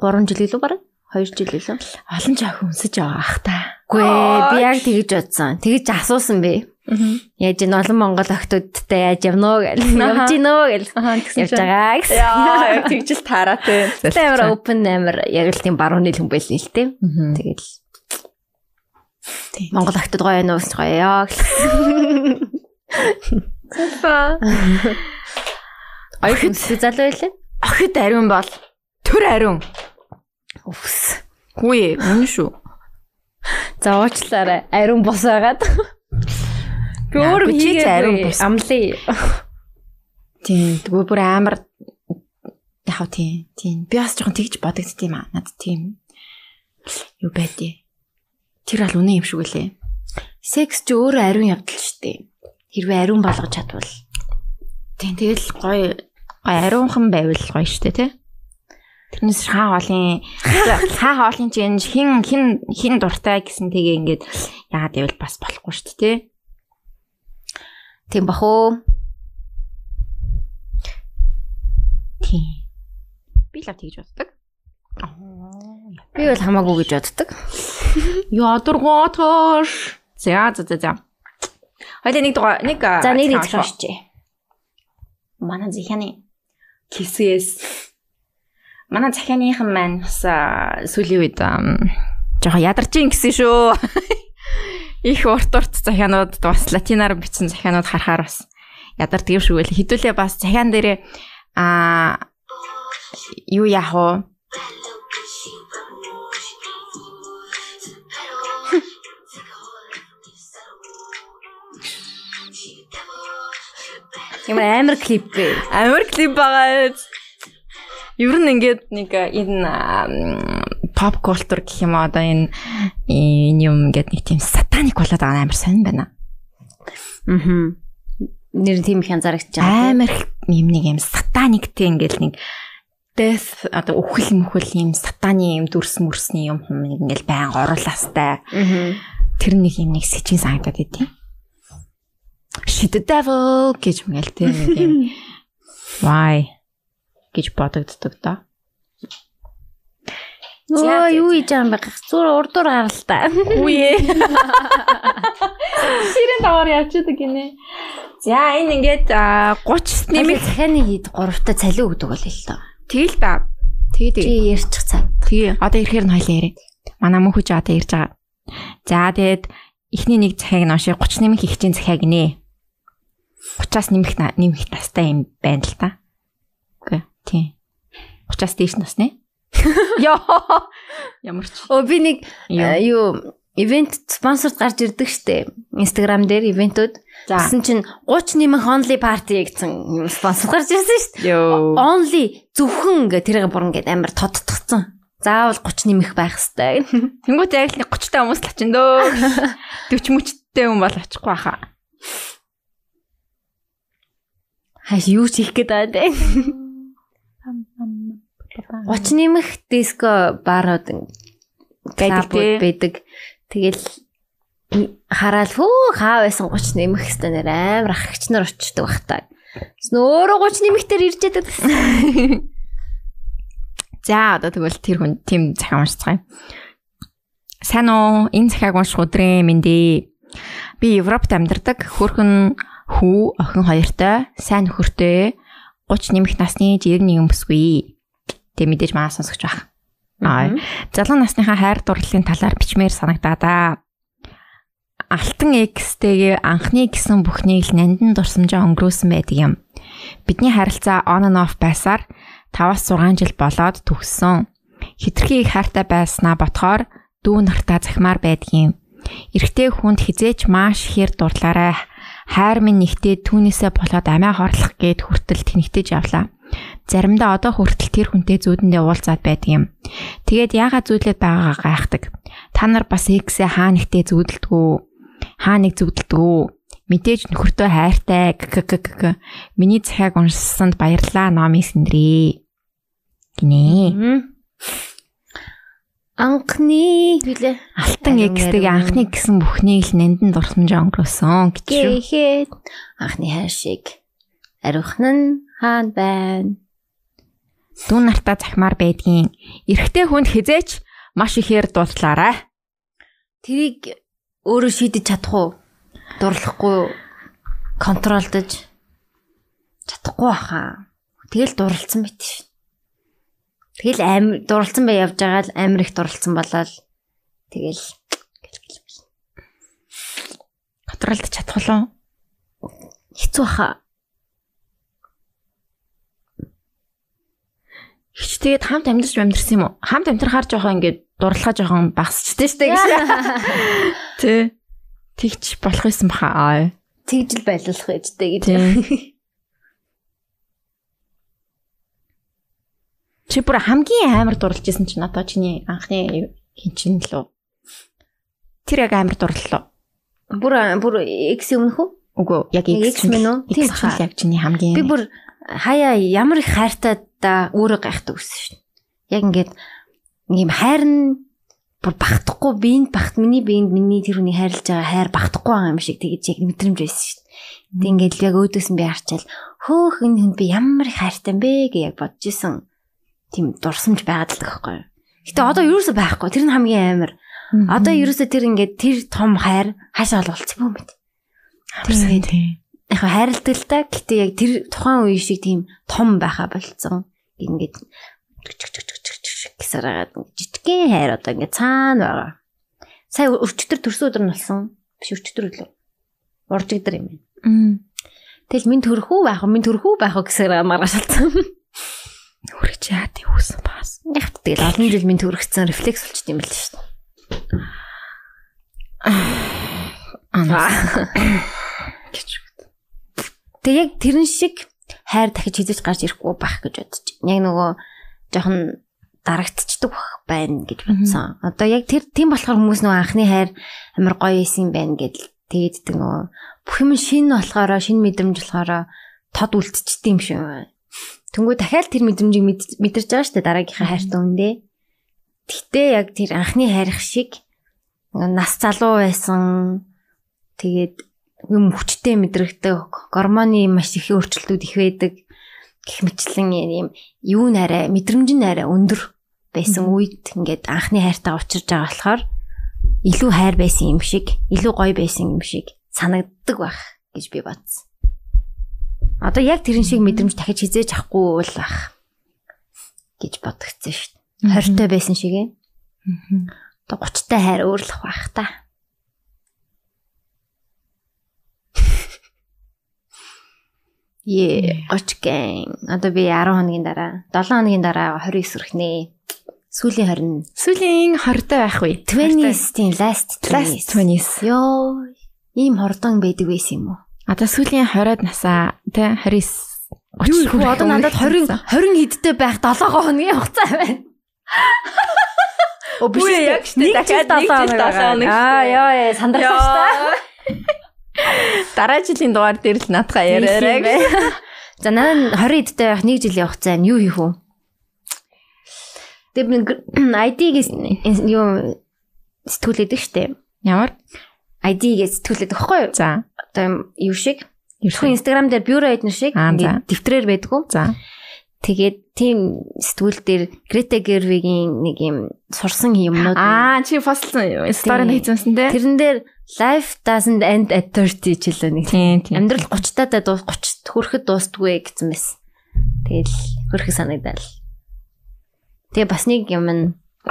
[SPEAKER 3] 3 жил илүү баг. 2 жил илүү.
[SPEAKER 2] Олон жаг өнсөж байгаа ах та.
[SPEAKER 3] Гүй ээ, би яг тэгэж бодсон. Тэгэж асуусан бэ. Яаж ин олон монгол охтуудтай яаж явна уу гэл. Явж гин үү гэл.
[SPEAKER 2] Аа,
[SPEAKER 3] Явж байгаа гэсэн.
[SPEAKER 2] Яа, тэгж л тараатай.
[SPEAKER 3] Амар open амар яг л тийм барууны л хүн байлээ л тийм. Тэгэл
[SPEAKER 2] Тийм.
[SPEAKER 3] монгол охтууд гоё юу гэж гоё яа гэсэн.
[SPEAKER 2] Охид
[SPEAKER 3] Өсвөр залуу байлаа.
[SPEAKER 2] охид ариун бол төр ариун.
[SPEAKER 3] Үс.
[SPEAKER 2] Хүү, үнэн шүү.
[SPEAKER 3] За уучлаарай. Ариун бос байгаад. Би
[SPEAKER 2] Яа,
[SPEAKER 3] өөр
[SPEAKER 2] би ч
[SPEAKER 3] хийгээгүй.
[SPEAKER 2] ариун бус.
[SPEAKER 3] Амлий.
[SPEAKER 2] Тийм. Тэгвэл бүр амар яхав тийм. Тийм. Би бас жоохон тэгж бодогдд юм аа. Над тийм. Юу байдээ. Тэр бол үнэн юм шүү гэлээ.
[SPEAKER 3] Секс ч өөр ариун явдал шүү дээ. Хэрвээ ариун болгож чадвал.
[SPEAKER 2] Тийм. Тэгэл гоё гоё ариунхан байвал гоё шүү дээ, тий? Тэрнээс хаа хоолын хаа хоолын чинь хин хин хин дуртай гэсэн тэгээ ингээд яагаад ивэл бас болохгүй шүү дээ, тий?
[SPEAKER 3] Тийм бах уу?
[SPEAKER 2] Тийм. Би л тэгж боддог.
[SPEAKER 3] Би бол хамаагүй гэж боддог.
[SPEAKER 2] Ядургоотош. За за за за. Хоёул нэг дугаар нэг
[SPEAKER 3] За нэг нэг хашчээ.
[SPEAKER 2] манай захианы кисээс манай захианыхан маань бас аа, сүүлийн үед ам, жоохон ядарч ин гэсэн шүү. Их урт урт захианууд бас латинаар бичсэн захианууд харахаар бас ядардаг юм шиг байл. Хэдүүлээ бас захиан дээрээ аа юу яах вэ?
[SPEAKER 3] Ямар амар клип бэ?
[SPEAKER 2] Амар клип байгаа. Ер нь ингээд нэг э, энэ ам, pop culture гэх юм аа, одоо энэ э, энэ юм ингээд нэг тийм сатаник болоод байгаа нь амар сонир байна.
[SPEAKER 3] Аа. Нэр нь тийм их анзаарч байгаа.
[SPEAKER 2] Амар их юм нэг юм сатаниктэй ингээд нэг death одоо үхэл мөхөл юм сатаны юм дүрс мөрсний юм юм ингээд байн оруулаастай.
[SPEAKER 3] Аа.
[SPEAKER 2] Тэр нэг юм нэг сэжин санагдаад байдیں۔ Shit the devil гэж мэл тэр нэг юм. Why гэж бодогддог доо.
[SPEAKER 3] Нөө юу хийж байгаа юм бэ? Гах, Зүгээр урдуур гарал та.
[SPEAKER 2] Үе. Ширэн даваар явчихдаг гинэ. За энэ ингээд аа, 30
[SPEAKER 3] Нэмий
[SPEAKER 2] нэмэх
[SPEAKER 3] захианы хийд 3-та цалиу гэдэг бол л тоо.
[SPEAKER 2] тэгэл та. Тэгээ
[SPEAKER 3] Чи ярьчих цаг.
[SPEAKER 2] Тэгээ одоо ирэхээр нь хоёлаа яриа. Манай мөн хүч одоо ирж байгаа. За тэгэд эхний нэг захиаг нь уншия 30 нэмэх ихчийн захиаг нэ. 30-аас нэмэх на- нэмэх настай юм байна л та. Үгүй тий. 30-аас дээш нас нэ. Йоо. Ямар ч.
[SPEAKER 3] Оо би нэг
[SPEAKER 2] Юу?
[SPEAKER 3] э, юу ивент спонсорд гарч ирдэг штэ. Instagram дээр ивентүүд
[SPEAKER 2] За.
[SPEAKER 3] гэсэн чинь 30 нэмэн only party гэсэн юм спонсор гарч ирсэн штэ.
[SPEAKER 8] Йоо.
[SPEAKER 3] Only зөвхөн ингээ тэрийг бүр ингээ амар тодтгцсан. Заавал 30 нэмэх байх хэвээр.
[SPEAKER 2] Тэнгүүт яг л нэг 30 та хүмүүс л очин дөө. 40 мөчтэй хүн бол очихгүй хаа.
[SPEAKER 3] Хаш юу ч хийх гээд байгаа те. 30 нэмэх диско барууд
[SPEAKER 2] Байдаг тий.
[SPEAKER 3] байдаг байдаг. Тэгэл хараал хөө хаа байсан 30 нэмэх гэсэн нэр амар ахч нар очдөг бах та. Тэс нөөрэ 30 нэмэхтэр ирж яадаг гэсэн.
[SPEAKER 2] За одоо тэгвэл тэр хүн тийм захиа уншицгаая. Сайн уу? Энэ захиаг унших өдрөө мэндэ. Би Европт амьдардаг хөрхөн хүү охин хоёртой, сайн нөхөртэй, 30 нэмэх насны жирийн нэгэн бүсгүй. Тэг мэдээж маа сонсогч байх. Аа. Залуу насныхаа хайр дурлалын талаар бичмээр санагдаа да. Алтан X-тэйгээ анхны гэсэн бүхнийг л нандин дурсамжаа өнгөрөөсөн байдаг юм. Бидний харилцаа on and off байсаар 5-6 жил болоод төгссөн. Хитрхи их хайртай байснаа ботхоор дүү нартаа захимаар байдгийн. Эрэгтэй хүнд хизээч маш хэр дурлаарай. Хайр минь нэгтээ түүнээсээ болоод амиа хорлох гээд хүртэл тэнэгтэж явлаа. Заримдаа одоо хүртэл тэр хүнтэй зүүдэндээ уулзаад байдаг юм. Тэгээд яагаад зүүдлээд байгаагаа гайхдаг. Та нар бас X-ээ хаа нэгтээ зүүдэлдгүү. Хаа нэг зүүдэлдгүү. Мэдээж нөхөртөө хайртай. ГГГ. Миний цахаг уншсанд баярлалаа номи сэндрээ. Гинэ.
[SPEAKER 3] Анхны хүлээ.
[SPEAKER 2] Алтан
[SPEAKER 3] Ариун,
[SPEAKER 2] X-тэй
[SPEAKER 3] ариун.
[SPEAKER 2] анхны гэсэн бүхнийг л нандин дурсамжаа өнгөрөөсөн гэж шүү.
[SPEAKER 3] Гэхэд анхны хайр шиг ариухан нь хаан байна.
[SPEAKER 2] Дүүн нартаа захимаар байдгийн. Эрэгтэй хүнд хизээч маш ихээр дууслаарай.
[SPEAKER 3] Тэрийг өөрөө шийдэж чадах уу? Дурлахгүй юу? контролдож чадахгүй баха. Тэгэл дурлцсан байт шин. Тэгэл амир дурлцсан бай явж байгаа л амир их дурлцсан болол тэгэл
[SPEAKER 2] Контролд чадах уу?
[SPEAKER 3] хэцүү баха.
[SPEAKER 2] Хич тэгээд хамт амьдарч амьдэрсэн юм уу? Хамт амьдрахаар жоохон ингээд дурлахаа жоохон багасчтэй штэ гэсэн. Тэ. Тэгч болох юм баха. Аа.
[SPEAKER 3] Тэгжл байлуулах гэжтэй гэж.
[SPEAKER 2] Тий. Чи бүр хамгийн амар дурлж исэн чинь одоо чиний анхны хин чин л үү? Тэр яг амар дурлал
[SPEAKER 3] Бүр бүр X өмнөх үү?
[SPEAKER 2] уу? Үгүй ээ, яг
[SPEAKER 3] X
[SPEAKER 2] X
[SPEAKER 3] мэн үү? Тийм
[SPEAKER 2] Тийм
[SPEAKER 3] баха.
[SPEAKER 2] баха. Яг чиний хамгийн
[SPEAKER 3] Би бүр хаяа ямар их хайртай да өөрөө гайхдаг ус шин. Яг ингээд ийм хайр нь бүр багтахгүй биенд багт миний биенд миний тэр хүний хайрлаж байгаа хайр багтахгүй байгаа юм шиг тэгэж яг мэдрэмж байсан шин. Тэг ингээд л яг өөдөөс нь би харчаал хөөх энэ хүн би ямар их хайртай юм бэ гэж яг бодож исэн. Тийм дурсамж байгаад л гэхгүй. Гэтэ одоо юу ч байхгүй тэр нь хамгийн амар. Одоо ерөөсө тэр ингээд тэр том хайр хаашаа олголцгүй юм бэ?
[SPEAKER 2] тийм тийм.
[SPEAKER 3] яг хөө хайрлталтай гэтээ яг тэр тухайн үе шиг тийм том байха болцсон. Ингээд гэсараад жижигхэн хайр одоо ингээд цаана байгаа. Сая өчтөр төрсөн өдөр нь болсон. Биш өчтөр өглөө. Уржиг өдөр юм байна. Тэгэл минь төрхүү байх уу, минь төрхүү байх уу гэсээр маргааш алдсан.
[SPEAKER 2] Үргэж яа тий үсэн бас.
[SPEAKER 3] Яг тэгэл олон жил минь төрөгцсөн рефлекс болчих юм байл шүү дээ.
[SPEAKER 2] Аа.
[SPEAKER 3] Тэг яг тэрэн шиг хайр дахиж хизэж гарч ирэхгүй байх гэж бодож. Яг нөгөө жоохон дарагдчихдаг байх байна гэж бодсон. Одоо яг тэр тийм болохоор хүмүүс нөгөө анхны хайр амар гоё исэн юм байна гэдэл тэгэддэг нөгөө бүх юм шинэ болохоор шинэ мэдрэмж болохоор тод үлдчихдэг юм шиг байна. Тэнгүү дахиад тэр мэдрэмжийг мэд- мэдэрч байгаа шүү дээ дараагийнхаа хайртай үндэ. Тэгтээ яг тэр анхны хайрх шиг нөгөө нас залуу байсан тэгээд юм хүчтэй мэдрэгдэх гормоны маш их өөрчлөлтүүд их байдаг гэх мэтлэн юм юу нэрэ мэдрэмж нэрэ өндөр байсан үед ингээд анхны хайртаа учирж байгаа болохоор илүү хайр байсан юм шиг илүү гоё байсан юм шиг санагддаг байх гэж би бодсон. Одоо яг тэрэн шиг мэдрэмж дахиж хизээж авахгүй бол байх гэж бодгцэн шүү дээ. Хортой байсан шиг ээ. Одоо 30 та хайр өөрлөх байх та. Е 30 гэн. Одоо би 10 хоногийн дараа 7 хоногийн дараа 29 өрхнээ. Сүүлийн 20.
[SPEAKER 2] Сүүлийн 20 та байхгүй.
[SPEAKER 3] 20-ийн last 20s.
[SPEAKER 2] Last 20s.
[SPEAKER 3] Йоо, ийм хордон байдаг байсан юм уу?
[SPEAKER 2] Одоо сүүлийн 20-аад насаа тий 29
[SPEAKER 3] Юу их вэ? одоо надад 20 20 хэдтэй байх 7 хоногийн хугацаа байна. Оо биш
[SPEAKER 2] Үгүй, яг штэ, дахиад долоо хоног байгаа.
[SPEAKER 3] Аа ёо ёо сандарсан штэ.
[SPEAKER 2] Дараа жилийн дугаар дээр л наадхаа яриарай.
[SPEAKER 3] За надад 20 эдтэй байх 1 жилийн хугацаа нь юу хийх вэ? Тэг би ID-г юу сэтгүүлээд штэ.
[SPEAKER 2] Ямар?
[SPEAKER 3] ID-г сэтгүүлээд өгөхгүй юу?
[SPEAKER 2] За.
[SPEAKER 3] Одоо юм- юу шиг. Тэрхүү
[SPEAKER 2] Ерхэн.
[SPEAKER 3] Instagram дээр бюро эднэр шиг
[SPEAKER 2] Аа, за.
[SPEAKER 3] ингээд дэвтрээр байдгүй.
[SPEAKER 2] За.
[SPEAKER 3] Тэгээд тийм сэтгүүл дээр Greta Gerwig-ийн нэг юм сурсан юмнууд
[SPEAKER 2] Аа чи э, фослсон сторид
[SPEAKER 3] Тий.
[SPEAKER 2] хийсэн тий.
[SPEAKER 3] Тэрэн дээр life doesn't end at 30 ч илүү нэг.
[SPEAKER 2] Тийм тийм.
[SPEAKER 3] Амьдрал 30 таа даа 30 хүрэхэд дуустгүй гэсэн байсан. Тэгэл хөрхө санагдал. Тэгээ бас нэг юм нь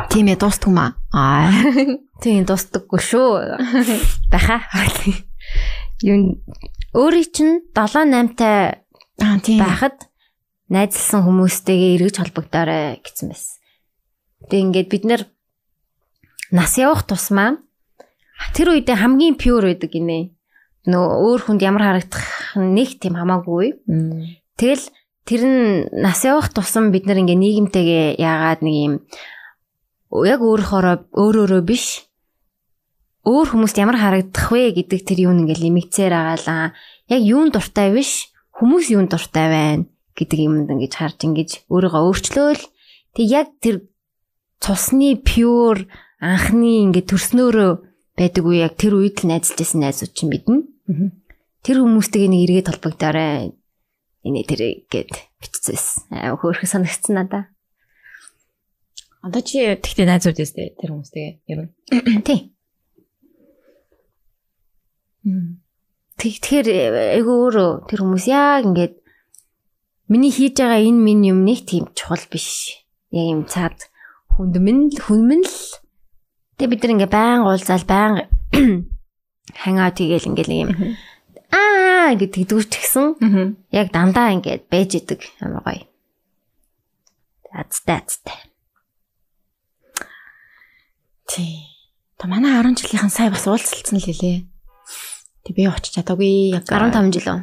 [SPEAKER 2] Тийм ээ дуустгүй маа. Аа.
[SPEAKER 3] тийм дуустдаггүй шүү. Баха. Юу өөрийн чинь 7 8 таа
[SPEAKER 2] Аа тийм.
[SPEAKER 3] байхад найзлсан хүмүүстэйгээ эргэж холбогдоорой гэсэн байсан. Тэг ингээд бид нэр нас явах тусмаа тэр үедээ хамгийн пюр байдаг гинэ. Нөө өөр хүнд ямар харагдах нь нэг тийм хамаагүй. Тэгэл тэр нь нас явах тусам бид нэр ингээ нийгэмтэйгээ яагаад нэг юм яг өөрөөрөө өөрөөрөө биш өөр хүмүүст ямар харагдах вэ гэдэг тэр юу нэг ингээ лимигцээр агаалаа. Яг юун дуртай биш хүмүүс юун дуртай байна гэдэг юмд ингэж харж ингэж өөрийгөө өөрчлөөл. Тэг яг тэр цусны pure анхны ингээ төрснөөрөө байдаг уу яг тэр үед л найзлж байсан найзууд чинь мэднэ. Тэр хүмүүстэйгээ нэг эргээд толбогдоорой энэ тэр гээд бичсэн. Аа хөөрхөн санагдсан надаа.
[SPEAKER 2] Одоо чи тэгтээ найзууд дэстэй тэр хүмүүстэй ер нь.
[SPEAKER 3] Тий. Тэг тэгэхээр айгүй өөрөө тэр хүмүүс яг ингээд миний хийж байгаа энэ минь юм нэг тийм чухал биш. Яг юм цаад хүнд минь л- хүн минь л Тэг бид нар ингээ баян уулзаал баян хангаа тэгэл ингээл нэг юм аа гэдэг дүүч гисэн
[SPEAKER 2] Аа.
[SPEAKER 3] яг дандаа ингээд байж идэг амар гоё. Азтай азтай.
[SPEAKER 2] Тий. Одоо манай 10 жилийнхэн сая бас уулзалцсан л хэлээ. Тэг би очиж чадаагүй. Яг
[SPEAKER 3] 15 жил үү?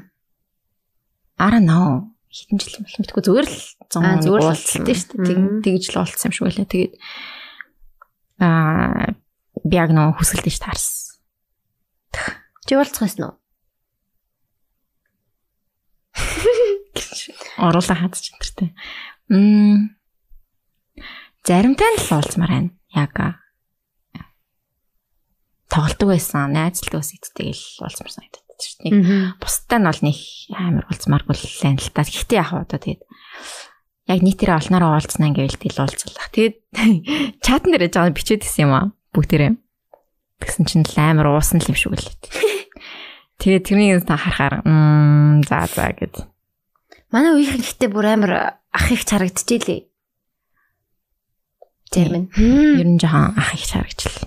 [SPEAKER 2] 10 нөө. Хэдэн жил юм бэ? Мэдгүй зүгээр л 100
[SPEAKER 3] Аа, зүгээр
[SPEAKER 2] зүгээр
[SPEAKER 3] л
[SPEAKER 2] уулзалтай
[SPEAKER 3] уулзсан.
[SPEAKER 2] шүү дээ. Тэг
[SPEAKER 3] Мгм.
[SPEAKER 2] тэгж л уулзсан юм шиг байлаа. Тэгээд аа би яг нөө хүсэлдэж таарсан.
[SPEAKER 3] Чи уулзах гэсэн үү?
[SPEAKER 2] Оруулаа хадж энтертэй. Мм. Заримтай нь л уулзмаар байна. Яг аа. тоглолтог байсан, найзлдаг бас идтэй л уулзмаар санагдаад шүү дээ. Нэг
[SPEAKER 3] Аа.
[SPEAKER 2] Бусдаа нь бол нэг амар уулзмааргүй л байна л та. Гэхдээ яг одоо тэгээд яг нийтээрээ олноороо уулзнаа гэвэл тэл уулзлаа. Тэгээд чатан дээр жаахан бичээд исэн юм аа бүгдээрээ. Тэгсэн чинь л амар уусан л юм шиг үлээ. Тэгээд тэрнийг та харахаар мм за за гэд.
[SPEAKER 3] Манай үеийнхэн гэхдээ бүр амар ах их харагдчихжээ лээ. Тэрмэн.
[SPEAKER 2] Ер нь жоохон ах их харагчлаа.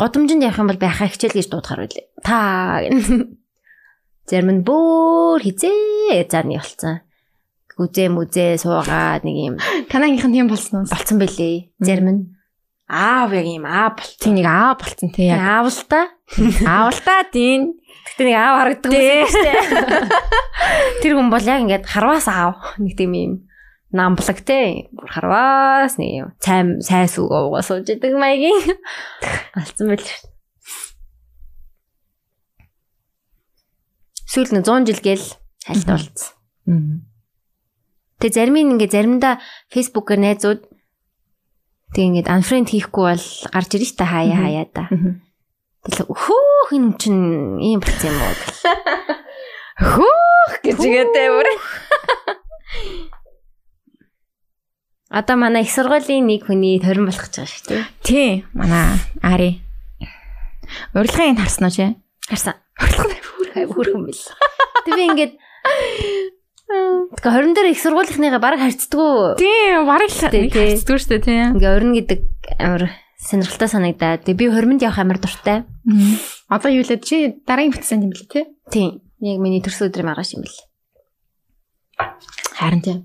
[SPEAKER 3] Удамжинд явах юм бол байхаа хичээл гэж дуудахаар үлээ. Та. Тэрмэн бүр хизээ зааны болцсон. Гүзээ мүзээ суугаад нэг юм
[SPEAKER 2] Танаахийнх нь юм болсон уу?
[SPEAKER 3] болцсон бэлээ. Тэрмэн. Аа яг юм аа бол.
[SPEAKER 2] Тийм нэг аа болцсон тий яг.
[SPEAKER 3] Аав л та.
[SPEAKER 2] Аавалтаа дийн.
[SPEAKER 3] Гэтэ нэг аав харагддаг юм шүү дээ. Тэр хүн бол яг ингээд харваас аав нэг тийм юм намблаг те бүр харваас нэг юм цайм сайн сүг уугаа сууж идэг маягийн алцсан байл шүү. Сүүл нь 100 жил гээл хальт болцсон. Тэгээ зарим нь ингээд заримдаа фейсбүүкээр найзууд тэг ингээд unfriend хийхгүй бол гарч ирж та хаяа хаяа да.
[SPEAKER 2] Мгм.
[SPEAKER 3] Тэгэл хөөх энэ чинь ийм болц юм уу?
[SPEAKER 2] Хөөх гэж игээдээ бүр.
[SPEAKER 3] Одоо манай их сургуулийн нэг хүний төрөн болох гэж байгаа шүү дээ.
[SPEAKER 2] Тий, манай Ари. Урилгын энэ харсан уу чи?
[SPEAKER 3] Харсан. Хүрхэн бил. Тэг би ингээд Тэгээ 20 дээр их сургуулийнхныгаа баг харьцдаг.
[SPEAKER 2] Тий, бараг л
[SPEAKER 3] Тий, тий.
[SPEAKER 2] хэцүү шүү дээ тий.
[SPEAKER 3] Ингээ орно гэдэг амар сонирхолтой санагдаа. Тэг би 20-нд явах амар дуртай.
[SPEAKER 2] Одоо юу лээ чи дараагийн бүтсэн юм билээ тий.
[SPEAKER 3] Тийм. Яг миний төрсөн өдрийн маргааш юм бил.
[SPEAKER 2] Харин тий.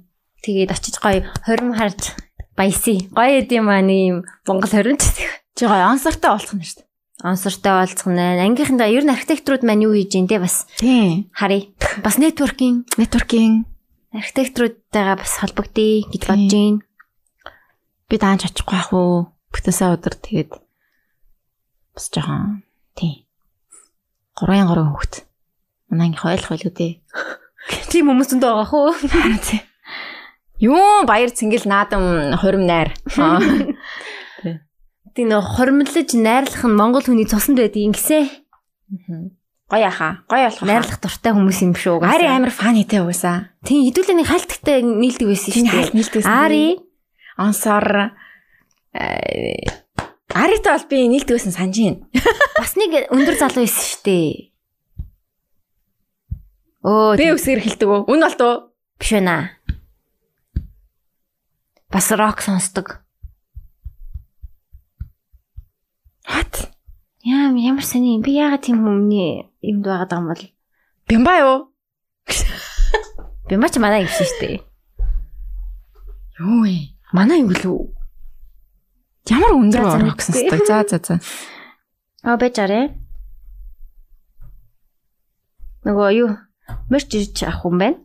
[SPEAKER 3] Тэгээд очиж гоё 20 харж Баяси. Гоё эд юм аа нэг юм Монгол хорин ч гэсэн.
[SPEAKER 2] Чи гоё онсортой болох нь шүү дээ.
[SPEAKER 3] Онсортой болцох нэ. Ангийнхандаа ер нь архитекторууд маань юу хийж дээ бас
[SPEAKER 2] Тийм.
[SPEAKER 3] харъя. Бас нэтворкинг
[SPEAKER 2] Нетворкинг
[SPEAKER 3] архитекторуудтайгаа бас холбогдъё гэж бодож байна.
[SPEAKER 2] би даанч очихгүй ах уу. Бүтэнсаа өдөр тэгээд бас жоохон тийм. 3-ын 3 хүүхэд. Манай анги хойлох байлгүй дээ.
[SPEAKER 3] Тийм хүмүүс энэ байгаа хөө.
[SPEAKER 2] Юу баяр цэнгэл наадам хурим найр. Аа.
[SPEAKER 3] Тийм нөө хормлож найрлах нь монгол хүний цуснд байдгийг гисэн.
[SPEAKER 2] Гоё яха. Гоё болох. Найр
[SPEAKER 3] Найрлах дуртай хүмүүс юм шүү.
[SPEAKER 2] Ари амар фанитэй уусаа.
[SPEAKER 3] Тийм хэдүүлээ нэг халттай нийлдэг байсан
[SPEAKER 2] Чиний
[SPEAKER 3] шүү
[SPEAKER 2] хальт
[SPEAKER 3] дээ.
[SPEAKER 2] нэлдээс.
[SPEAKER 3] Ари
[SPEAKER 2] онсоор э, Аритай бол би нэлдгээсэн санаж байна.
[SPEAKER 3] бас нэг өндөр залуу байсан шүү дээ. Оо
[SPEAKER 2] Бэ үсгэр хэлдэг үү? Үн болт уу?
[SPEAKER 3] биш вэ наа. Бас рок сонсдог.
[SPEAKER 2] What?
[SPEAKER 3] Яа ямар сони юм. би яагаад тийм хүмүүний юмд байгаад байгаа юм бол
[SPEAKER 2] Бямба юу?
[SPEAKER 3] би мач манай юм шүү дээ.
[SPEAKER 2] Юу вэ?
[SPEAKER 3] Манай юм гэлөө.
[SPEAKER 2] Ямар өндөр
[SPEAKER 3] За, за,
[SPEAKER 2] орох гэсэн
[SPEAKER 3] мэдгүй.
[SPEAKER 2] стыг. За за за.
[SPEAKER 3] Аа байж арай. Нөгөө юу мерч ирж авах юм байна.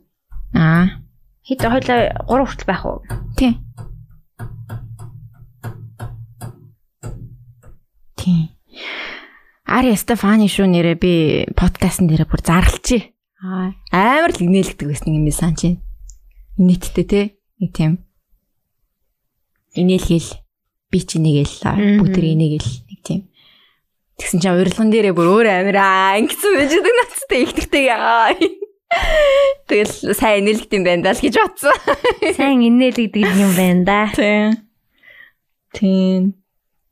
[SPEAKER 2] Аа.
[SPEAKER 3] Хэд хойлоо 3 хүртэл байх уу?
[SPEAKER 2] Тий. Тий. Ари Стефани шүү нэрээ би подкастн дээрээ бүр зарлчи. Аа. Амар л инээлгдэг байсан юм би санаж байна. Нийтдээ те. Нэг тийм. Инээлгээл би чи нэгэл
[SPEAKER 3] Мгм.
[SPEAKER 2] бүтэр инээгээл нэг тийм. Тэгсэн чинь урилган дээрээ бүр өөр амираа ингэсэн байж байгаа нацтай ихтэй яа. Тэгэл сайн инээлгд юм байна даа л гэж бодсон.
[SPEAKER 3] Сайн инээлэгдэг юм байна да.
[SPEAKER 2] Тийм. Тийм.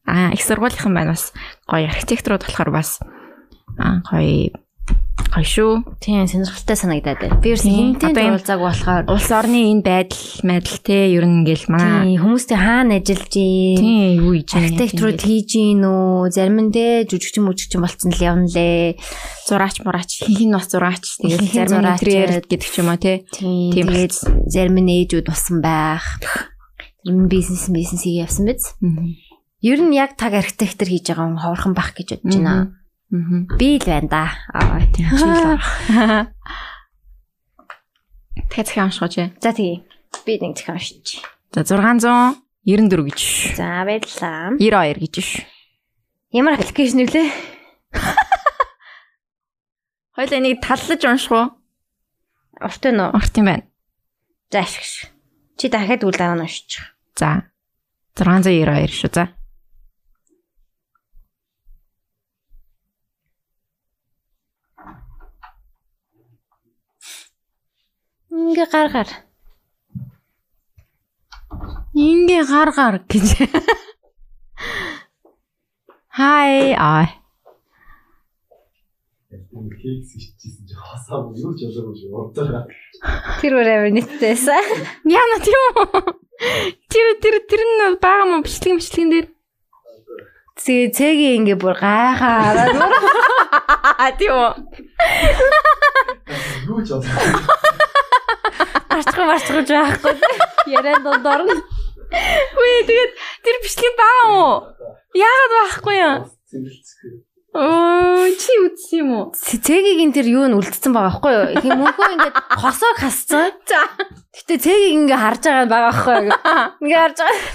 [SPEAKER 2] Аа, их сургуулийнхан байна бас. Гоё архитекторууд болохоор бас аа гоё гоё шүү.
[SPEAKER 3] Тийм сонирхолтой санагдаад байна. Би ерөөс
[SPEAKER 2] Тийм.
[SPEAKER 3] хинтээ
[SPEAKER 2] Одоо энэ-
[SPEAKER 3] дуулаагүй болохоор
[SPEAKER 2] Улс орны энэ байдал, мэдл те ер нь ингээл манай
[SPEAKER 3] тийм хүмүүстэй хаана ажиллаж юм?
[SPEAKER 2] тийм юу хийж байна,
[SPEAKER 3] Архитектурууд
[SPEAKER 2] тийм
[SPEAKER 3] хийж гин үү? Зарим нь дэ жүжигчин мөжигчин болцсон л явна лээ.
[SPEAKER 2] ингээл зураач мураач, хин хин бас зураач,
[SPEAKER 3] Хин хин
[SPEAKER 2] тэгээд зарим
[SPEAKER 3] зураач,
[SPEAKER 2] интерьер гэдэг ч юм уу те.
[SPEAKER 3] Тийм
[SPEAKER 2] Тийм
[SPEAKER 3] тэгээд зарим нь ээжүүд болсон байх. Зарим нь бизнес бизнес хийж явсан биз? Ер нь яг таг архитектор хийж байгаа хүн ховорхон бах гэж бодож байна.
[SPEAKER 2] Мм.
[SPEAKER 3] Би л байна да. Аа тийм.
[SPEAKER 2] Тэгээд захиа амшгооч. ээ.
[SPEAKER 3] За тийм. Би нэг захиан шиж.
[SPEAKER 2] За 694 гэж. шүү.
[SPEAKER 3] За баярлалаа.
[SPEAKER 2] 92 гэж шүү.
[SPEAKER 3] Ямар аппликейшн үлээ?
[SPEAKER 2] Хоёлаа энийг таллаж унших уу?
[SPEAKER 3] Урт нь уу?
[SPEAKER 2] Урт юм байна.
[SPEAKER 3] За ашиг шиг. Чи дахиад үл дараа нь уншиж.
[SPEAKER 2] За. 692 шүү. За.
[SPEAKER 3] Ингээ гар гар.
[SPEAKER 2] Ингээ гар гар гэж. Хай аа.
[SPEAKER 4] Кейкс иччихсэн чи хасаа юу ч ялаагүй шүү. Урдаа.
[SPEAKER 3] Тэр бүр амар нийттэйсэн.
[SPEAKER 2] Яна тийм үү? Тэр тэр тэр нь бага юм бичлэг бичлэгэн дээр.
[SPEAKER 3] Тэгээ цэгийн ингээ бүр гайхаа.
[SPEAKER 2] Аа тийм үү?
[SPEAKER 4] Юу ч ялаагүй.
[SPEAKER 3] Арчгүй марчгүй байхгүй. Яран дондор нь.
[SPEAKER 2] Үгүй тэгээд тэр бичлэг бага уу? Яагаад баахгүй юм?
[SPEAKER 4] Цэвэрлцэхгүй.
[SPEAKER 2] Оо чи үтсэн юм уу?
[SPEAKER 3] Цэгийн тэр юу нь үлдсэн байгаа байхгүй юу? Тийм мөнхөө ингээ хосоог хасцсан. За. Гэтэ цэгийг ингээ харж байгаа байгаа байхгүй юу? Ингээ харж байгаа.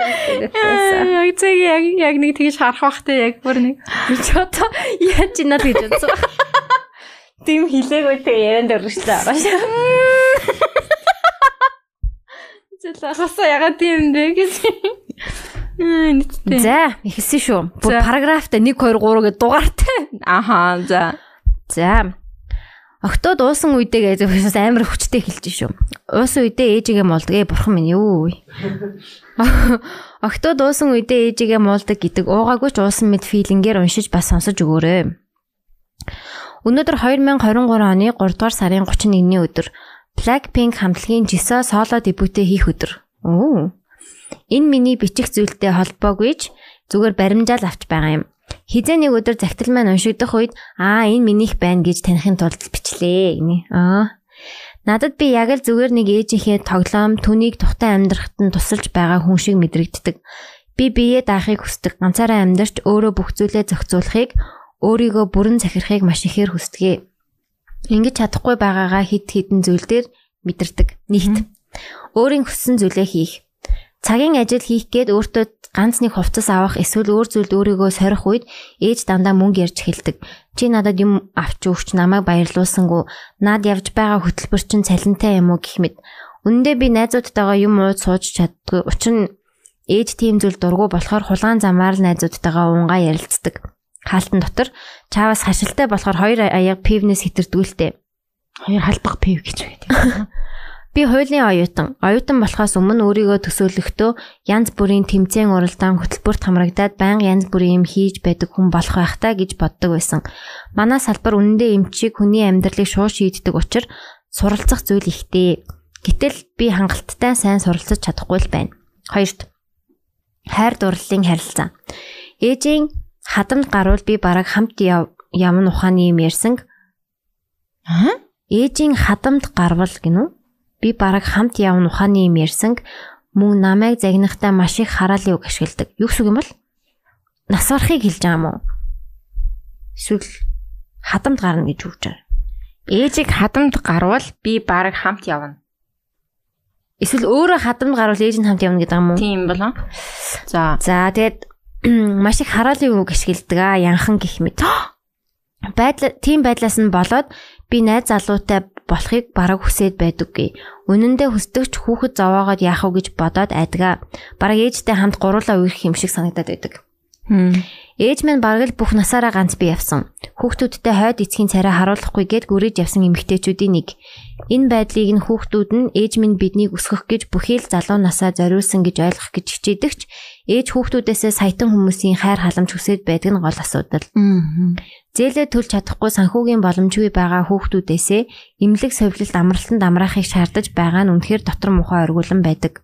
[SPEAKER 2] Яг цэг яг яг нэг тэгж харах бах те яг бүр нэг.
[SPEAKER 3] Чи одоо яаж чинад гэж бодсон. Тим хилээгөө тэгээ яран дээр шүү дээ.
[SPEAKER 2] Зэлээ хасаа ягаад тийм бэ гэж. Аа нийтдээ.
[SPEAKER 3] За, ихсэн шүү. Бүр
[SPEAKER 2] За.
[SPEAKER 3] параграфта 1 2 3 гэдэг дугаартай.
[SPEAKER 2] Ахаа за.
[SPEAKER 3] За. Октод уусан үедээ гэж бас амар хүчтэй хэлж шүү. Уусан үедээ ээжигээ молдог ээ бурхан минь юу. Октод уусан үедээ ээжигээ молдог гэдэг уугаагүй ч уусан мэд филингээр уншиж бас сонсож өгөөрэй. Өнөөдөр 2023 оны 3 дугаар сарын 31-ний өдөр Blackpink хамтлагийн Jisoo соло дебютээ хийх өдөр. Оо. Энэ миний бичих зүйлтэй холбоогүй ч зүгээр баримжаал авч байгаа юм. Хизээ нэг өдөр захирал маань уншигдах үед аа энэ минийх байна гэж таних тулд бичлээ. Эний. Аа. Надад би яг л зүгээр нэг ээжийнхээ тоглоом түүнийг тухтай амьдрахад нь тусалж байгаа хүн шиг мэдрэгддэг. Би биеэ даахыг хүсдэг. Ганцаараа амьдарч өөрөө бүх зүйлээ зохицуулахыг, өөрийгөө бүрэн захирахыг маш ихээр хүсдэг. Ингэж чадахгүй байгаагаа хид хідэн зүйл дээр мэдэрдэг. Нийт. Өөрийн хүссэн зүйлээ хийх. Цагийн ажил хийх гээд өөртөө ганц нэг хувцас авах эсвэл өөр зүйлд өөрийгөө сорих үед ээж дандаа мөнгө ярьж эхэлдэг. Чи надад юм авч өгч намайг баярлуулсангүй. Наад явж байгаа хөтөлбөр чинь цалинтай юм уу гэх мэт. Үндэ би найзуудтайгаа юм ууд сууж чаддгүй. Учир нь ээж тийм зүйл дургу болохоор хулгаан замаар л найзуудтайгаа уунгаа ярилцдаг. Хаалтан дотор чаавас хашилтай болохоор хоёр аяга пивнес хитэрдгүүлтэй.
[SPEAKER 1] Хоёр халбах пив гэж байдаг.
[SPEAKER 3] Би хуулийн оюутан. Оюутан болохоос өмнө өөрийгөө төсөөлөхдөө янз бүрийн тэмцээн уралдаан хөтөлбөрт хамрагдаад байнга янз бүрийн юм хийж байдаг хүн болох байх таа гэж боддог байсан. Манай салбар үнэндээ эмчийг хүний амьдралыг шууд шийддэг учраас суралцах зүйл ихтэй. Гэтэл би хангалттай сайн суралцаж чадахгүй л байна. Хоёрт. Хайр дурлалын харилцаа. Ээжийн хадамд гарвал би бараг хамт яв- явна ухааны юм ярьсан.
[SPEAKER 1] Аа?
[SPEAKER 3] Ээжийн хадамд гарвал гинүү. Би бараг хамт явна ухааны юм ярьсанг мөн намайг загнахтай маш их хараалын үг ашигладаг. Юу гэсэн үг юм бол? Нас орохыг хэлж байгаа юм уу? Эсвэл хадамд гарна гэж үгж байгаа.
[SPEAKER 1] Ээжийг хадамд гарвал би баг хамт явна.
[SPEAKER 3] Эсвэл өөрөө хадамд гарвал ээж нь хамт явна гэдэг юм уу?
[SPEAKER 1] Тийм болон. За.
[SPEAKER 3] За тэгээд маш их хараалын үг ашигладаг аа янхан гих мэт. Байдал тийм байдлаас нь болоод би найз залуутай болохыг бараг хүсээд байдаггүй. Үнэн дээр хүсдэгч хүүхэд зовоогоод яах вэ гэж бодоод айдгаа. Бараг ээжтэй хамт гурлаа үерх юм шиг санагдаад байдаг. Ээж минь бараг л бүх насаараа ганц би явсан. Хүүхдүүдтэй хойд эцгийн царай харуулахгүй гээд гүрэж явсан эмэгтэйчүүдийн нэг. Энэ байдлыг нь хүүхдүүд нь ээж минь биднийг өсгөх гэж бүхий л залуу насаа зориулсан гэж ойлгох гэж хичээдэгч ээж хүүхдүүдээсээ саятан хүмүүсийн хайр халамж хүсээд байдаг нь гол асуудал. Зээлээ төлж чадахгүй санхүүгийн боломжгүй байгаа хүүхдүүдээсээ эмнэлэг совилт амралтанд амраахыг шаардаж байгаа нь үнэхээр дотор мухаа оргуулan байдаг.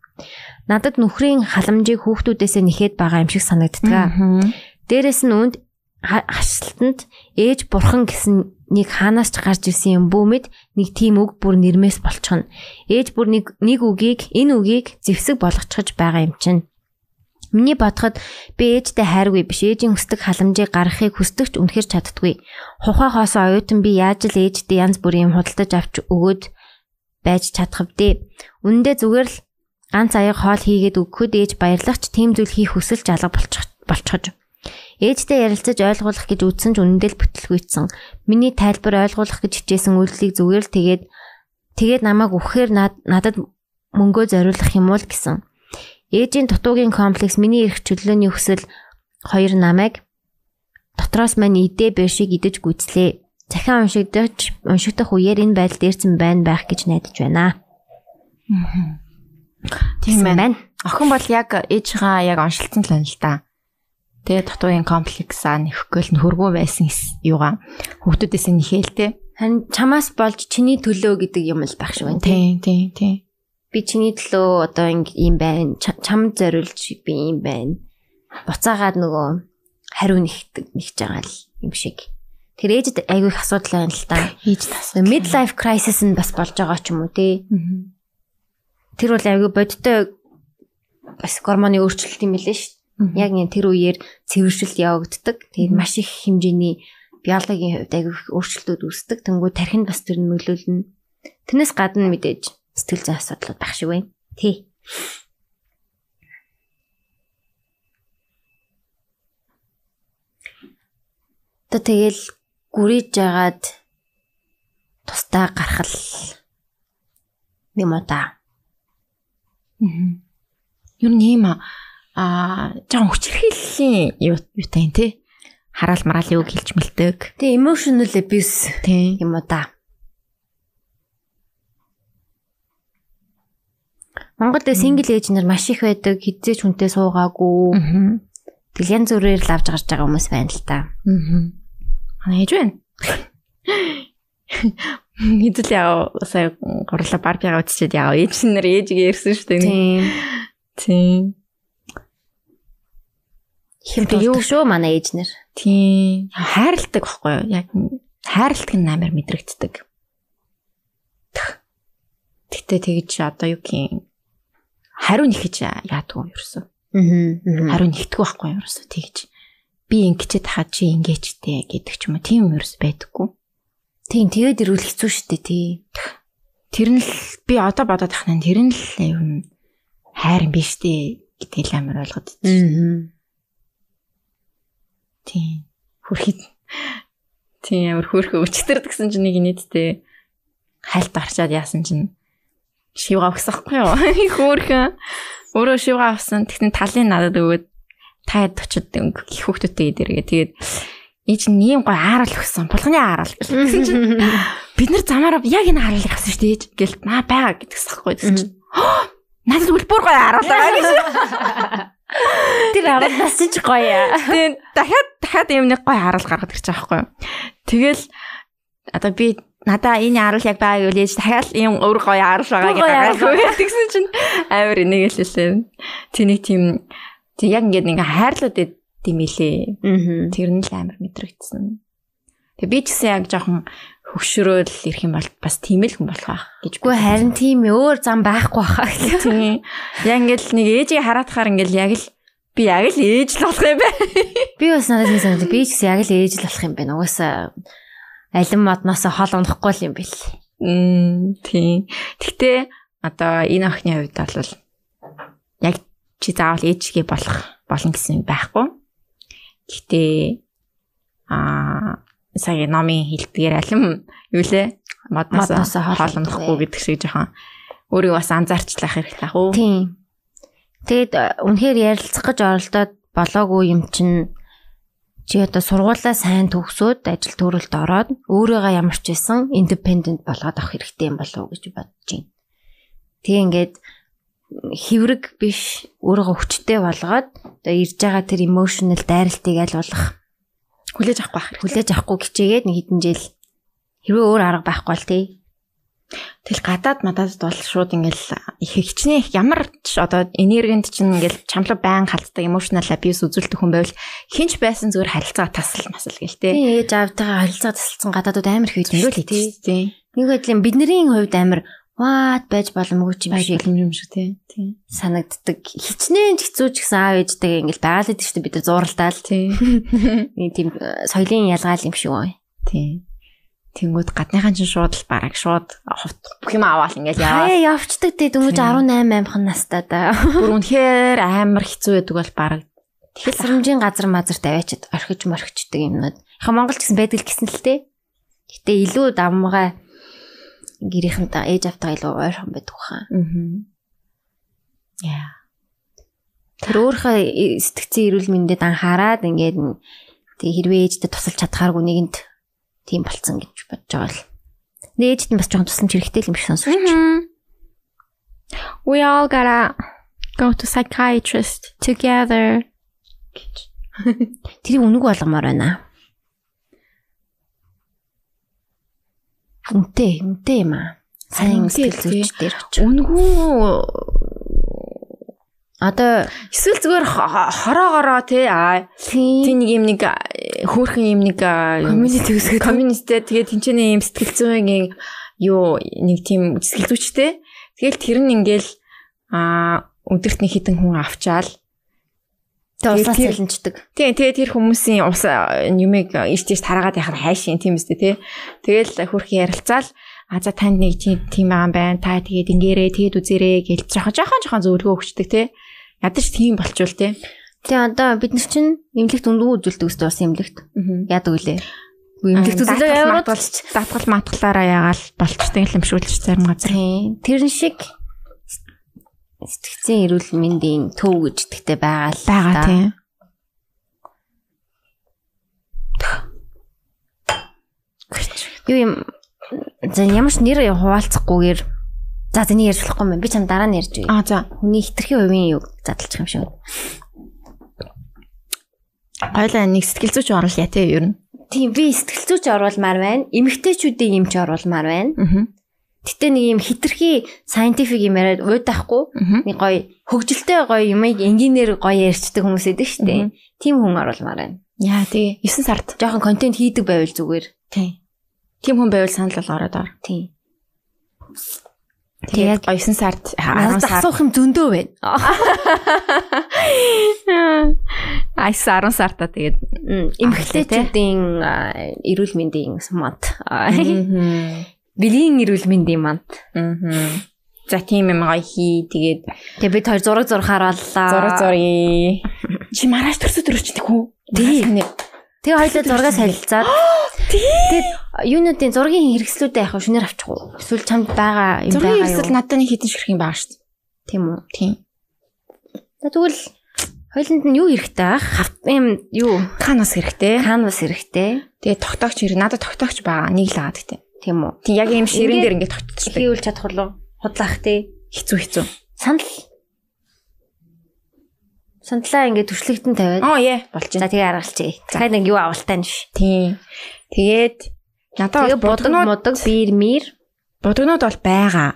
[SPEAKER 3] Надад нөхрийн халамжийг хүүхдүүдээсээ нэхээд байгаа юм шиг санагддаг. Дээрээс нь үнд ха- хашилтанд ээж бурхан гэсэн нэг хаанаас ч гарч ирсэн юм бүүмэд нэг тийм үг бүр нэрмээс болчихно. Ээж бүр нэг нэг үгийг энэ үгийг зэвсэг болгочихж байгаа юм чинь. Миний бодоход би ээжтэй хайргүй биш ээжийн өсдөг халамжийг гаргахыг хүсдэгч үнэхэр чаддгүй. Хухаа хоосоо оюутан би яаж л ээжтэй янз бүрийн юм худалдаж авч өгөөд байж чадах вдэ. Үнэндээ зүгээр л ганц аяг хоол хийгээд өгөхөд ээж баярлагч тийм зүйл хийх хүсэл жалга болчих болчихож Ээжтэй ярилцаж ойлгуулах гэж үзсэн ч үнэндээ л бүтлгүйцсэн. Миний тайлбар ойлгуулах гэж хичээсэн үйлдэлийг зүгээр л тэгээд тэгээд намайг өгөхээр над- надад мөнгөө зориулах юм уу л гэсэн. Ээжийн дутуугийн комплекс миний эрх чөлөөний өсөл хоёр намайг дотроос мань идэ бэр шиг идэж гүйцлээ. Захиан уншигдаж уншигдах үеэр энэ байдал дээрсэн байна байх гэж найдаж байна.
[SPEAKER 1] Тийм
[SPEAKER 3] Гэсэн
[SPEAKER 1] байна. Охин бол яг ээжийнхаа яг оншилсан л байна л да. Тэгээ дутуугийн комплексаа нэхэхгүй л н- хөргөө байсан эс- юугаа хүүхдүүдээс нь нэхээлтэй.
[SPEAKER 3] Харин чамаас болж чиний төлөө гэдэг юм л байх шиг байна. тийм.
[SPEAKER 1] тийм, тийм.
[SPEAKER 3] би чиний төлөө одоо ингэ юм байна. Ча- Чамд зориулж би юм байна. Буцаагаад нөгөө хариу нэгтэг нэгж байгаа л юм шиг. Тэр ээжд айгүй их асуудал байна л та.
[SPEAKER 1] Ээж тас.
[SPEAKER 3] Midlife crisis нь бас болж байгаа ч юм уу тий.
[SPEAKER 1] Мгм.
[SPEAKER 3] Тэр бол айгүй бодиттой бас гормоны өөрчлөлт юм билээ шүү. Яг энэ тэр үеэр цэвэршилт явагддаг. Тэгээд
[SPEAKER 1] Мгм.
[SPEAKER 3] маш их хэмжээний биологийн хувьд айгүй их өөрчлөлтүүд үүсдэг. Тэнгүү тархинд бас тэр нь нөлөөлнө. Тэрнээс гадна мэдээж сэтгэл зүйн асуудлууд байх шиг байна. Тий. Тэ тэгэл гүрийж жагаад тустаа гарах л юм уу та.
[SPEAKER 1] Мгм. Юу нэм аа жоохон хүчрхийллийн юу юутай юм те. Хараал мараалын үг хэлж мэлдэг.
[SPEAKER 3] Тэ emotional abuse
[SPEAKER 1] Тийм.
[SPEAKER 3] юм уу та. Монголд single age нар маш их байдаг, хэдзээ ч хүнтэй суугаагүй.
[SPEAKER 1] Аа.
[SPEAKER 3] Тэгэл янз бүрээр л авч гарч байгаа хүмүүс байна л та.
[SPEAKER 1] Манай ээж байна. Хэдэл яа сая гурлаа барбигаа үтчихэд яа ээж нар ээжгээ ирсэн шүү дээ.
[SPEAKER 3] Тийм.
[SPEAKER 1] Тийм.
[SPEAKER 3] Хэм юу шүү манай ээж нар.
[SPEAKER 1] Тийм. Хайрладаг байхгүй юу? Яг хайрлдаг нь амар мэдрэгддэг.
[SPEAKER 2] Тэгтээ тэгж одоо юу гин хариу нэхэж яадгүй ерөөсөө.
[SPEAKER 3] Аа.
[SPEAKER 2] Хариу нэгтгэхгүй байхгүй ерөөсөө тэгж би ингэчээ тахаа чи ингэчтэй гэдэг ч юм уу тийм юм ерөөс байдаггүй.
[SPEAKER 3] Тийм тэгээд ирүүл хэцүү шүү дээ тий.
[SPEAKER 2] Тэр нь л би одоо бодоод тахна тэр нь л ер нь хайр юм биш үү гэдгийг л амар ойлгоод байна.
[SPEAKER 3] Аа.
[SPEAKER 2] Тийм. Хөрхид. Тийм амар хөрхөө өчтөр гэсэн чинь нэг нийтдээ хальт арчаад яасан чинь шивга өгсөхгүй юу? Хөөхөн. Өөрөө шивга авсан. Тэгтэн талын надад өгөөд та хэд очиод өнгө их хөвгтөтэй идэргээ. Тэгээд энэ чинь ийм гой аарал өгсөн. Булганы аарал. Тэгсэн чинь бид нар замаараа яг энэ ааралыг авсан шүү дээ гэлт наа байгаа гэдгсэхгүй гэсэн чинь "Хөө, надад үлбүр гой аарал байгаа гэж
[SPEAKER 3] Тэр араас ч гоё.
[SPEAKER 2] Тэгээд дахиад дахиад юм нэг гой харал гаргаад ирчих жоохгүй юу. Тэгэл одоо би надаа энэ харал яг байгаа юу л ээж дахиад ийм өөр гой харал
[SPEAKER 3] Өөр
[SPEAKER 2] байгаа
[SPEAKER 3] гоё
[SPEAKER 2] гэж гаргаад тэгсэн чинь амар энийг л хэлээ. Тэнийг тийм тэг яг ингээд ингээ хайрлууд димэлээ.
[SPEAKER 3] Аа.
[SPEAKER 2] Тэр нь л амар мэдрэгдсэн. Тэг би ч гэсэн яг жоохон хөшрөөл ирэх юм бол бас тийм л хүн болох байх гэж
[SPEAKER 3] Гэхдээ харин тийм өөр зам байхгүй хаа гэх юм.
[SPEAKER 2] тийм яг ингээд нэг ээжийг хараадахаар ингээд яг л би яг л ээж л болох юм байна.
[SPEAKER 3] Би бас надад тийм санагдав. Би ч гэсэн яг л ээж л болох юм байна. Угаасаа алин модноос хол ундахгүй л юм бэл.
[SPEAKER 2] Мм, тийм. Гэхдээ одоо энэ охины хувьд бол яг чи заавал ээжгээ болох болно гэсэн юм байхгүй. Гэхдээ аа сая номын хэлдгээр алим юу лээ? Модноос
[SPEAKER 3] Модноосоо хоол
[SPEAKER 2] хоолнохгүй
[SPEAKER 3] ундахгүй.
[SPEAKER 2] гэдэг шиг жоохон өөрөө бас анзаарчлах хэрэгтэй хаа.
[SPEAKER 3] Тийм. Тэгэд э, үнэхээр ярилцах гэж оролдоод болоогүй юм чинь чи одоо сургуулаа сайн төгсөөд ажил төрөлд ороод өөрийгөө ямар ч байсан independent болгоод авах хэрэгтэй юм болов уу гэж бодож байна. Тэг ингээд хэврэг биш өөрийгөө хүчтэй болгоод одоо ирж байгаа тэр emotional дайралтыг аль болох
[SPEAKER 2] Хүлээж авахгүй байх хэрэгтэй.
[SPEAKER 3] хүлээж авахгүй хичээгээд нэг хэдэн жил хэрвээ өөр арга байхгүй л тий.
[SPEAKER 2] Тэл гадаад мадаадд бол шууд ингээл их хичнээн их ямар ч одоо энергинд чинь ингээл чамлаг байн халтдаг emotional abuse үзүүлдэг хүн байвал хинч байсан зүгээр харилцаа тасал масал гээл те.
[SPEAKER 3] Тий ээж аавтайгаа харилцаа тасалсан гадаадууд амар их үйдэн шүү
[SPEAKER 2] Зөрүүл
[SPEAKER 3] дээ тий.
[SPEAKER 2] хийчих тий.
[SPEAKER 3] Нэг байдлын бидний хувьд амар ваад байж боломгүй ч юм шиг
[SPEAKER 2] юм шиг тий. Тий.
[SPEAKER 3] санагддаг. Хичнээн ч хэцүү ч гэсэн аав ээжтэйгээ ингээл байгаал гэдэг чинь бид нар зууралдаал
[SPEAKER 2] Тий.
[SPEAKER 3] нэг тийм э, соёлын ялгаал юм шиг байна.
[SPEAKER 2] Тий. Тэнгүүд гадныхан чинь шууд л бараг шууд хувт бүх юм аваал ингээл яваа.
[SPEAKER 3] Хаяа явцдаг дээ дөнгөж
[SPEAKER 2] Тийм.
[SPEAKER 3] 18 амхан настай да.
[SPEAKER 2] Бүр үнэхээр амар хэцүү байдаг бол бараг
[SPEAKER 3] Хэсрэмжийн газар мазар тавиачаад орхиж морхичдаг юмнууд. Яг Монгол ч гэсэн байдаг л гэсэн л тээ. Гэтэ илүү давмгаа гэрийнхэнтэй ээж автаа илүү ойрхон байдаг хаа.
[SPEAKER 2] Яа.
[SPEAKER 3] Тэр өөрийнхөө э, сэтгцийн эрүүл мэндэд анхаарад ингээд н- тэг хэрвээ ээжтэй тусалж чадхааргүй нэгэнд тийм болцсон гэж бодож байгаа л. Нэ ээжт нь бас жоохон тусламж хэрэгтэй л юм шиг сонсож байна.
[SPEAKER 2] We all gotta go to psychiatrist together.
[SPEAKER 3] Тэрийг үнэг болгомоор байна. Үнтэй, үнтэй юм аа. Сайн
[SPEAKER 2] Үнэтэй л тий.
[SPEAKER 3] сэтгэл зүйч дээр очив.
[SPEAKER 2] Үнгүү
[SPEAKER 3] Одоо
[SPEAKER 2] Эсвэл зүгээр хо- хо- хороогороо тий аа тий
[SPEAKER 3] тийм
[SPEAKER 2] нэг юм нэг э, хөөрхөн юм нэг
[SPEAKER 3] Community үүсгээд.
[SPEAKER 2] community тэгээ тэнцэнэ юм сэтгэл зүйн юу нэг тийм сэтгэл зүйчтэй тэгэл тэр нь ингээл аа өдөрт нэг хитэн хүн авчаал
[SPEAKER 3] уусаа
[SPEAKER 2] тэр-
[SPEAKER 3] солончдаг.
[SPEAKER 2] тий тэгээ тэр хүмүүсийн ус э, юмыг иртэж тараагаад яхаар хайшин тийм үстэй тий тэгэл хөөрхөн ярилцаал А за танд нэг тийм тийм байгаа юм байна. Та тэгээд ингээрээ тэгэд үзээрээ гэж жоохон жоохон жоохон зөвлөгөө өгчдөг те. Ядаж тийм болчвол те.
[SPEAKER 3] Тэгээ одоо бид нар чинь эмнэлэгт үндгүү үзүүлдэг үстэй бас эмнэлэгт.
[SPEAKER 2] Аа.
[SPEAKER 3] Яадаг үлээ. Эмнэлэгт үзүүлээ
[SPEAKER 2] Даатгал
[SPEAKER 3] яваад
[SPEAKER 2] матгалч датгал матгалаараа ягаал болчтой хэмшүүлж зарим газар.
[SPEAKER 3] Тийм. Тэр шиг сэтгцэн эрүүл мэндийн төв гэж итгэдэг байгаа л
[SPEAKER 2] Бага
[SPEAKER 3] да.
[SPEAKER 2] тий.
[SPEAKER 3] Юу юм за ямар ч нэр хуваалцахгүйгээр за зэний ярьж болохгүй юм. Би чам дараа нь ярьж өгье.
[SPEAKER 2] А за.
[SPEAKER 3] Хүний хитрхийн хувийн юу задлчих юм шиг.
[SPEAKER 2] Хоёлаа нэг сэтгэл зүйч орол яа тий ер нь.
[SPEAKER 3] Тийм би сэтгэл зүйч оруулмаар байна. Эмэгтэйчүүдийн юмч оруулмаар байна.
[SPEAKER 2] Аа.
[SPEAKER 3] Гэтэ нэг юм хитрхи scientific юм яриад уудахгүй
[SPEAKER 2] Аа.
[SPEAKER 3] нэг гоё хөгжилтэй гоё юмыг инженеэр гоё ярьчдаг хүмүүс эдэг штэ. Тим хүн оруулмаар байна.
[SPEAKER 2] Яа тий 9 сард.
[SPEAKER 3] Жохон контент хийдэг байвал зүгээр.
[SPEAKER 2] Тий. Тим хүн байвал санал бол ороод ор.
[SPEAKER 3] Тийм.
[SPEAKER 2] Тэгээд 9 сард 10
[SPEAKER 3] Надад
[SPEAKER 2] сард
[SPEAKER 3] асуух юм зөндөө байна.
[SPEAKER 2] айс 10 сартаа тэгээд
[SPEAKER 3] Эмхлээчүүдийн аа, эрүүл мэндийн манд. Аа,
[SPEAKER 2] Мгм.
[SPEAKER 3] Бэлгийн эрүүл мэндийн манд.
[SPEAKER 2] Мгм. За тийм юм гоё хий. Тэгээд
[SPEAKER 3] Тэгээ бид хоёр зураг зурхаар боллоо.
[SPEAKER 2] зураг зуръя. Чи маргааш төрсө төрөвчдөг үү?
[SPEAKER 3] Тийм. Тэгээ хоёлаа зургаа солилцаад тэгээд юунуудын зургийн хэрэгслүүдээ яхав шүнээр авчих уу? Эсвэл чамд байгаа юм
[SPEAKER 2] Зургийн
[SPEAKER 3] байгаа
[SPEAKER 2] хэрэгсэл
[SPEAKER 3] юу?
[SPEAKER 2] надад нэг хитэн ширх юм байгаа шүү дээ.
[SPEAKER 3] Тийм үү?
[SPEAKER 2] Тийм.
[SPEAKER 3] За тэгвэл хоёланд нь юу хэрэгтэй ах? Хавт юм юу?
[SPEAKER 2] Канас хэрэгтэй.
[SPEAKER 3] Canvas хэрэгтэй.
[SPEAKER 2] Тэгээд тогтоогч хэрэг надад тогтоогч байгаа. Нэг л аваад гэдэг.
[SPEAKER 3] Тийм үү?
[SPEAKER 2] Тийм яг ийм ширэн
[SPEAKER 3] Ингээд-
[SPEAKER 2] дээр ингээд тогтчихдаг.
[SPEAKER 3] Хийвэл чадах уу? Худлаах тий.
[SPEAKER 2] Хэцүү хэцүү.
[SPEAKER 3] Санал. Сандлаа ингээд төршлэгтэн тавиад.
[SPEAKER 2] Оо яа болж
[SPEAKER 3] За
[SPEAKER 2] байна.
[SPEAKER 3] тэгээ аргалчих. Дахиад нэг юу авалтай нь ш.
[SPEAKER 2] Тийм. Тэгээд надад
[SPEAKER 3] Тэгээ
[SPEAKER 2] бол
[SPEAKER 3] бодог
[SPEAKER 2] будгнууд
[SPEAKER 3] модог биер мэр
[SPEAKER 2] будгнууд бол байгаа.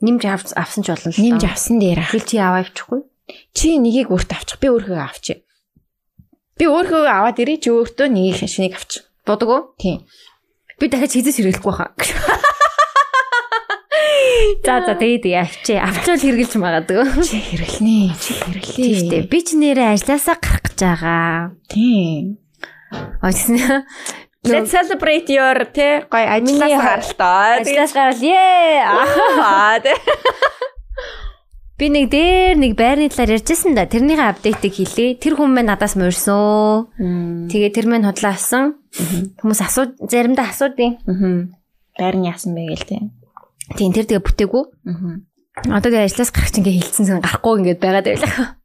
[SPEAKER 3] нэмж авс- авсан ч болно л доо.
[SPEAKER 2] Нэмж авсан дээр ах.
[SPEAKER 3] Тэгэл чи аваа авчихгүй.
[SPEAKER 2] Чи нэгийг өөрт авчих. Би өөрхөө авчих. Би өөрхөө аваад ирээ чи өөртөө нэг шинийг авчих.
[SPEAKER 3] Бодог уу?
[SPEAKER 2] Тийм.
[SPEAKER 3] Би дахиад хизээс хэрэглэхгүй хаа. За за тэгээд явчээ. Авчвал хэрэглэж магадгүй.
[SPEAKER 2] Чи хэрэглэнэ. Чи хэрэглээ.
[SPEAKER 3] Тийштэй. Би ч нэрээ ажилласаа гарах гэж байгаа.
[SPEAKER 2] Тийм.
[SPEAKER 3] Очсон.
[SPEAKER 2] Let's celebrate your тэ гой
[SPEAKER 3] Миний
[SPEAKER 2] ажлаас гаралтай. Тэгээд
[SPEAKER 3] Ажиллаж гарвал ээ.
[SPEAKER 2] аа тэ.
[SPEAKER 3] Би нэг дээр нэг байрны талаар ярьжсэн да. Тэрнийхээ апдейтыг хэлээ. Тэр хүн мэн надаас морьсон. Тэгээд тэр мэн худлаа авсан. Хүмүүс асуу заримдаа асуудیں۔
[SPEAKER 2] Мгм. Байрны яасан бэ гээл тэ.
[SPEAKER 3] Тийм тэр тэгээ бүтээгүй.
[SPEAKER 2] Мгм.
[SPEAKER 3] Одоо тэгээ ажиллаас гарах чинь ингээ хилцэн сан гарахгүй ингээд байгаад байлаа.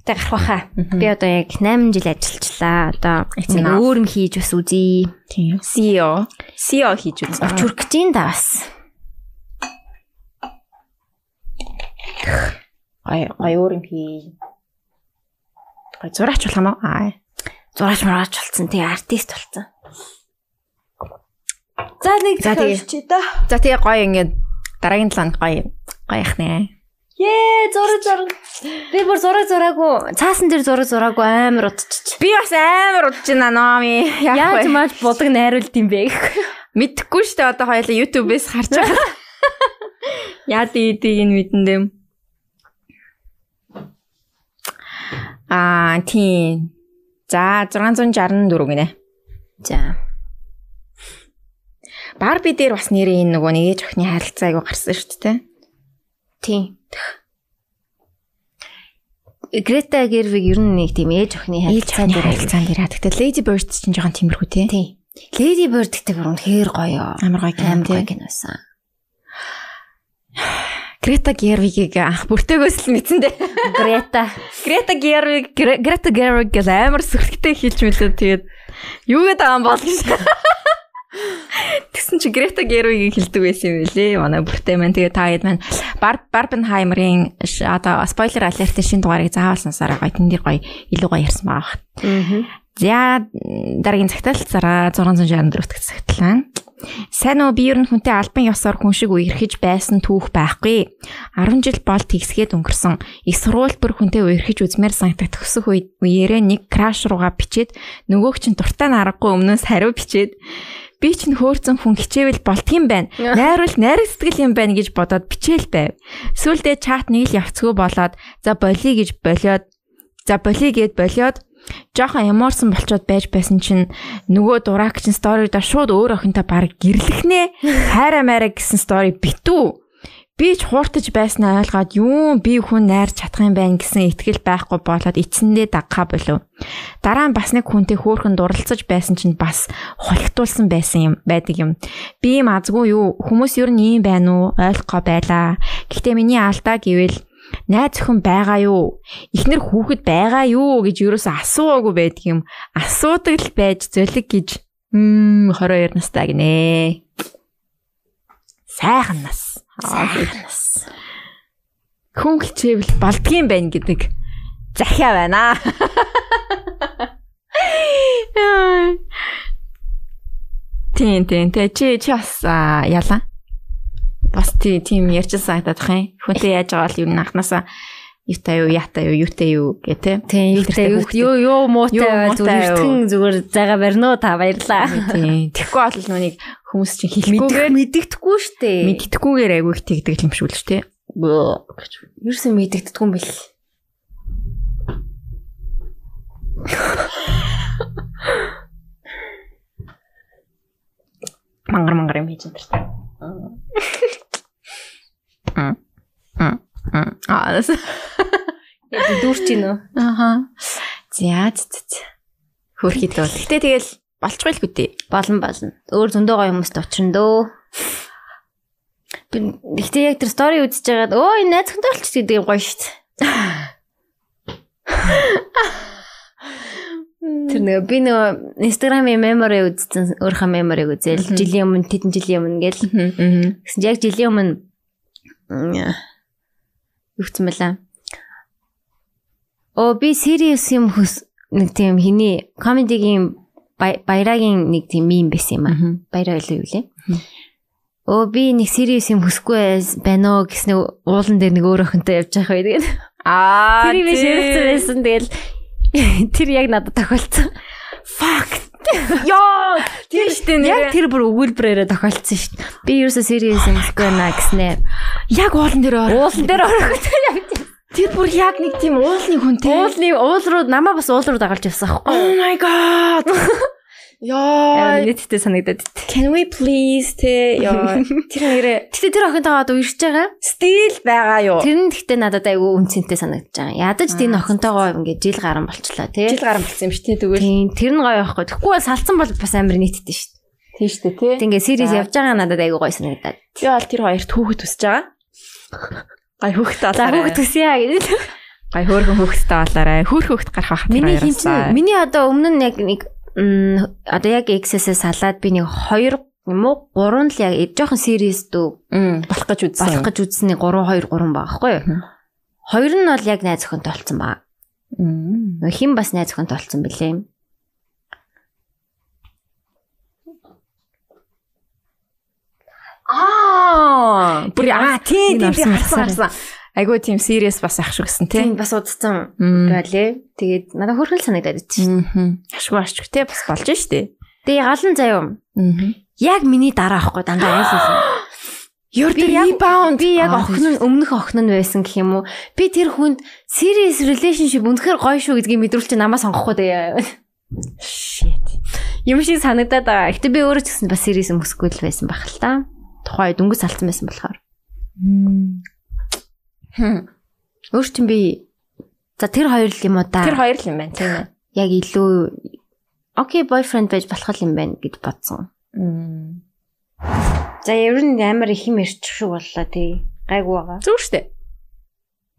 [SPEAKER 3] Тэ гарах байхаа. Би одоо яг 8 жил ажиллачлаа. Одоо
[SPEAKER 2] Эцэг
[SPEAKER 3] нэг
[SPEAKER 2] аав.
[SPEAKER 3] өөр юм хийж бас үзье.
[SPEAKER 2] Тийм. CEO. CEO хийж
[SPEAKER 3] Орч
[SPEAKER 2] үзсэн.
[SPEAKER 3] хүрэх гэж юм да бас.
[SPEAKER 2] Гой гой өөр юм хий. Гой зураач болох юм уу? Аа.
[SPEAKER 3] Зураач мураач болсон. Тэгээ артист болсон. За нэг
[SPEAKER 2] За, тэгээ.
[SPEAKER 3] чи да.
[SPEAKER 2] За тэгээ гой ингээд дараагийн талаанд гой гой их нэ.
[SPEAKER 3] Ее зураг зураг. Би бүр зураг зураагүй. Цаасан дээр зураг зураагүй амар утчих.
[SPEAKER 2] Би бас амар удаж байна номи.
[SPEAKER 3] Яаж
[SPEAKER 2] Яаж
[SPEAKER 3] маш будаг найруулд юм бэ гэх.
[SPEAKER 2] мэдхгүй штэ одоо хоёлаа YouTube-ээс харж байгаа. Яад идэг ин мэдэн дэм. Аа тийм. За 664 гинэ.
[SPEAKER 3] За.
[SPEAKER 2] Барби дээр бас нэрээ энэ нөгөө нэг ээж охины харилцаа айгу гарсан шүү дээ. тэ?
[SPEAKER 3] Тийм. Грета Гервиг ер нь нэг тийм ээж охины
[SPEAKER 2] Ээж
[SPEAKER 3] харилцаан
[SPEAKER 2] охины
[SPEAKER 3] дээр.
[SPEAKER 2] харилцаан дээр. Тэгтээ Lady Bird чинь жоохон тиймэрхүү те.
[SPEAKER 3] Тийм. Lady Bird гэдэг бүр үнэхээр гоё.
[SPEAKER 2] Амар гоё кино,
[SPEAKER 3] Амар гоё
[SPEAKER 2] тий.
[SPEAKER 3] киносан.
[SPEAKER 2] Greta Gerwig-ийг анх бүртээгөөс л мэдсэн дээ.
[SPEAKER 3] Грета.
[SPEAKER 2] Greta Gerwig Gre- Greta Gerwig гэл амар сүрхтэй хэлж мэлээ тэгээд юу гэдэг юм бол гэж. Тэгсэн чи Greta Gerwig-ийг хэлдэг байсан юм билээ. Манай бүртээ маань тэгээд та хэд маань Bar- Barbenheimer-ийн ш- одоо spoiler alert-ийн шинэ дугаарыг заавал сонсороо гоё. Тэн дээр гоё илүү гоё ярьсан байгаа бах.
[SPEAKER 3] Аа.
[SPEAKER 2] За дараагийн цагтаалцараа 664-т цагтлаа. Сайн уу би ер нь хүнтэй альбан ёсоор хүн шиг үерхэж байсан түүх байхгүй. 10 жил бол тэгсгээд өнгөрсөн. Их сургууль бүр хүнтэй үерхэж үзмээр санагдах төгсөх үед үеэрээ нэг краш руугаа бичээд нөгөөг чинь дуртай нь аргагүй өмнөөс хариу бичээд би ч нөхөрцөн хүн хичээвэл болтгийм байна. Найруул найр сэтгэл юм байна гэж бодоод бичээл байв. Сүүлдээ чат нэг л явцгүй болоод за болиё гэж болиод за болиё гэд болиод жоохон ямарсан болчоод байж байсан чинь нөгөө дурак чинь сторидо шууд өөр охинтой баг гэрлэхнэ хайраа маяг гэсэн стори битүү би ч хууртаж байснаа ойлгоод юм би хүн найрч чадах юм байна гэсэн итгэл байхгүй болоод эцэндээ дагхаа болов. Дараа нь бас нэг хүнтэй хөөрхөн дурлалцаж байсан чинь бас хулигтуулсан байсан юм байдаг юм. Би юм азгүй юу хүмүүс ер нь ийм байна уу ойлгохгүй байлаа. Гэхдээ миний алдаа гэвэл найз өхөн байгаа юу? Эхнэр хүүхэд байгаа юу гэж юуроос асууаагүй байдаг юм. Асуудаг л байж зөлег гэж мм 22 настай гинэ. Сайхан нас. Сайхан нас. Хүн хичээвэл болдгийм байна гэдэг захиа байна. Яа. Тийм тийм тэ чи чи бас аа, ялаа. Бас тий- тийм ярьж санагдах юм. Хүнтэй яаж байгаа бол юу н анханасаа юутай юу, яатай юу, юутэй юу гэх те.
[SPEAKER 3] Тийм,
[SPEAKER 2] Ихтэй
[SPEAKER 3] юутай юу
[SPEAKER 2] хүүхдээ.
[SPEAKER 3] юу юу муутай
[SPEAKER 2] Юу
[SPEAKER 3] байл
[SPEAKER 2] муутай
[SPEAKER 3] зүгээр
[SPEAKER 2] юу?
[SPEAKER 3] эртгэн зүгээр зайгаа барина уу та баярлаа.
[SPEAKER 2] Тийм. Тэгэхгүй бол нүг хүмүүс чинь
[SPEAKER 3] Мэдэх
[SPEAKER 2] хэлэхгүйгээр
[SPEAKER 3] мэддэхгүй штэ.
[SPEAKER 2] мэддэхгүйгээр айгүй их тэгдэг юм шүү л те.
[SPEAKER 3] Юусэн мэддэгдэхгүй юм бэл.
[SPEAKER 2] Мангар мангар юм хийж энэ таар. Мм. Мм. Мм. Аа, нэс.
[SPEAKER 3] Дүүрч гин үү?
[SPEAKER 2] Аха. За, за, за, за. Хөрхид бол. Гэтэ тэгэл болчихгүй л гүтээ.
[SPEAKER 3] Болон болно. Өөр зөндөө гоё хүмүүст очрно дөө. Би ихтэй яг тэр стори үзэж байгаад өө энэ найз хүнтэй болчих гэдэг юм гоё штт. Тэр нөө би нөө Instagram-ийн memory үзсэн өөрхөн memory-г үзэл
[SPEAKER 2] Мгм.
[SPEAKER 3] жилийн өмнө тэдэн жилийн өмнө гэл
[SPEAKER 2] Аа.
[SPEAKER 3] Гэсэн чинь яг жилийн өмнө м, юу гэсэн бэлээ. Оо би serious юм хөс нэг тийм хиний comedy-гийн бай- баярагийн нэг тийм мим байсан юм аа.
[SPEAKER 2] Аа.
[SPEAKER 3] Баяраа илүү юу лээ. Оо би нэг serious юм хөсгүй байс- байна уу гэснэ уулан дээр нэг өөр охинтой явж байх байдаг.
[SPEAKER 2] Аа.
[SPEAKER 3] Тэр би ширхсэн байсан тэгэл тэр яг надад тохиолдсон.
[SPEAKER 2] Fuck. Йоо, тийм штэ
[SPEAKER 3] Яг
[SPEAKER 2] нэр.
[SPEAKER 3] тэр бүр өгүүлбрээрээ тохиолдсон шүү дээ. Би ерөөсө serious юм хөсгүй байна гэснэ.
[SPEAKER 2] Яг уулан дээр орох.
[SPEAKER 3] Уулан дээр орох.
[SPEAKER 2] Тэр бүр яг нэг тийм уулын хүнтэй.
[SPEAKER 3] Уулны уул руу намаа бас уул руу дагалж явсан аахгүй.
[SPEAKER 2] Oh my god. Йоо.
[SPEAKER 3] Нийтдээ санагдаад.
[SPEAKER 2] Can we please те ёо. Тэр нэрээ
[SPEAKER 3] Гэтэ тэр охинтойгоо одоо үерч байгаа.
[SPEAKER 2] стил байгаа юу?
[SPEAKER 3] Тэр нь гэхдээ надад айгүй үнцэнтэй санагдаж байгаа. Ядаж тийм охинтойгоо ингээд жил гарan болчлаа тий.
[SPEAKER 2] Жил гарсан болсон юм шүү дээ тэгвэл.
[SPEAKER 3] Тийм тэр нь гоё байхгүй. Тэгэхгүй бол салцсан бол бас амар нийтдээ шүү дээ.
[SPEAKER 2] Тийм шүү дээ
[SPEAKER 3] Тэг
[SPEAKER 2] те.
[SPEAKER 3] ингээд series
[SPEAKER 2] За.
[SPEAKER 3] явж байгаа надад айгүй гоё санагдаад.
[SPEAKER 2] Би бол тэр хоёрт хүүхэд төсөж байгаа. Гай хүүхэд
[SPEAKER 3] За
[SPEAKER 2] олоо.
[SPEAKER 3] хүүхд төсөө гэдэг.
[SPEAKER 2] гай хөөрхөн хүүхэдтэй болоорой. Хөөх хүүхэд гарах байх.
[SPEAKER 3] Миний хин чинь миний одоо өмнө нь яг нэг м, одоо яг XS-ээ салаад би нэг 2 юм уу 3 л яг жоохон series дүү
[SPEAKER 2] болох гэж
[SPEAKER 3] болох
[SPEAKER 2] үзсэн.
[SPEAKER 3] гэж үзсэн нэг 3 2 3 багахгүй юу?
[SPEAKER 2] Мгм.
[SPEAKER 3] Хоёр нь бол яг найз охинтой болсон баг.
[SPEAKER 2] Мм.
[SPEAKER 3] Нөгөө Хин бас найз охинтой болсон бэлээ.
[SPEAKER 2] Аа. Бүр аа тийм
[SPEAKER 3] Энэ
[SPEAKER 2] тийм тийм
[SPEAKER 3] орсон,
[SPEAKER 2] харсан харсан. Айгуу тийм serious бас ах шиг гэсэн
[SPEAKER 3] Тийм
[SPEAKER 2] тийм.
[SPEAKER 3] бас удсан
[SPEAKER 2] Мм.
[SPEAKER 3] байлээ. Тэгээд надад хөрхөл санагдаад идсэн.
[SPEAKER 2] Мм. Ашгүй ашгүй те бас болж штэ.
[SPEAKER 3] Тэгээд галан заяа.
[SPEAKER 2] Мм.
[SPEAKER 3] Яг миний дараа ахгүй дандаа айл хэлсэн.
[SPEAKER 2] Your
[SPEAKER 3] Би яг
[SPEAKER 2] rebound
[SPEAKER 3] би яг
[SPEAKER 2] Аа,
[SPEAKER 3] охин нь өмнөх охин нь байсан гэх юм уу? Би тэр хүнд serious relationship үнэхээр гоё шүү гэдгийг мэдрүүлчих намаа сонгохгүй дээ.
[SPEAKER 2] Shit.
[SPEAKER 3] Юм шиг санагдаад байгаа. Гэтэ би өөрөө ч гэсэн бас serious юм өсөхгүй л байсан байх л та. Тухай дүнгийн салцсан байсан болохоор. Өөр чинь би за тэр хоёр л юм уу да.
[SPEAKER 2] Тэр хоёр л юм байна тийм ээ.
[SPEAKER 3] яг илүү окей бойфренд байж болох юм байна гэж бодсон.
[SPEAKER 2] Мм.
[SPEAKER 3] За ер нь амар их юм ярьчих шиг боллоо тий. Гайгүй байгаа.
[SPEAKER 2] Зүг штэ.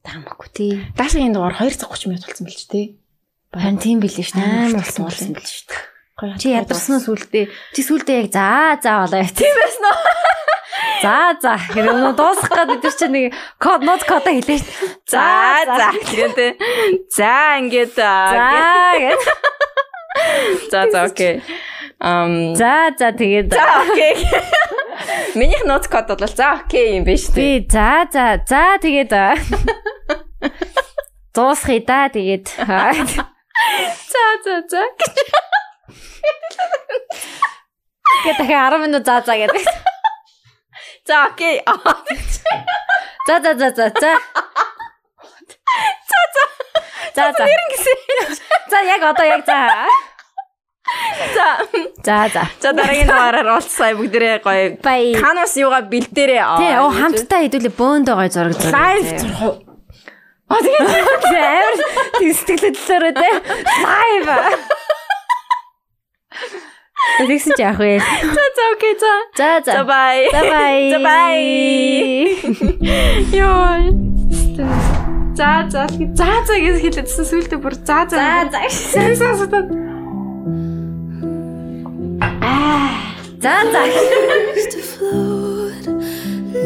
[SPEAKER 3] Таамаггүй тий.
[SPEAKER 2] Даашгийн дугаар 2 цаг 30 минут болсон билч тий.
[SPEAKER 3] Баян тийм билээ ш. Амар
[SPEAKER 2] Амар болсон
[SPEAKER 3] болсон билээ ш.
[SPEAKER 2] Гоё.
[SPEAKER 3] Чи ядарсан уу сүулдэ? Чи сүулдэ яг за за болоо яа. Тийм байсан уу? За за. Хэрвээ дуусах гээд бид нар чи нэг код нот код хэлээ ш.
[SPEAKER 2] За за гэдэг тий. За ингээд аа,
[SPEAKER 3] За гэж.
[SPEAKER 2] гэ- за за окей. Ам
[SPEAKER 3] За за тэгээд
[SPEAKER 2] за окей. Минийх ноц код бол за окей юм биш тий.
[SPEAKER 3] би за за за тэгээд аа. дуусхий да тэгээд. Аа.
[SPEAKER 2] За за за.
[SPEAKER 3] Тэгээд дахиад 10 минут заа заа гэдэг.
[SPEAKER 2] За окей.
[SPEAKER 3] За за за за за. За за. За за. За яг одоо яг за.
[SPEAKER 2] За.
[SPEAKER 3] За за.
[SPEAKER 2] За дараагийн дугаараар уулзсаа бүгдээрээ гоё.
[SPEAKER 3] Бай.
[SPEAKER 2] Канус юугаа бэлдээрээ. аа.
[SPEAKER 3] Тэ оо хамтдаа хэдүүлээ бөөндөө гой зураг зураг.
[SPEAKER 2] Live зурх. А тэгээд
[SPEAKER 3] амар тийм сэтгэлд төлөөрөө тэ. Live. Тэгсэн чи яах вэ?
[SPEAKER 2] за за окей за.
[SPEAKER 3] За за.
[SPEAKER 2] За бай.
[SPEAKER 3] За бай.
[SPEAKER 2] За бай. Йоо. За за за за гэж хэлээдсэн сүйдээ бүр за за.
[SPEAKER 3] За за.
[SPEAKER 2] За за за.
[SPEAKER 3] За за.
[SPEAKER 9] used to float.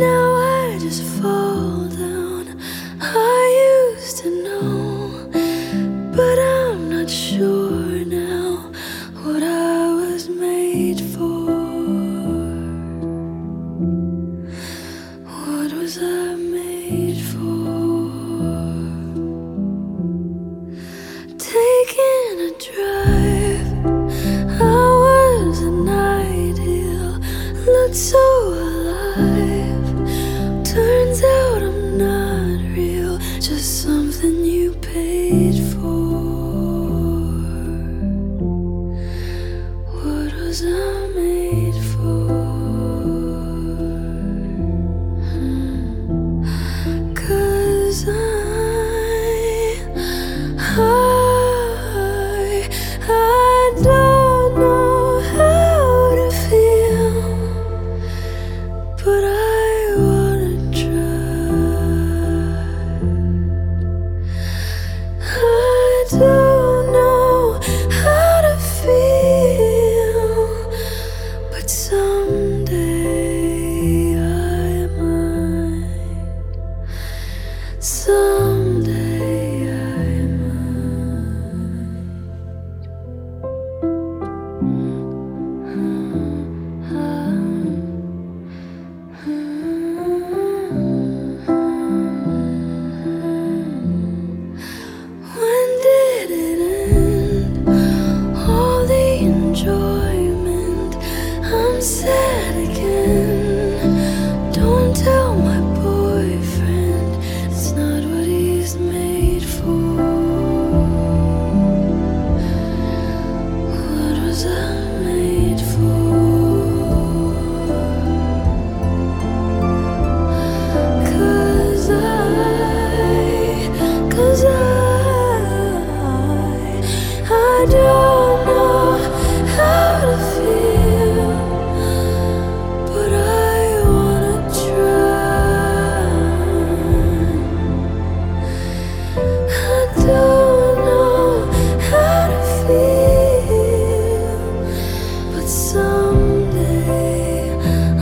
[SPEAKER 9] Now I just fall down. I used to know, but I'm not sure now what I was made for. What was I made for?
[SPEAKER 10] drive hours and night hill looked so alive turns out i'm not real just something you paid for what was i made for Cause I, I, I don't know how to feel, but I wanna try. I don't know how to feel, but someday I might. Someday I When did it end? All the enjoyment. I'm sad again. Don't tell my boyfriend. It's not what he's made for. What was I made for? Cause I, cause I, I don't know how to feel, but I wanna try. I don't know how to feel, but someday I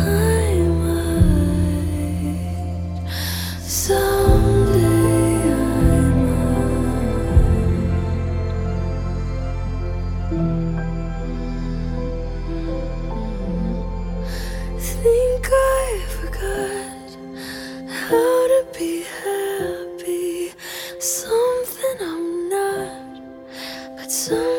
[SPEAKER 10] might. Someday I might. Think I forgot how to be happy. Something I'm not, but some.